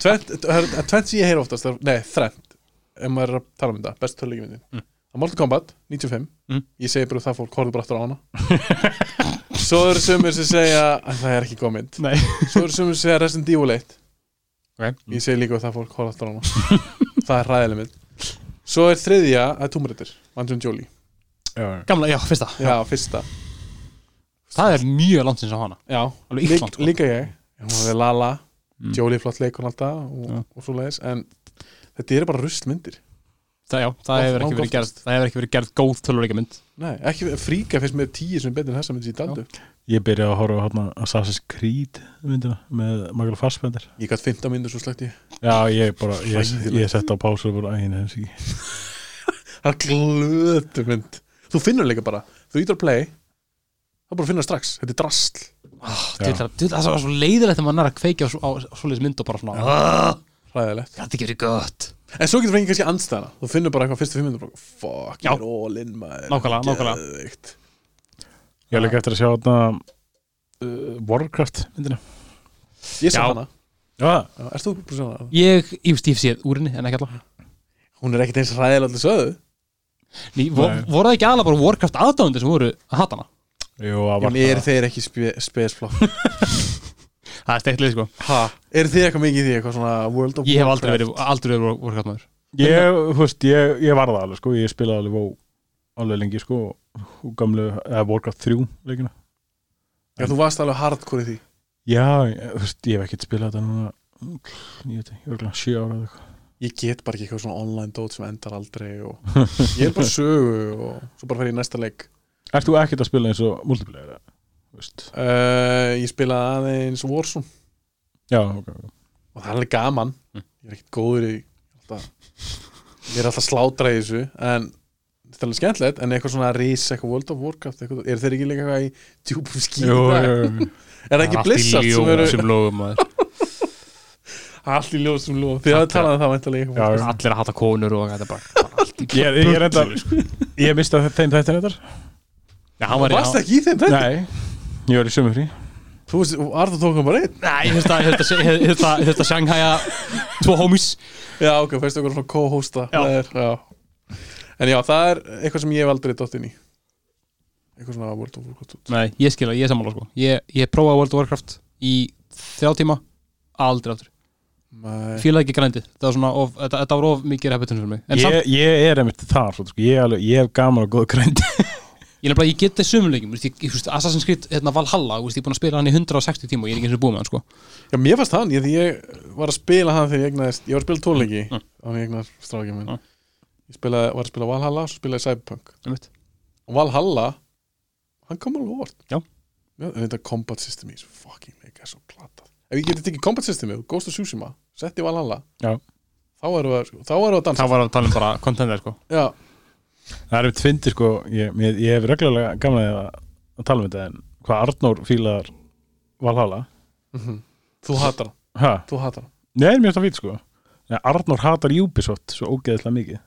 C: tvent, það er tvent sem ég heyr oftast er, Nei, þrent Ef maður er að tala um þetta, besti töluleikjum mm. Mortal Kombat, 95
A: Mm.
C: Ég segi bara það fólk, horfðu bara aftur á hana Svo eru sumir sem segja að það er ekki góð mynd
A: Nei.
C: Svo eru sumir sem segja Resident Evil 1
A: Ok.
C: Ég segi líka það fólk, horfðu aftur á hana Það er ræðileg mynd Svo er þriðja að Tomb Raider, Andrew Jolie
A: gamla, já, fyrsta
C: Já, fyrsta
A: það er mjög langt sinns á hana
C: Já,
A: Alveg illa,
C: lík-
A: sko.
C: líka ég Hún er Lala,
A: Mm.
C: Jolie er flott leikon alltaf og, og svo leiðis, en þetta eru bara ruslmyndir
A: það, já, það hefur
C: lang
A: ekki verið gerð
C: oftast.
A: það hefur ekki verið gerð góð töluríkjamynd
C: Nei, ekki, fríka finnst mér tíu sem er betur en þessa myndi í daldu
B: Ég byrjaði að horfa á hérna, Assassin's Creed myndina með Michael Fassbender
C: Ég gætt 15 myndir svo slegt ég
B: Já, ég bara, ég,
C: Hræðilegt.
B: ég sett á pásu og bara, æ, neins ekki
C: Það er glötu mynd Þú finnur líka bara, þú ítur að play það er bara að finna það strax, þetta er drasl
B: Já.
A: það það var svo leiðilegt þegar maður er að kveikja á svo- á svoleiðis mynd og bara svona "Ah,
C: hræðilegt
A: Gat ekki verið gott
C: En svo getur fengið kannski andstæðana, þú finnur bara eitthvað fyrstu fimm myndir bara, fuck,
A: Já.
C: ég er all in maður
A: Nákvæmlega, nákvæmlega.
C: Geðveikt.
B: Ég er líka eftir að sjá hérna uh, Warcraft myndina
C: Ég sá
A: Já.
C: hana,
B: Já,
C: Já, erst þú búin að sjá hana?
A: Ég, ég stíf séð úr henni, en ekki allavega
C: Hún er ekkert eins hræðilega allir sögðu
A: Ný, vo,
B: Nei.
A: voru það ekki aðalega bara Warcraft aðdáðundir sem voru að hata hana
B: jú, það
C: Já,
B: var
C: en eru þeir ekki spe, spesflokk?
A: það er steiklið sko
C: ha? Eru þið eitthvað mikið í því eitthvað svona World of
A: ég hef aldrei
C: Warcraft?
A: verið, aldrei verið Warcraft maður
B: Ég, þú veist, ég, ég var það alveg, sko Ég spilaði alveg vó alveg lengi, sko og Gamlu, eða Warcraft 3 leikina
C: Já, þú varst alveg hardcore í því
B: Já, ég- þú veist, ég hef ekkert spilað þetta núna mm, Ég veit ekki, örgulega, 7 ára eða eitthvað
C: Ég get bara ekki eitthvað svona online dót sem endar aldrei og ég er bara sögu og svo bara fer ég í næsta leik
B: Ert þú ekkert að spila eins og multiplayer? eða? Þú veist,
C: uh, Ég spilaði aðeins Warzone
B: já, ok, ok
C: og það er alveg gaman
B: Mm.
C: Ég er ekkert góður í alltaf, Ég er alltaf að slátra í þessu en þetta er alveg skemmtilegt en eitthvað svona rís, eitthvað World of Warcraft eitthvað, er þeir ekki líka eitthvað í djúpum skýr
B: Jú,
C: er
B: jú, jú.
C: það ekki blissart sem eru
A: sem lögum maður
C: allt í ljósum ljóð þið hafið talað um það væntalega
B: Já, já.
A: allir að hata konur og þetta bara allt í
B: Ég, ég, sko. ég, reyndar- ég misti af þeim þetta þetta
A: Já, hann var í
C: varst ekki í þeim þetta
B: Nei, ég var í sömu frí
C: Þú veist, og Arður tók hann bara einn
A: Nei, ég þurft að ég þurft að sjanghæja tvo homies
C: Já, ok, fæstu okkur svona co-hosta
A: Já.
C: Það er, já. En já, það er eitthvað sem ég hef aldrei dótt inn í Eitthvað svona World of Warcraft út
A: Nei, ég skilja, ég er sammála sko Ég, ég prófaði World of Warcraft í þrjá tíma aldrei aftur,
C: Nei,
A: fílaði ekki grændið það var svona, of, þetta, þetta var of mikið repetition fyrir mig en samt,
B: ég, ég er einmitt þar svona, sko. ég, er alveg, ég hef gaman og góð grænd
A: ég nefnilega, ég geti sumleikjum ég, ég, þú veist, Assassin's Creed, hérna Valhalla þú veist, ég er búin að spila hann í 160 tíma og ég er ekki eins og búið með hann sko
C: Já, mér fannst hann, ég, því ég var að spila hann þegar ég egnaðist Ég var að spila tónleiki mm. Þannig ég egnaðist strákið minn
A: Mm.
C: Ég spilaði, var að spila Valhalla, svo spilaði ég Cyberpunk
A: Einmitt.
C: Og Valhalla, hann kom alveg vort
A: Já.
C: Já, en þetta combat system í þessu fucking leik er svo platað Ef ég geti tekið combat systemi, og Ghost of Tsushima, setti Valhalla
B: Já.
C: Þá erum við, að- þá erum við að dansa
A: var hann talað um bara contender sko
C: Já,
B: það er einmitt fyndi sko, ég, ég, ég hef reglulega gaman að, að tala um þetta en hvað Arnór fílar Valhalla
C: Þú hatar hann,
B: ha?
C: þú hatar hann
B: Nei, mér finnst það fínt sko Nei, Arnór hatar Ubisoft svo ógeðislega mikið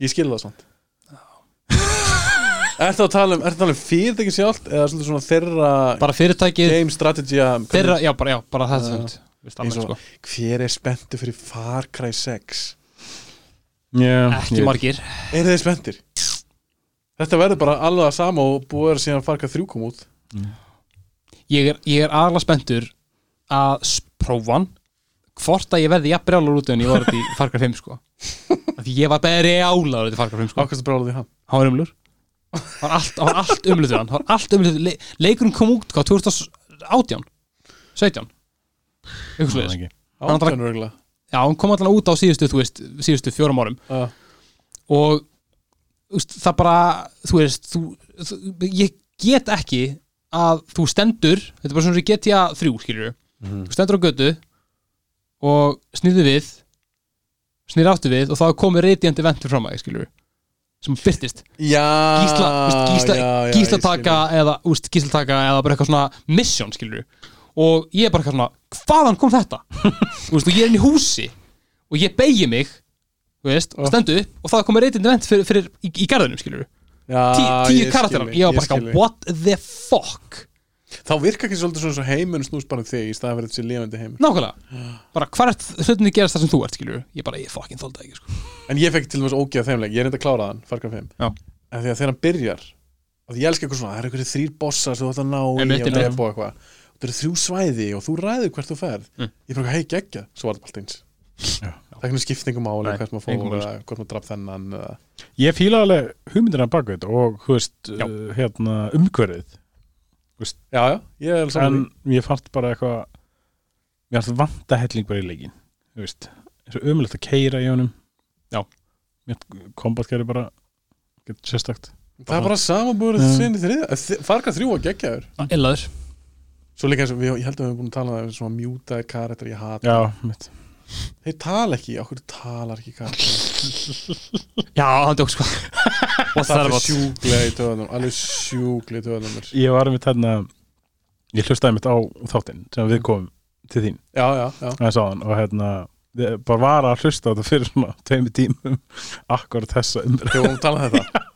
C: Ég skil það samt Ertu að tala um, ertu að tala um fyrirtæki sjálft eða svolítið svona þeirra
A: bara fyrirtækið,
C: game strategy að-
A: þeirra, já bara, já, bara þetta
C: Já.
A: uh, veist, alveg,
C: Eins og-
A: sko.
C: Hver er spenntu fyrir Far Cry 6?
B: yeah,
A: ekki margir
C: Er þeir spenntir? Þetta verður bara alveg að sama og búið er síðan Far Cry 3 kom út
A: ég er, ég er aðla spenntur að s- prófa hann hvort að ég verði jafn brjálur út en ég var þetta í Farkar 5 sko Af því ég var brjálar þetta í Farkar 5 sko
C: Ákvæmst brálaði hann
A: hann var umlur hann var allt, hann var allt umlur hann hann var allt umlur Le leikurinn kom út hvað 2018 17 eitthvað
B: Ég veit
A: sliðis
B: ekki.
A: Hann var-
C: Átján örgulega
A: já hann kom allan út á síðustu þú veist síðustu fjórum árum
C: Já.
A: og úst, það bara þú veist þú, þú, ég get ekki að þú stendur þetta er bara svona GTA 3 skilur þú stendur á götu og snýðu við snýðu áttu við og þá er komið radiant event fram að þig skilur sem byrtist
C: Já
A: gísla, úst, gísla,
C: Ah, já, já, ég skil.
A: gíslataka eða úst, gíslataka eða bara eitthvað svona mission skilur og ég er bara eitthvað svona hvaðan kom þetta úst, og ég er inn í húsi og ég beigi mig þú veist,
C: Ah.
A: og stendu upp og það komið reytind vent fyrir, fyrir í, í garðinum, skilur
C: Já,
A: Tí, tíu
C: Ah, ég
A: karakterar,
C: skil,
A: ég var bara
C: skil.
A: ekki what the fuck,
C: Þá virka ekki svolítið svona svo heimur snúst bara um þig í staðan fyrir þessi lifandi heimur
A: nákvæmlega
C: Ah.
A: bara hvar ert hlutinni gerast þar sem þú ert, skilur ég bara, ég fucking þólda ekki, sko
C: En ég fekk til dæmis ógeða þeimleik, ég er enda að klára þann Far Cry 5,
A: Já.
C: en því að þegar hann byrjar og því ég elska eitthvað svona, það eru eitthvað þrýr bossar sem þú ætti að ná í
A: Einmitt,
C: og
A: einmitt.
C: drepa og eitthvað og það eru þrjú svæði og þú ræður hvert þú ferð
A: Mm.
C: ég bara, hei, geggja, svo var það allt eins það er ekki skiptingum áli,
A: Nei,
C: hvert maður
A: engu
C: fór
A: máli,
C: eða hvort maður draf þennan eða-
B: Ég fíla alveg hugmyndina baka þetta og þú veist,
A: Já.
B: uh, hérna, umhverfið
C: Já, já, ég er alveg
B: en
C: saman
B: ég fannst bara eitthvað mér fannst vanta helling bara í leikin þú veist, eins og umlegt að keira í honum
A: Já.
B: mér kombatkerði bara get sérstakt
C: Það er bara samanbúrið
B: Mm.
C: sinni þriða Farga þrjú var geggjaður
A: Ah, illaður,
C: Svo líka eins og við, ég held að við erum búin að tala um það, svona mjútaði karakter ég hata
B: já, mitt
C: Þeir tala ekki, okkur talar ekki karakter
A: já, hann djók, sko og það
C: Það er
A: er
C: alveg
A: bara,
C: sjúklega í töðunum Alveg sjúklega í töðunum mér.
B: ég var einmitt þarna ég hlustaði mitt á þáttinn sem við komum til þín
C: Já, já, já
B: aðeins áðan og hérna ég bara var að hlusta á þetta fyrir svona tveimur tímum akkurat þessa umræð
C: Þegar við vorum að tala um þetta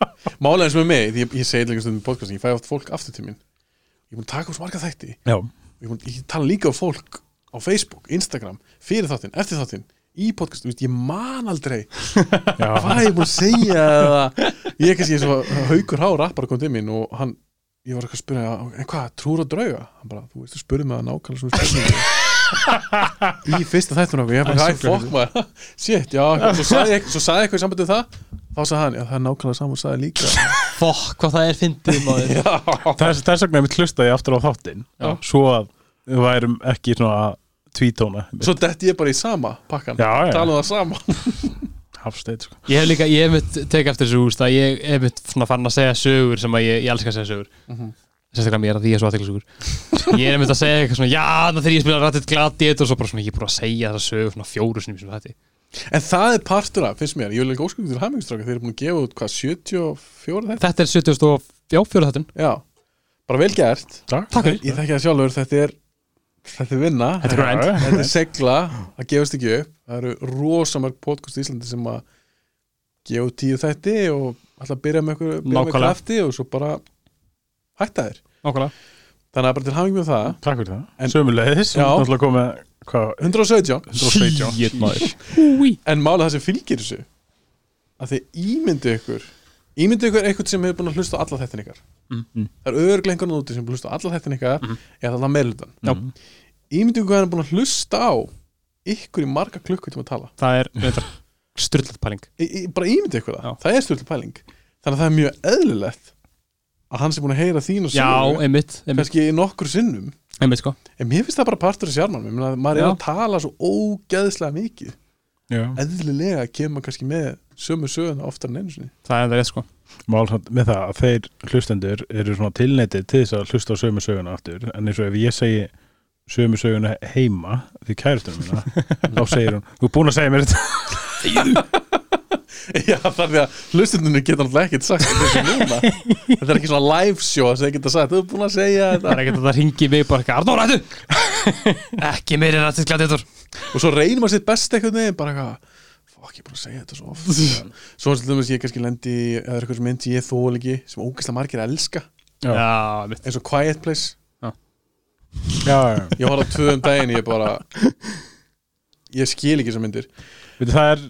C: Málega eins með mig, því ég, ég segi líka stundum í podcastin Ég fæ oft fólk aftur til mín Ég er búin að taka upp svo marga þætti
B: já,
C: Ég, er búin, ég tala líka á fólk á Facebook, Instagram Fyrir þáttinn, eftir þáttinn Í podcastin, veist, ég man aldrei
B: já,
C: Hvað er ég búin að segja eða Ég er kannski eins og haukur há rappar kom til mín Og hann, ég var eitthvað að spyrja En hvað, trúr að drauga? Hann bara, þú veist, þú spurði mig að nákvæmlega svona spurningu Í fyrsta þættun okkur Ég er bara, hæ, fokk maður Shit, já, svo sagði ég, svo sagði ég eitthvað í sambandi um það Þá sagði hann, já, það er nákvæmlega saman og sagði líka
A: fuck, hvað það er fyndið, maður
B: þess, þess vegna einmitt hlustaði ég aftur á þáttinn
A: Já.
B: svo að við værum ekki svona að tvítóna
C: Svo detti ég bara í sama pakkan
B: Já, já.
C: Talaðu um- það sama
B: hafsteit sko.
A: Ég hef líka, ég hef mitt tekið eftir þessu úst að ég hef mitt svona farin að segja sögur sem að ég, ég elska að segja sögur sérstaklega mér að því ég er svo aðteglisögur ég er mitt að segja eitthvað svona, já, þannig þegar ég spila rættið gladið og svo bara svona, ég er búin að segja þessa sögur svona fjóru sinni sem þetta
C: En það er partur af, finnst mér Ég vil ekki ósköngum til hammingstráka Þeir eru búin að gefa út, hvað, 74 þetta?
A: Þetta er 70 og já, fjóru þettin
C: Já, bara vel gert
A: Takk fyrir,
C: Ég þekki það sjálfur, þetta er Þetta er vinna,
A: þetta er grind
C: þetta er segla Það gefast ekki upp, það eru rosamörg podcast í Íslandi sem að gefa út tíu þætti og alltaf byrja með ykkur, byrja með
A: Nákvæmlega.
C: krafti og svo bara hætta þér
A: Nákvæmlega,
C: Þannig að bara til hamingi með það
B: Takk fyrir það
C: En-
B: Sömulegðis,
C: Já.
B: náttúrulega komið hvað,
C: 117,
B: 117
A: Shit, maður.
C: en mála það sem fylgir þessu að þið ímyndu ykkur ímyndu ykkur eitthvað sem hefur búin að hlusta á alla þættin ykkar
B: Mhm.
C: það eru örglega einhvern úti sem er búin að hlusta á alla þættin ykkar eða það meðlutan
A: Mhm. Já.
C: ímyndu ykkur hvað hann er búin að hlusta á ykkur í marga klukkutíma að tala
A: það er styrlað pæling
C: í, í, bara ímyndu ykkur það,
A: Já.
C: það er stjórnlega pæling þannig að það er mjög eðlilegt að hann sem búin að heyra þín og
A: Já, einmitt, einmitt,
C: kannski nokkur sinnum
A: einmitt sko
C: en mér finnst það bara partur af sjarmanum Ég meina, maður er
A: Já.
C: að tala svo ógeðslega mikið
B: Já.
C: eðlilega kemur maður kannski með sömu söguna oftar en einu sinni
A: Það er það rétt sko
B: Mál samt með það að þeir hlustendur eru svona tilneitið til þess að hlusta á sömu söguna aftur en eins og ef ég segi sömu söguna heima því kærastunum mína þá segir hún, þú er búin að segja mér þetta
C: Já, þar því að hlustundinu geta náttúrulega ekkert sagt þetta núna Þetta er ekki svona live show sem þið geta sagt, þau er búin að segja
A: Það er
C: þetta
A: ekkert að það ringi mig bara eitthvað, Arnór, hættu Ekki meiri rættið gladið
C: Og svo reynir maður sitt best eitthvað neginn, bara eitthvað Fuck, ég er búin að segja þetta svo oft Svo er þetta ég kannski lendi í- eða er eitthvað sem myndi ég þól ekki sem ógæslega margir elska,
A: Já, einmitt
C: eins og Quiet Place
B: Já, já,
C: Ég horfði á tvö um daginn, ég bara Ég skil ekki þessar myndir
B: Veitu, það er,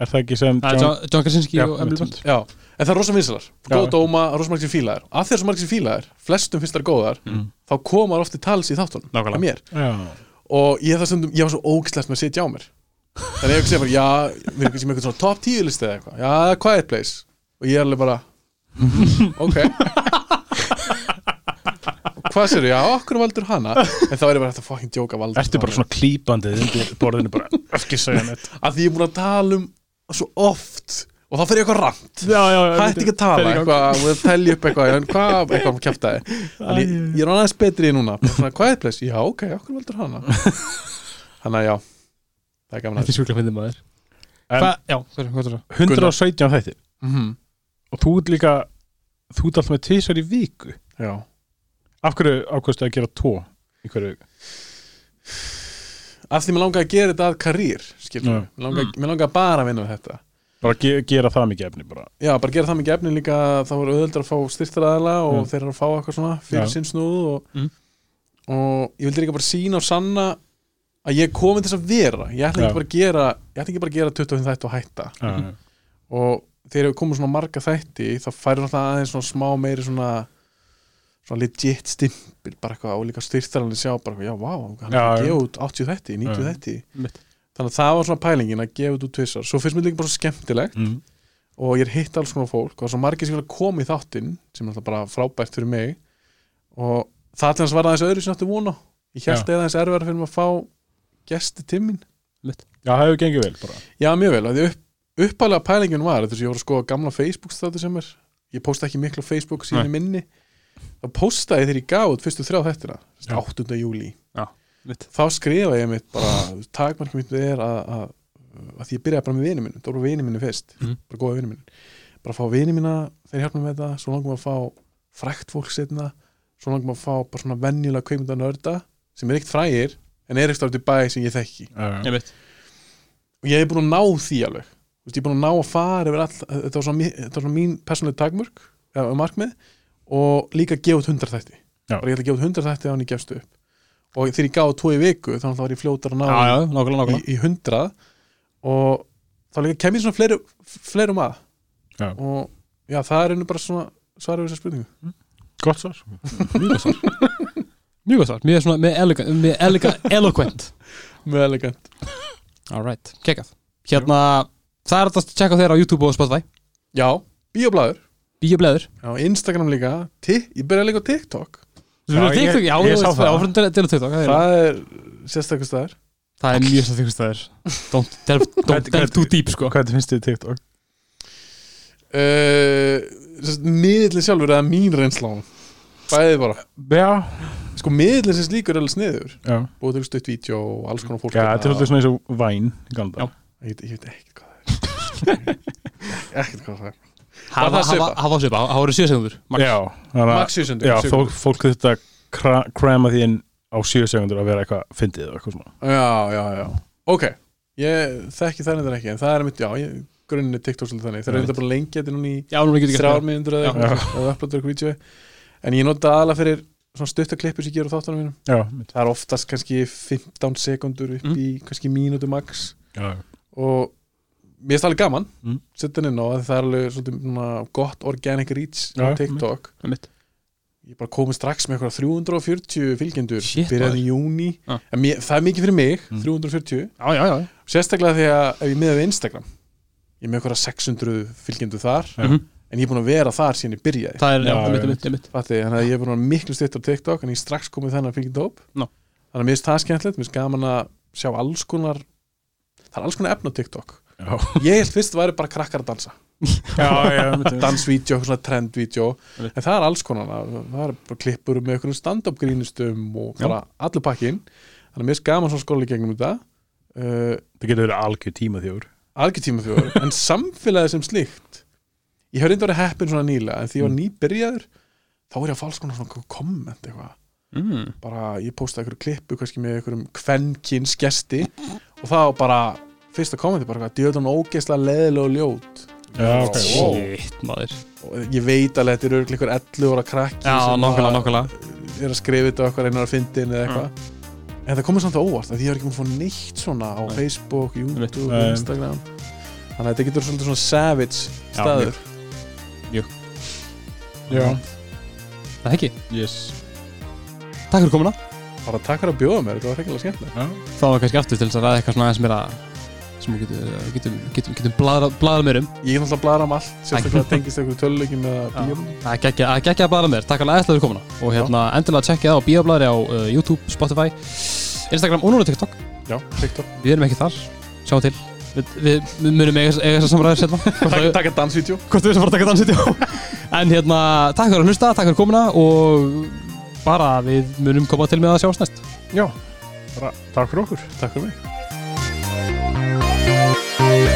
B: er það ekki sem
A: Það er John- John Krasinski
B: Já,
A: og Emily Blunt
B: mitt.
C: Já, en það er rosa vinsalar Góð
B: Já.
C: dóma, rosa margir fílaðar Af því að svo margir fílaðar, flestum finnst þær góðar þá komar ofti tals í þáttunum
A: Nákvæmlega.
C: hjá mér.
B: Já,
C: og ég það stundum, ég var svo ógæslegt með að sitja á mér þannig að ég segi bara, já, við erum kannski með eitthvað svona top 10 listi eða eitthvað, já, það er quiet place og ég er alveg bara ok hvað sér, já, okkur valdur hana en þá er ég bara þetta fucking djóka valdur
B: ertu bara svona klípandið undir borðinu bara, ekki segja neitt
C: að því ég er búin að tala um svo oft og þá fer ég eitthvað ramt
B: Já, já, já
C: hætti ekki að tala eitthvað og telja upp eitthvað en hvað, eitthvað um kjæftæði en ég, ég er aðeins betri í núna Bara svona, hvað er place? Já, ok, okkur valdur hana þannig að já það er gaman að
A: Þetta er sjúkla fyndið maður
B: En-
A: Hva, Já, hvað hvað er það?
B: 117 þættir Mhm.
C: -hmm.
B: og þú ert líka þú ert alltaf með tvisar í viku
C: Já
B: af hverju ákvæmstu að gera tvo í hverju viku?
C: Af því mér langaði að gera þetta að karýr
B: Já.
C: Mér langaði, mm. langaði bara að vinna við þetta
B: bara ge gera það mikið efni bara.
C: Já, bara gera það mikið efni líka þá er auðvöldur að fá styrtaraðala og
B: Mm.
C: þeir eru að fá eitthvað svona fyrir
B: Já.
C: sinn snúð og,
A: Mm.
C: og ég vildi líka bara sína og sanna að ég er komin til þess að vera ég ætla
B: Já.
C: ekki bara að gera ég ætla ekki bara að gera 25 þætti og hætta
B: Já,
C: og þegar við komum svona marga þætti þá færir náttúrulega aðeins svona smá meiri svona svona legit stimpil bara eitthvað og líka styrtaralni sjá bara eitthvað, já, vá, hann er
B: Já,
C: að
B: já.
C: gefa út 80 þætti, 90
B: Já.
C: þætti
A: Mitt.
C: þannig að það var svona pælingin að gefa út út tvissar svo finnst mér líka bara svo skemmtilegt
B: Mm.
C: og ég er hitt alls konar fólk og svo margir sem vilja koma í þáttinn sem er alltaf bara frábært fyrir mig og það til hans var aðeins öðru sem átti vona ég held eða aðeins erfara fyrir mig að fá gesti til mín
B: Já, það hefur gengið vel bara.
C: já mjög vel, að því upp, uppalega pælingin var þess að ég voru að skoða gamla Facebook státu sem er ég posta ekki miklu á Facebook síðan í minni þá postaði ég þegar ég gaf út fyrstu þrjá þettina,
B: Já.
C: 8. júli
B: Já,
A: mitt.
C: þá skrifa ég mitt bara takmarkið mitt er að, að, að því ég byrjaði bara með vinið minn, þá voru vinið minni fyrst
A: Mhm.
C: bara góða vinið minn, bara að fá vinið minna þeir hjálpa mér með þetta, svo langum að fá frækt fólk setna, svo langum að fá bara svona venjulega kveimunda nörda sem er eitt frægir, en er eitthvað út í bæ sem ég þekki,
B: Já,
A: Ég veit.
C: og ég hef búin að ná því alveg Þú veist, ég er búin að ná að fara yfir all þetta var svona, mi- þetta var svona mín persónlega takmörk eða markmið og líka gefa út hundar þætti
B: Já.
C: bara ég ætla að gefa út hundar þætti á hann ég gefst upp og þegar ég gaf út tvo í viku þannig að var ég fljótar að ná
A: Já, já, nákvæmlega,
C: í,
A: nákvæmlega.
C: í hundrað og þá líka kem ég svona fleiru, fleirum að
B: Já.
C: og já, það er einu bara svona svara við þessar spurningu
B: gott svar Mjög gott svar
A: Mjög gott svar, mjög svona, með elegant, með elegant, eloquent.
C: mjög elegant
A: All right, kekkað. Hérna, það er alltaf að checka þeirra á YouTube og Spotify.
C: já, bíoblæður,
A: Bíobleður.
C: já, Instagram líka Tik- ég byrjaði líka á TikTok
A: Þú fyrir
B: ég-
A: TikTok, já,
B: ég
A: þú
B: sá
A: veist,
B: það.
A: áfram til- til á TikTok, það er-
C: það er sérstakast það er
A: það er mjög svo þykust það er. Don't delve- don't
B: Hvernig-
A: delve too deep, sko.
B: Hvað finnst þið TikTok?
C: uh, miðillin sjálfur eða mín reynsla á hann bæðið bara
B: Já,
C: sko miðillin sem slíkur er alveg sniður
B: já.
C: búið til stutt vídeo og alls konar fólk
B: já
C: hérna.
B: þetta er alltaf svona eins og væn
A: Já.
C: ég, veit- ég veit ekkert hvað það er ekkert hvað það er
A: Hafa
C: það svipað?
A: hafa- hafa svipað, hafa verið sjö sekundur.
B: Já, þannig að
C: Max 700
B: já, fólk, fólk þetta kra- krama því inn á 7 sekundur að vera eitthvað fyndið og eitthvað svona
C: Já, já, já Ok, ég þekki það nefndir ekki En það er mitt, já, ég, grunni TikTok svolítið þannig Þeir eru
B: Right.
C: þetta bara lengi þetta núna í
A: Já, nú getur ekki
C: þrjár minnundur eða
A: Já.
C: eitthvað og upplóttur eitthvað vídeo En ég nota aðalega fyrir svona stuttaklippur sem ég ger á þáttunum mínum
B: Já,
C: Það er oftast kannski 15 sekundur upp
A: Mm.
C: í kannski mínútu max
B: já,
C: og mér finnst það alveg gaman
B: Mm.
C: setja hann inn á að það er alveg svolítið svona, gott organic reach
B: Já,
C: á TikTok
A: Einmitt.
C: ég bara komið strax með eitthvað 340 fylgjendur
A: Shit,
C: byrjaði í júni
A: Já.
C: En mér, það er mikið fyrir mig,
B: Mm.
C: 340
A: Já, já, já.
C: sérstaklega því að ef ég miða við Instagram ég er með eitthvað 600 fylgjendur þar
B: Já.
A: Mhm.
C: en ég er búin að vera þar síðan ég byrjaði
A: Það er, já,
B: Já,
A: einmitt,
B: já.
A: einmitt, einmitt.
C: Fatti, þannig að ég er búin að vera miklu stýtt á TikTok en ég er strax komið þennan fylgjendóp
A: Ná.
C: þannig að mér finnst það skemmtilegt, mér finnst gaman að sjá alls konar það er alls konar efna á TikTok
B: já,
C: ég held fyrst að væri bara krakkar að dansa
B: já, já, einmitt.
C: dansvídeó, eitthvað svona trendvídeó
A: Einmitt.
C: en það er alls konar, það það er bara klippur með einhverjum stand-up grínustum og bara allur pakkin, þannig að mér finnst gaman svona skóla í gegnum þetta uh,
B: það getur verið algjör tíma þjóður
C: algjörtíma þjóður, en samfélagið sem slíkt ég hef reynda verið heppin svona nýlega en
B: Mm.
C: því ég var nýbyrjaður þá er ég að fá alls konar svona komment eitthvað
A: Mm.
C: bara ég postaði einhverju klippu kannski með einhverjum kvenkins gesti og það var bara fyrsta kommenti bara eitthvað djöðan ógeðslega leðilega og ljót
B: Já, ok, wow.
A: Shit, maður.
C: og ég veit alveg að þetta eru örugglega einhver 11 ára krakki
A: Já,
C: sem
A: nákvæmlega,
C: að-
A: nákvæmlega. Mm.
C: er að skrifa þetta og eitthvað reynar að fyndi inn eða eitthvað en það komið samt á óvart að ég er ekki múin að fá neitt svona á Facebook, YouTube,
B: Nei.
C: Instagram þannig að þetta getur svolítið svona savage staður
B: Já,
A: Það ekki.
B: yes
A: Takk fyrir komuna.
C: bara takk fyrir að bjóða mér, þetta var hrekilega skemmtilegt
B: Já,
A: þá var kannski aftur til þess að ræða eitthvað svona aðeins meira sem við getum, eh, getum, getum, getum blaðra, blaðra mér um
C: ég get náttúrulega blara um allt, sérstaklega tengist einhverju tölulegjum eða bíum
A: að gegja að gegja að blaðra mér, takk alveg aðeinslega fyrir komuna og hérna endilega tjekkja það á bíoblaðri á uh, YouTube, Spotify, Instagram og núna TikTok
C: já, TikTok,
A: við erum ekki þar, sjáum til við, við, við munum eiga eiga þessar samræður setna
C: takk,
A: hvort
C: takk að dansvídeó
A: við erum að fara að taka dansið en hérna, takk fyrir að hlusta, takk fyrir komuna og bara við munum koma til með að sjáast næst
B: já, bara takk fyrir okkur
C: takk fyrir mig
E: Thank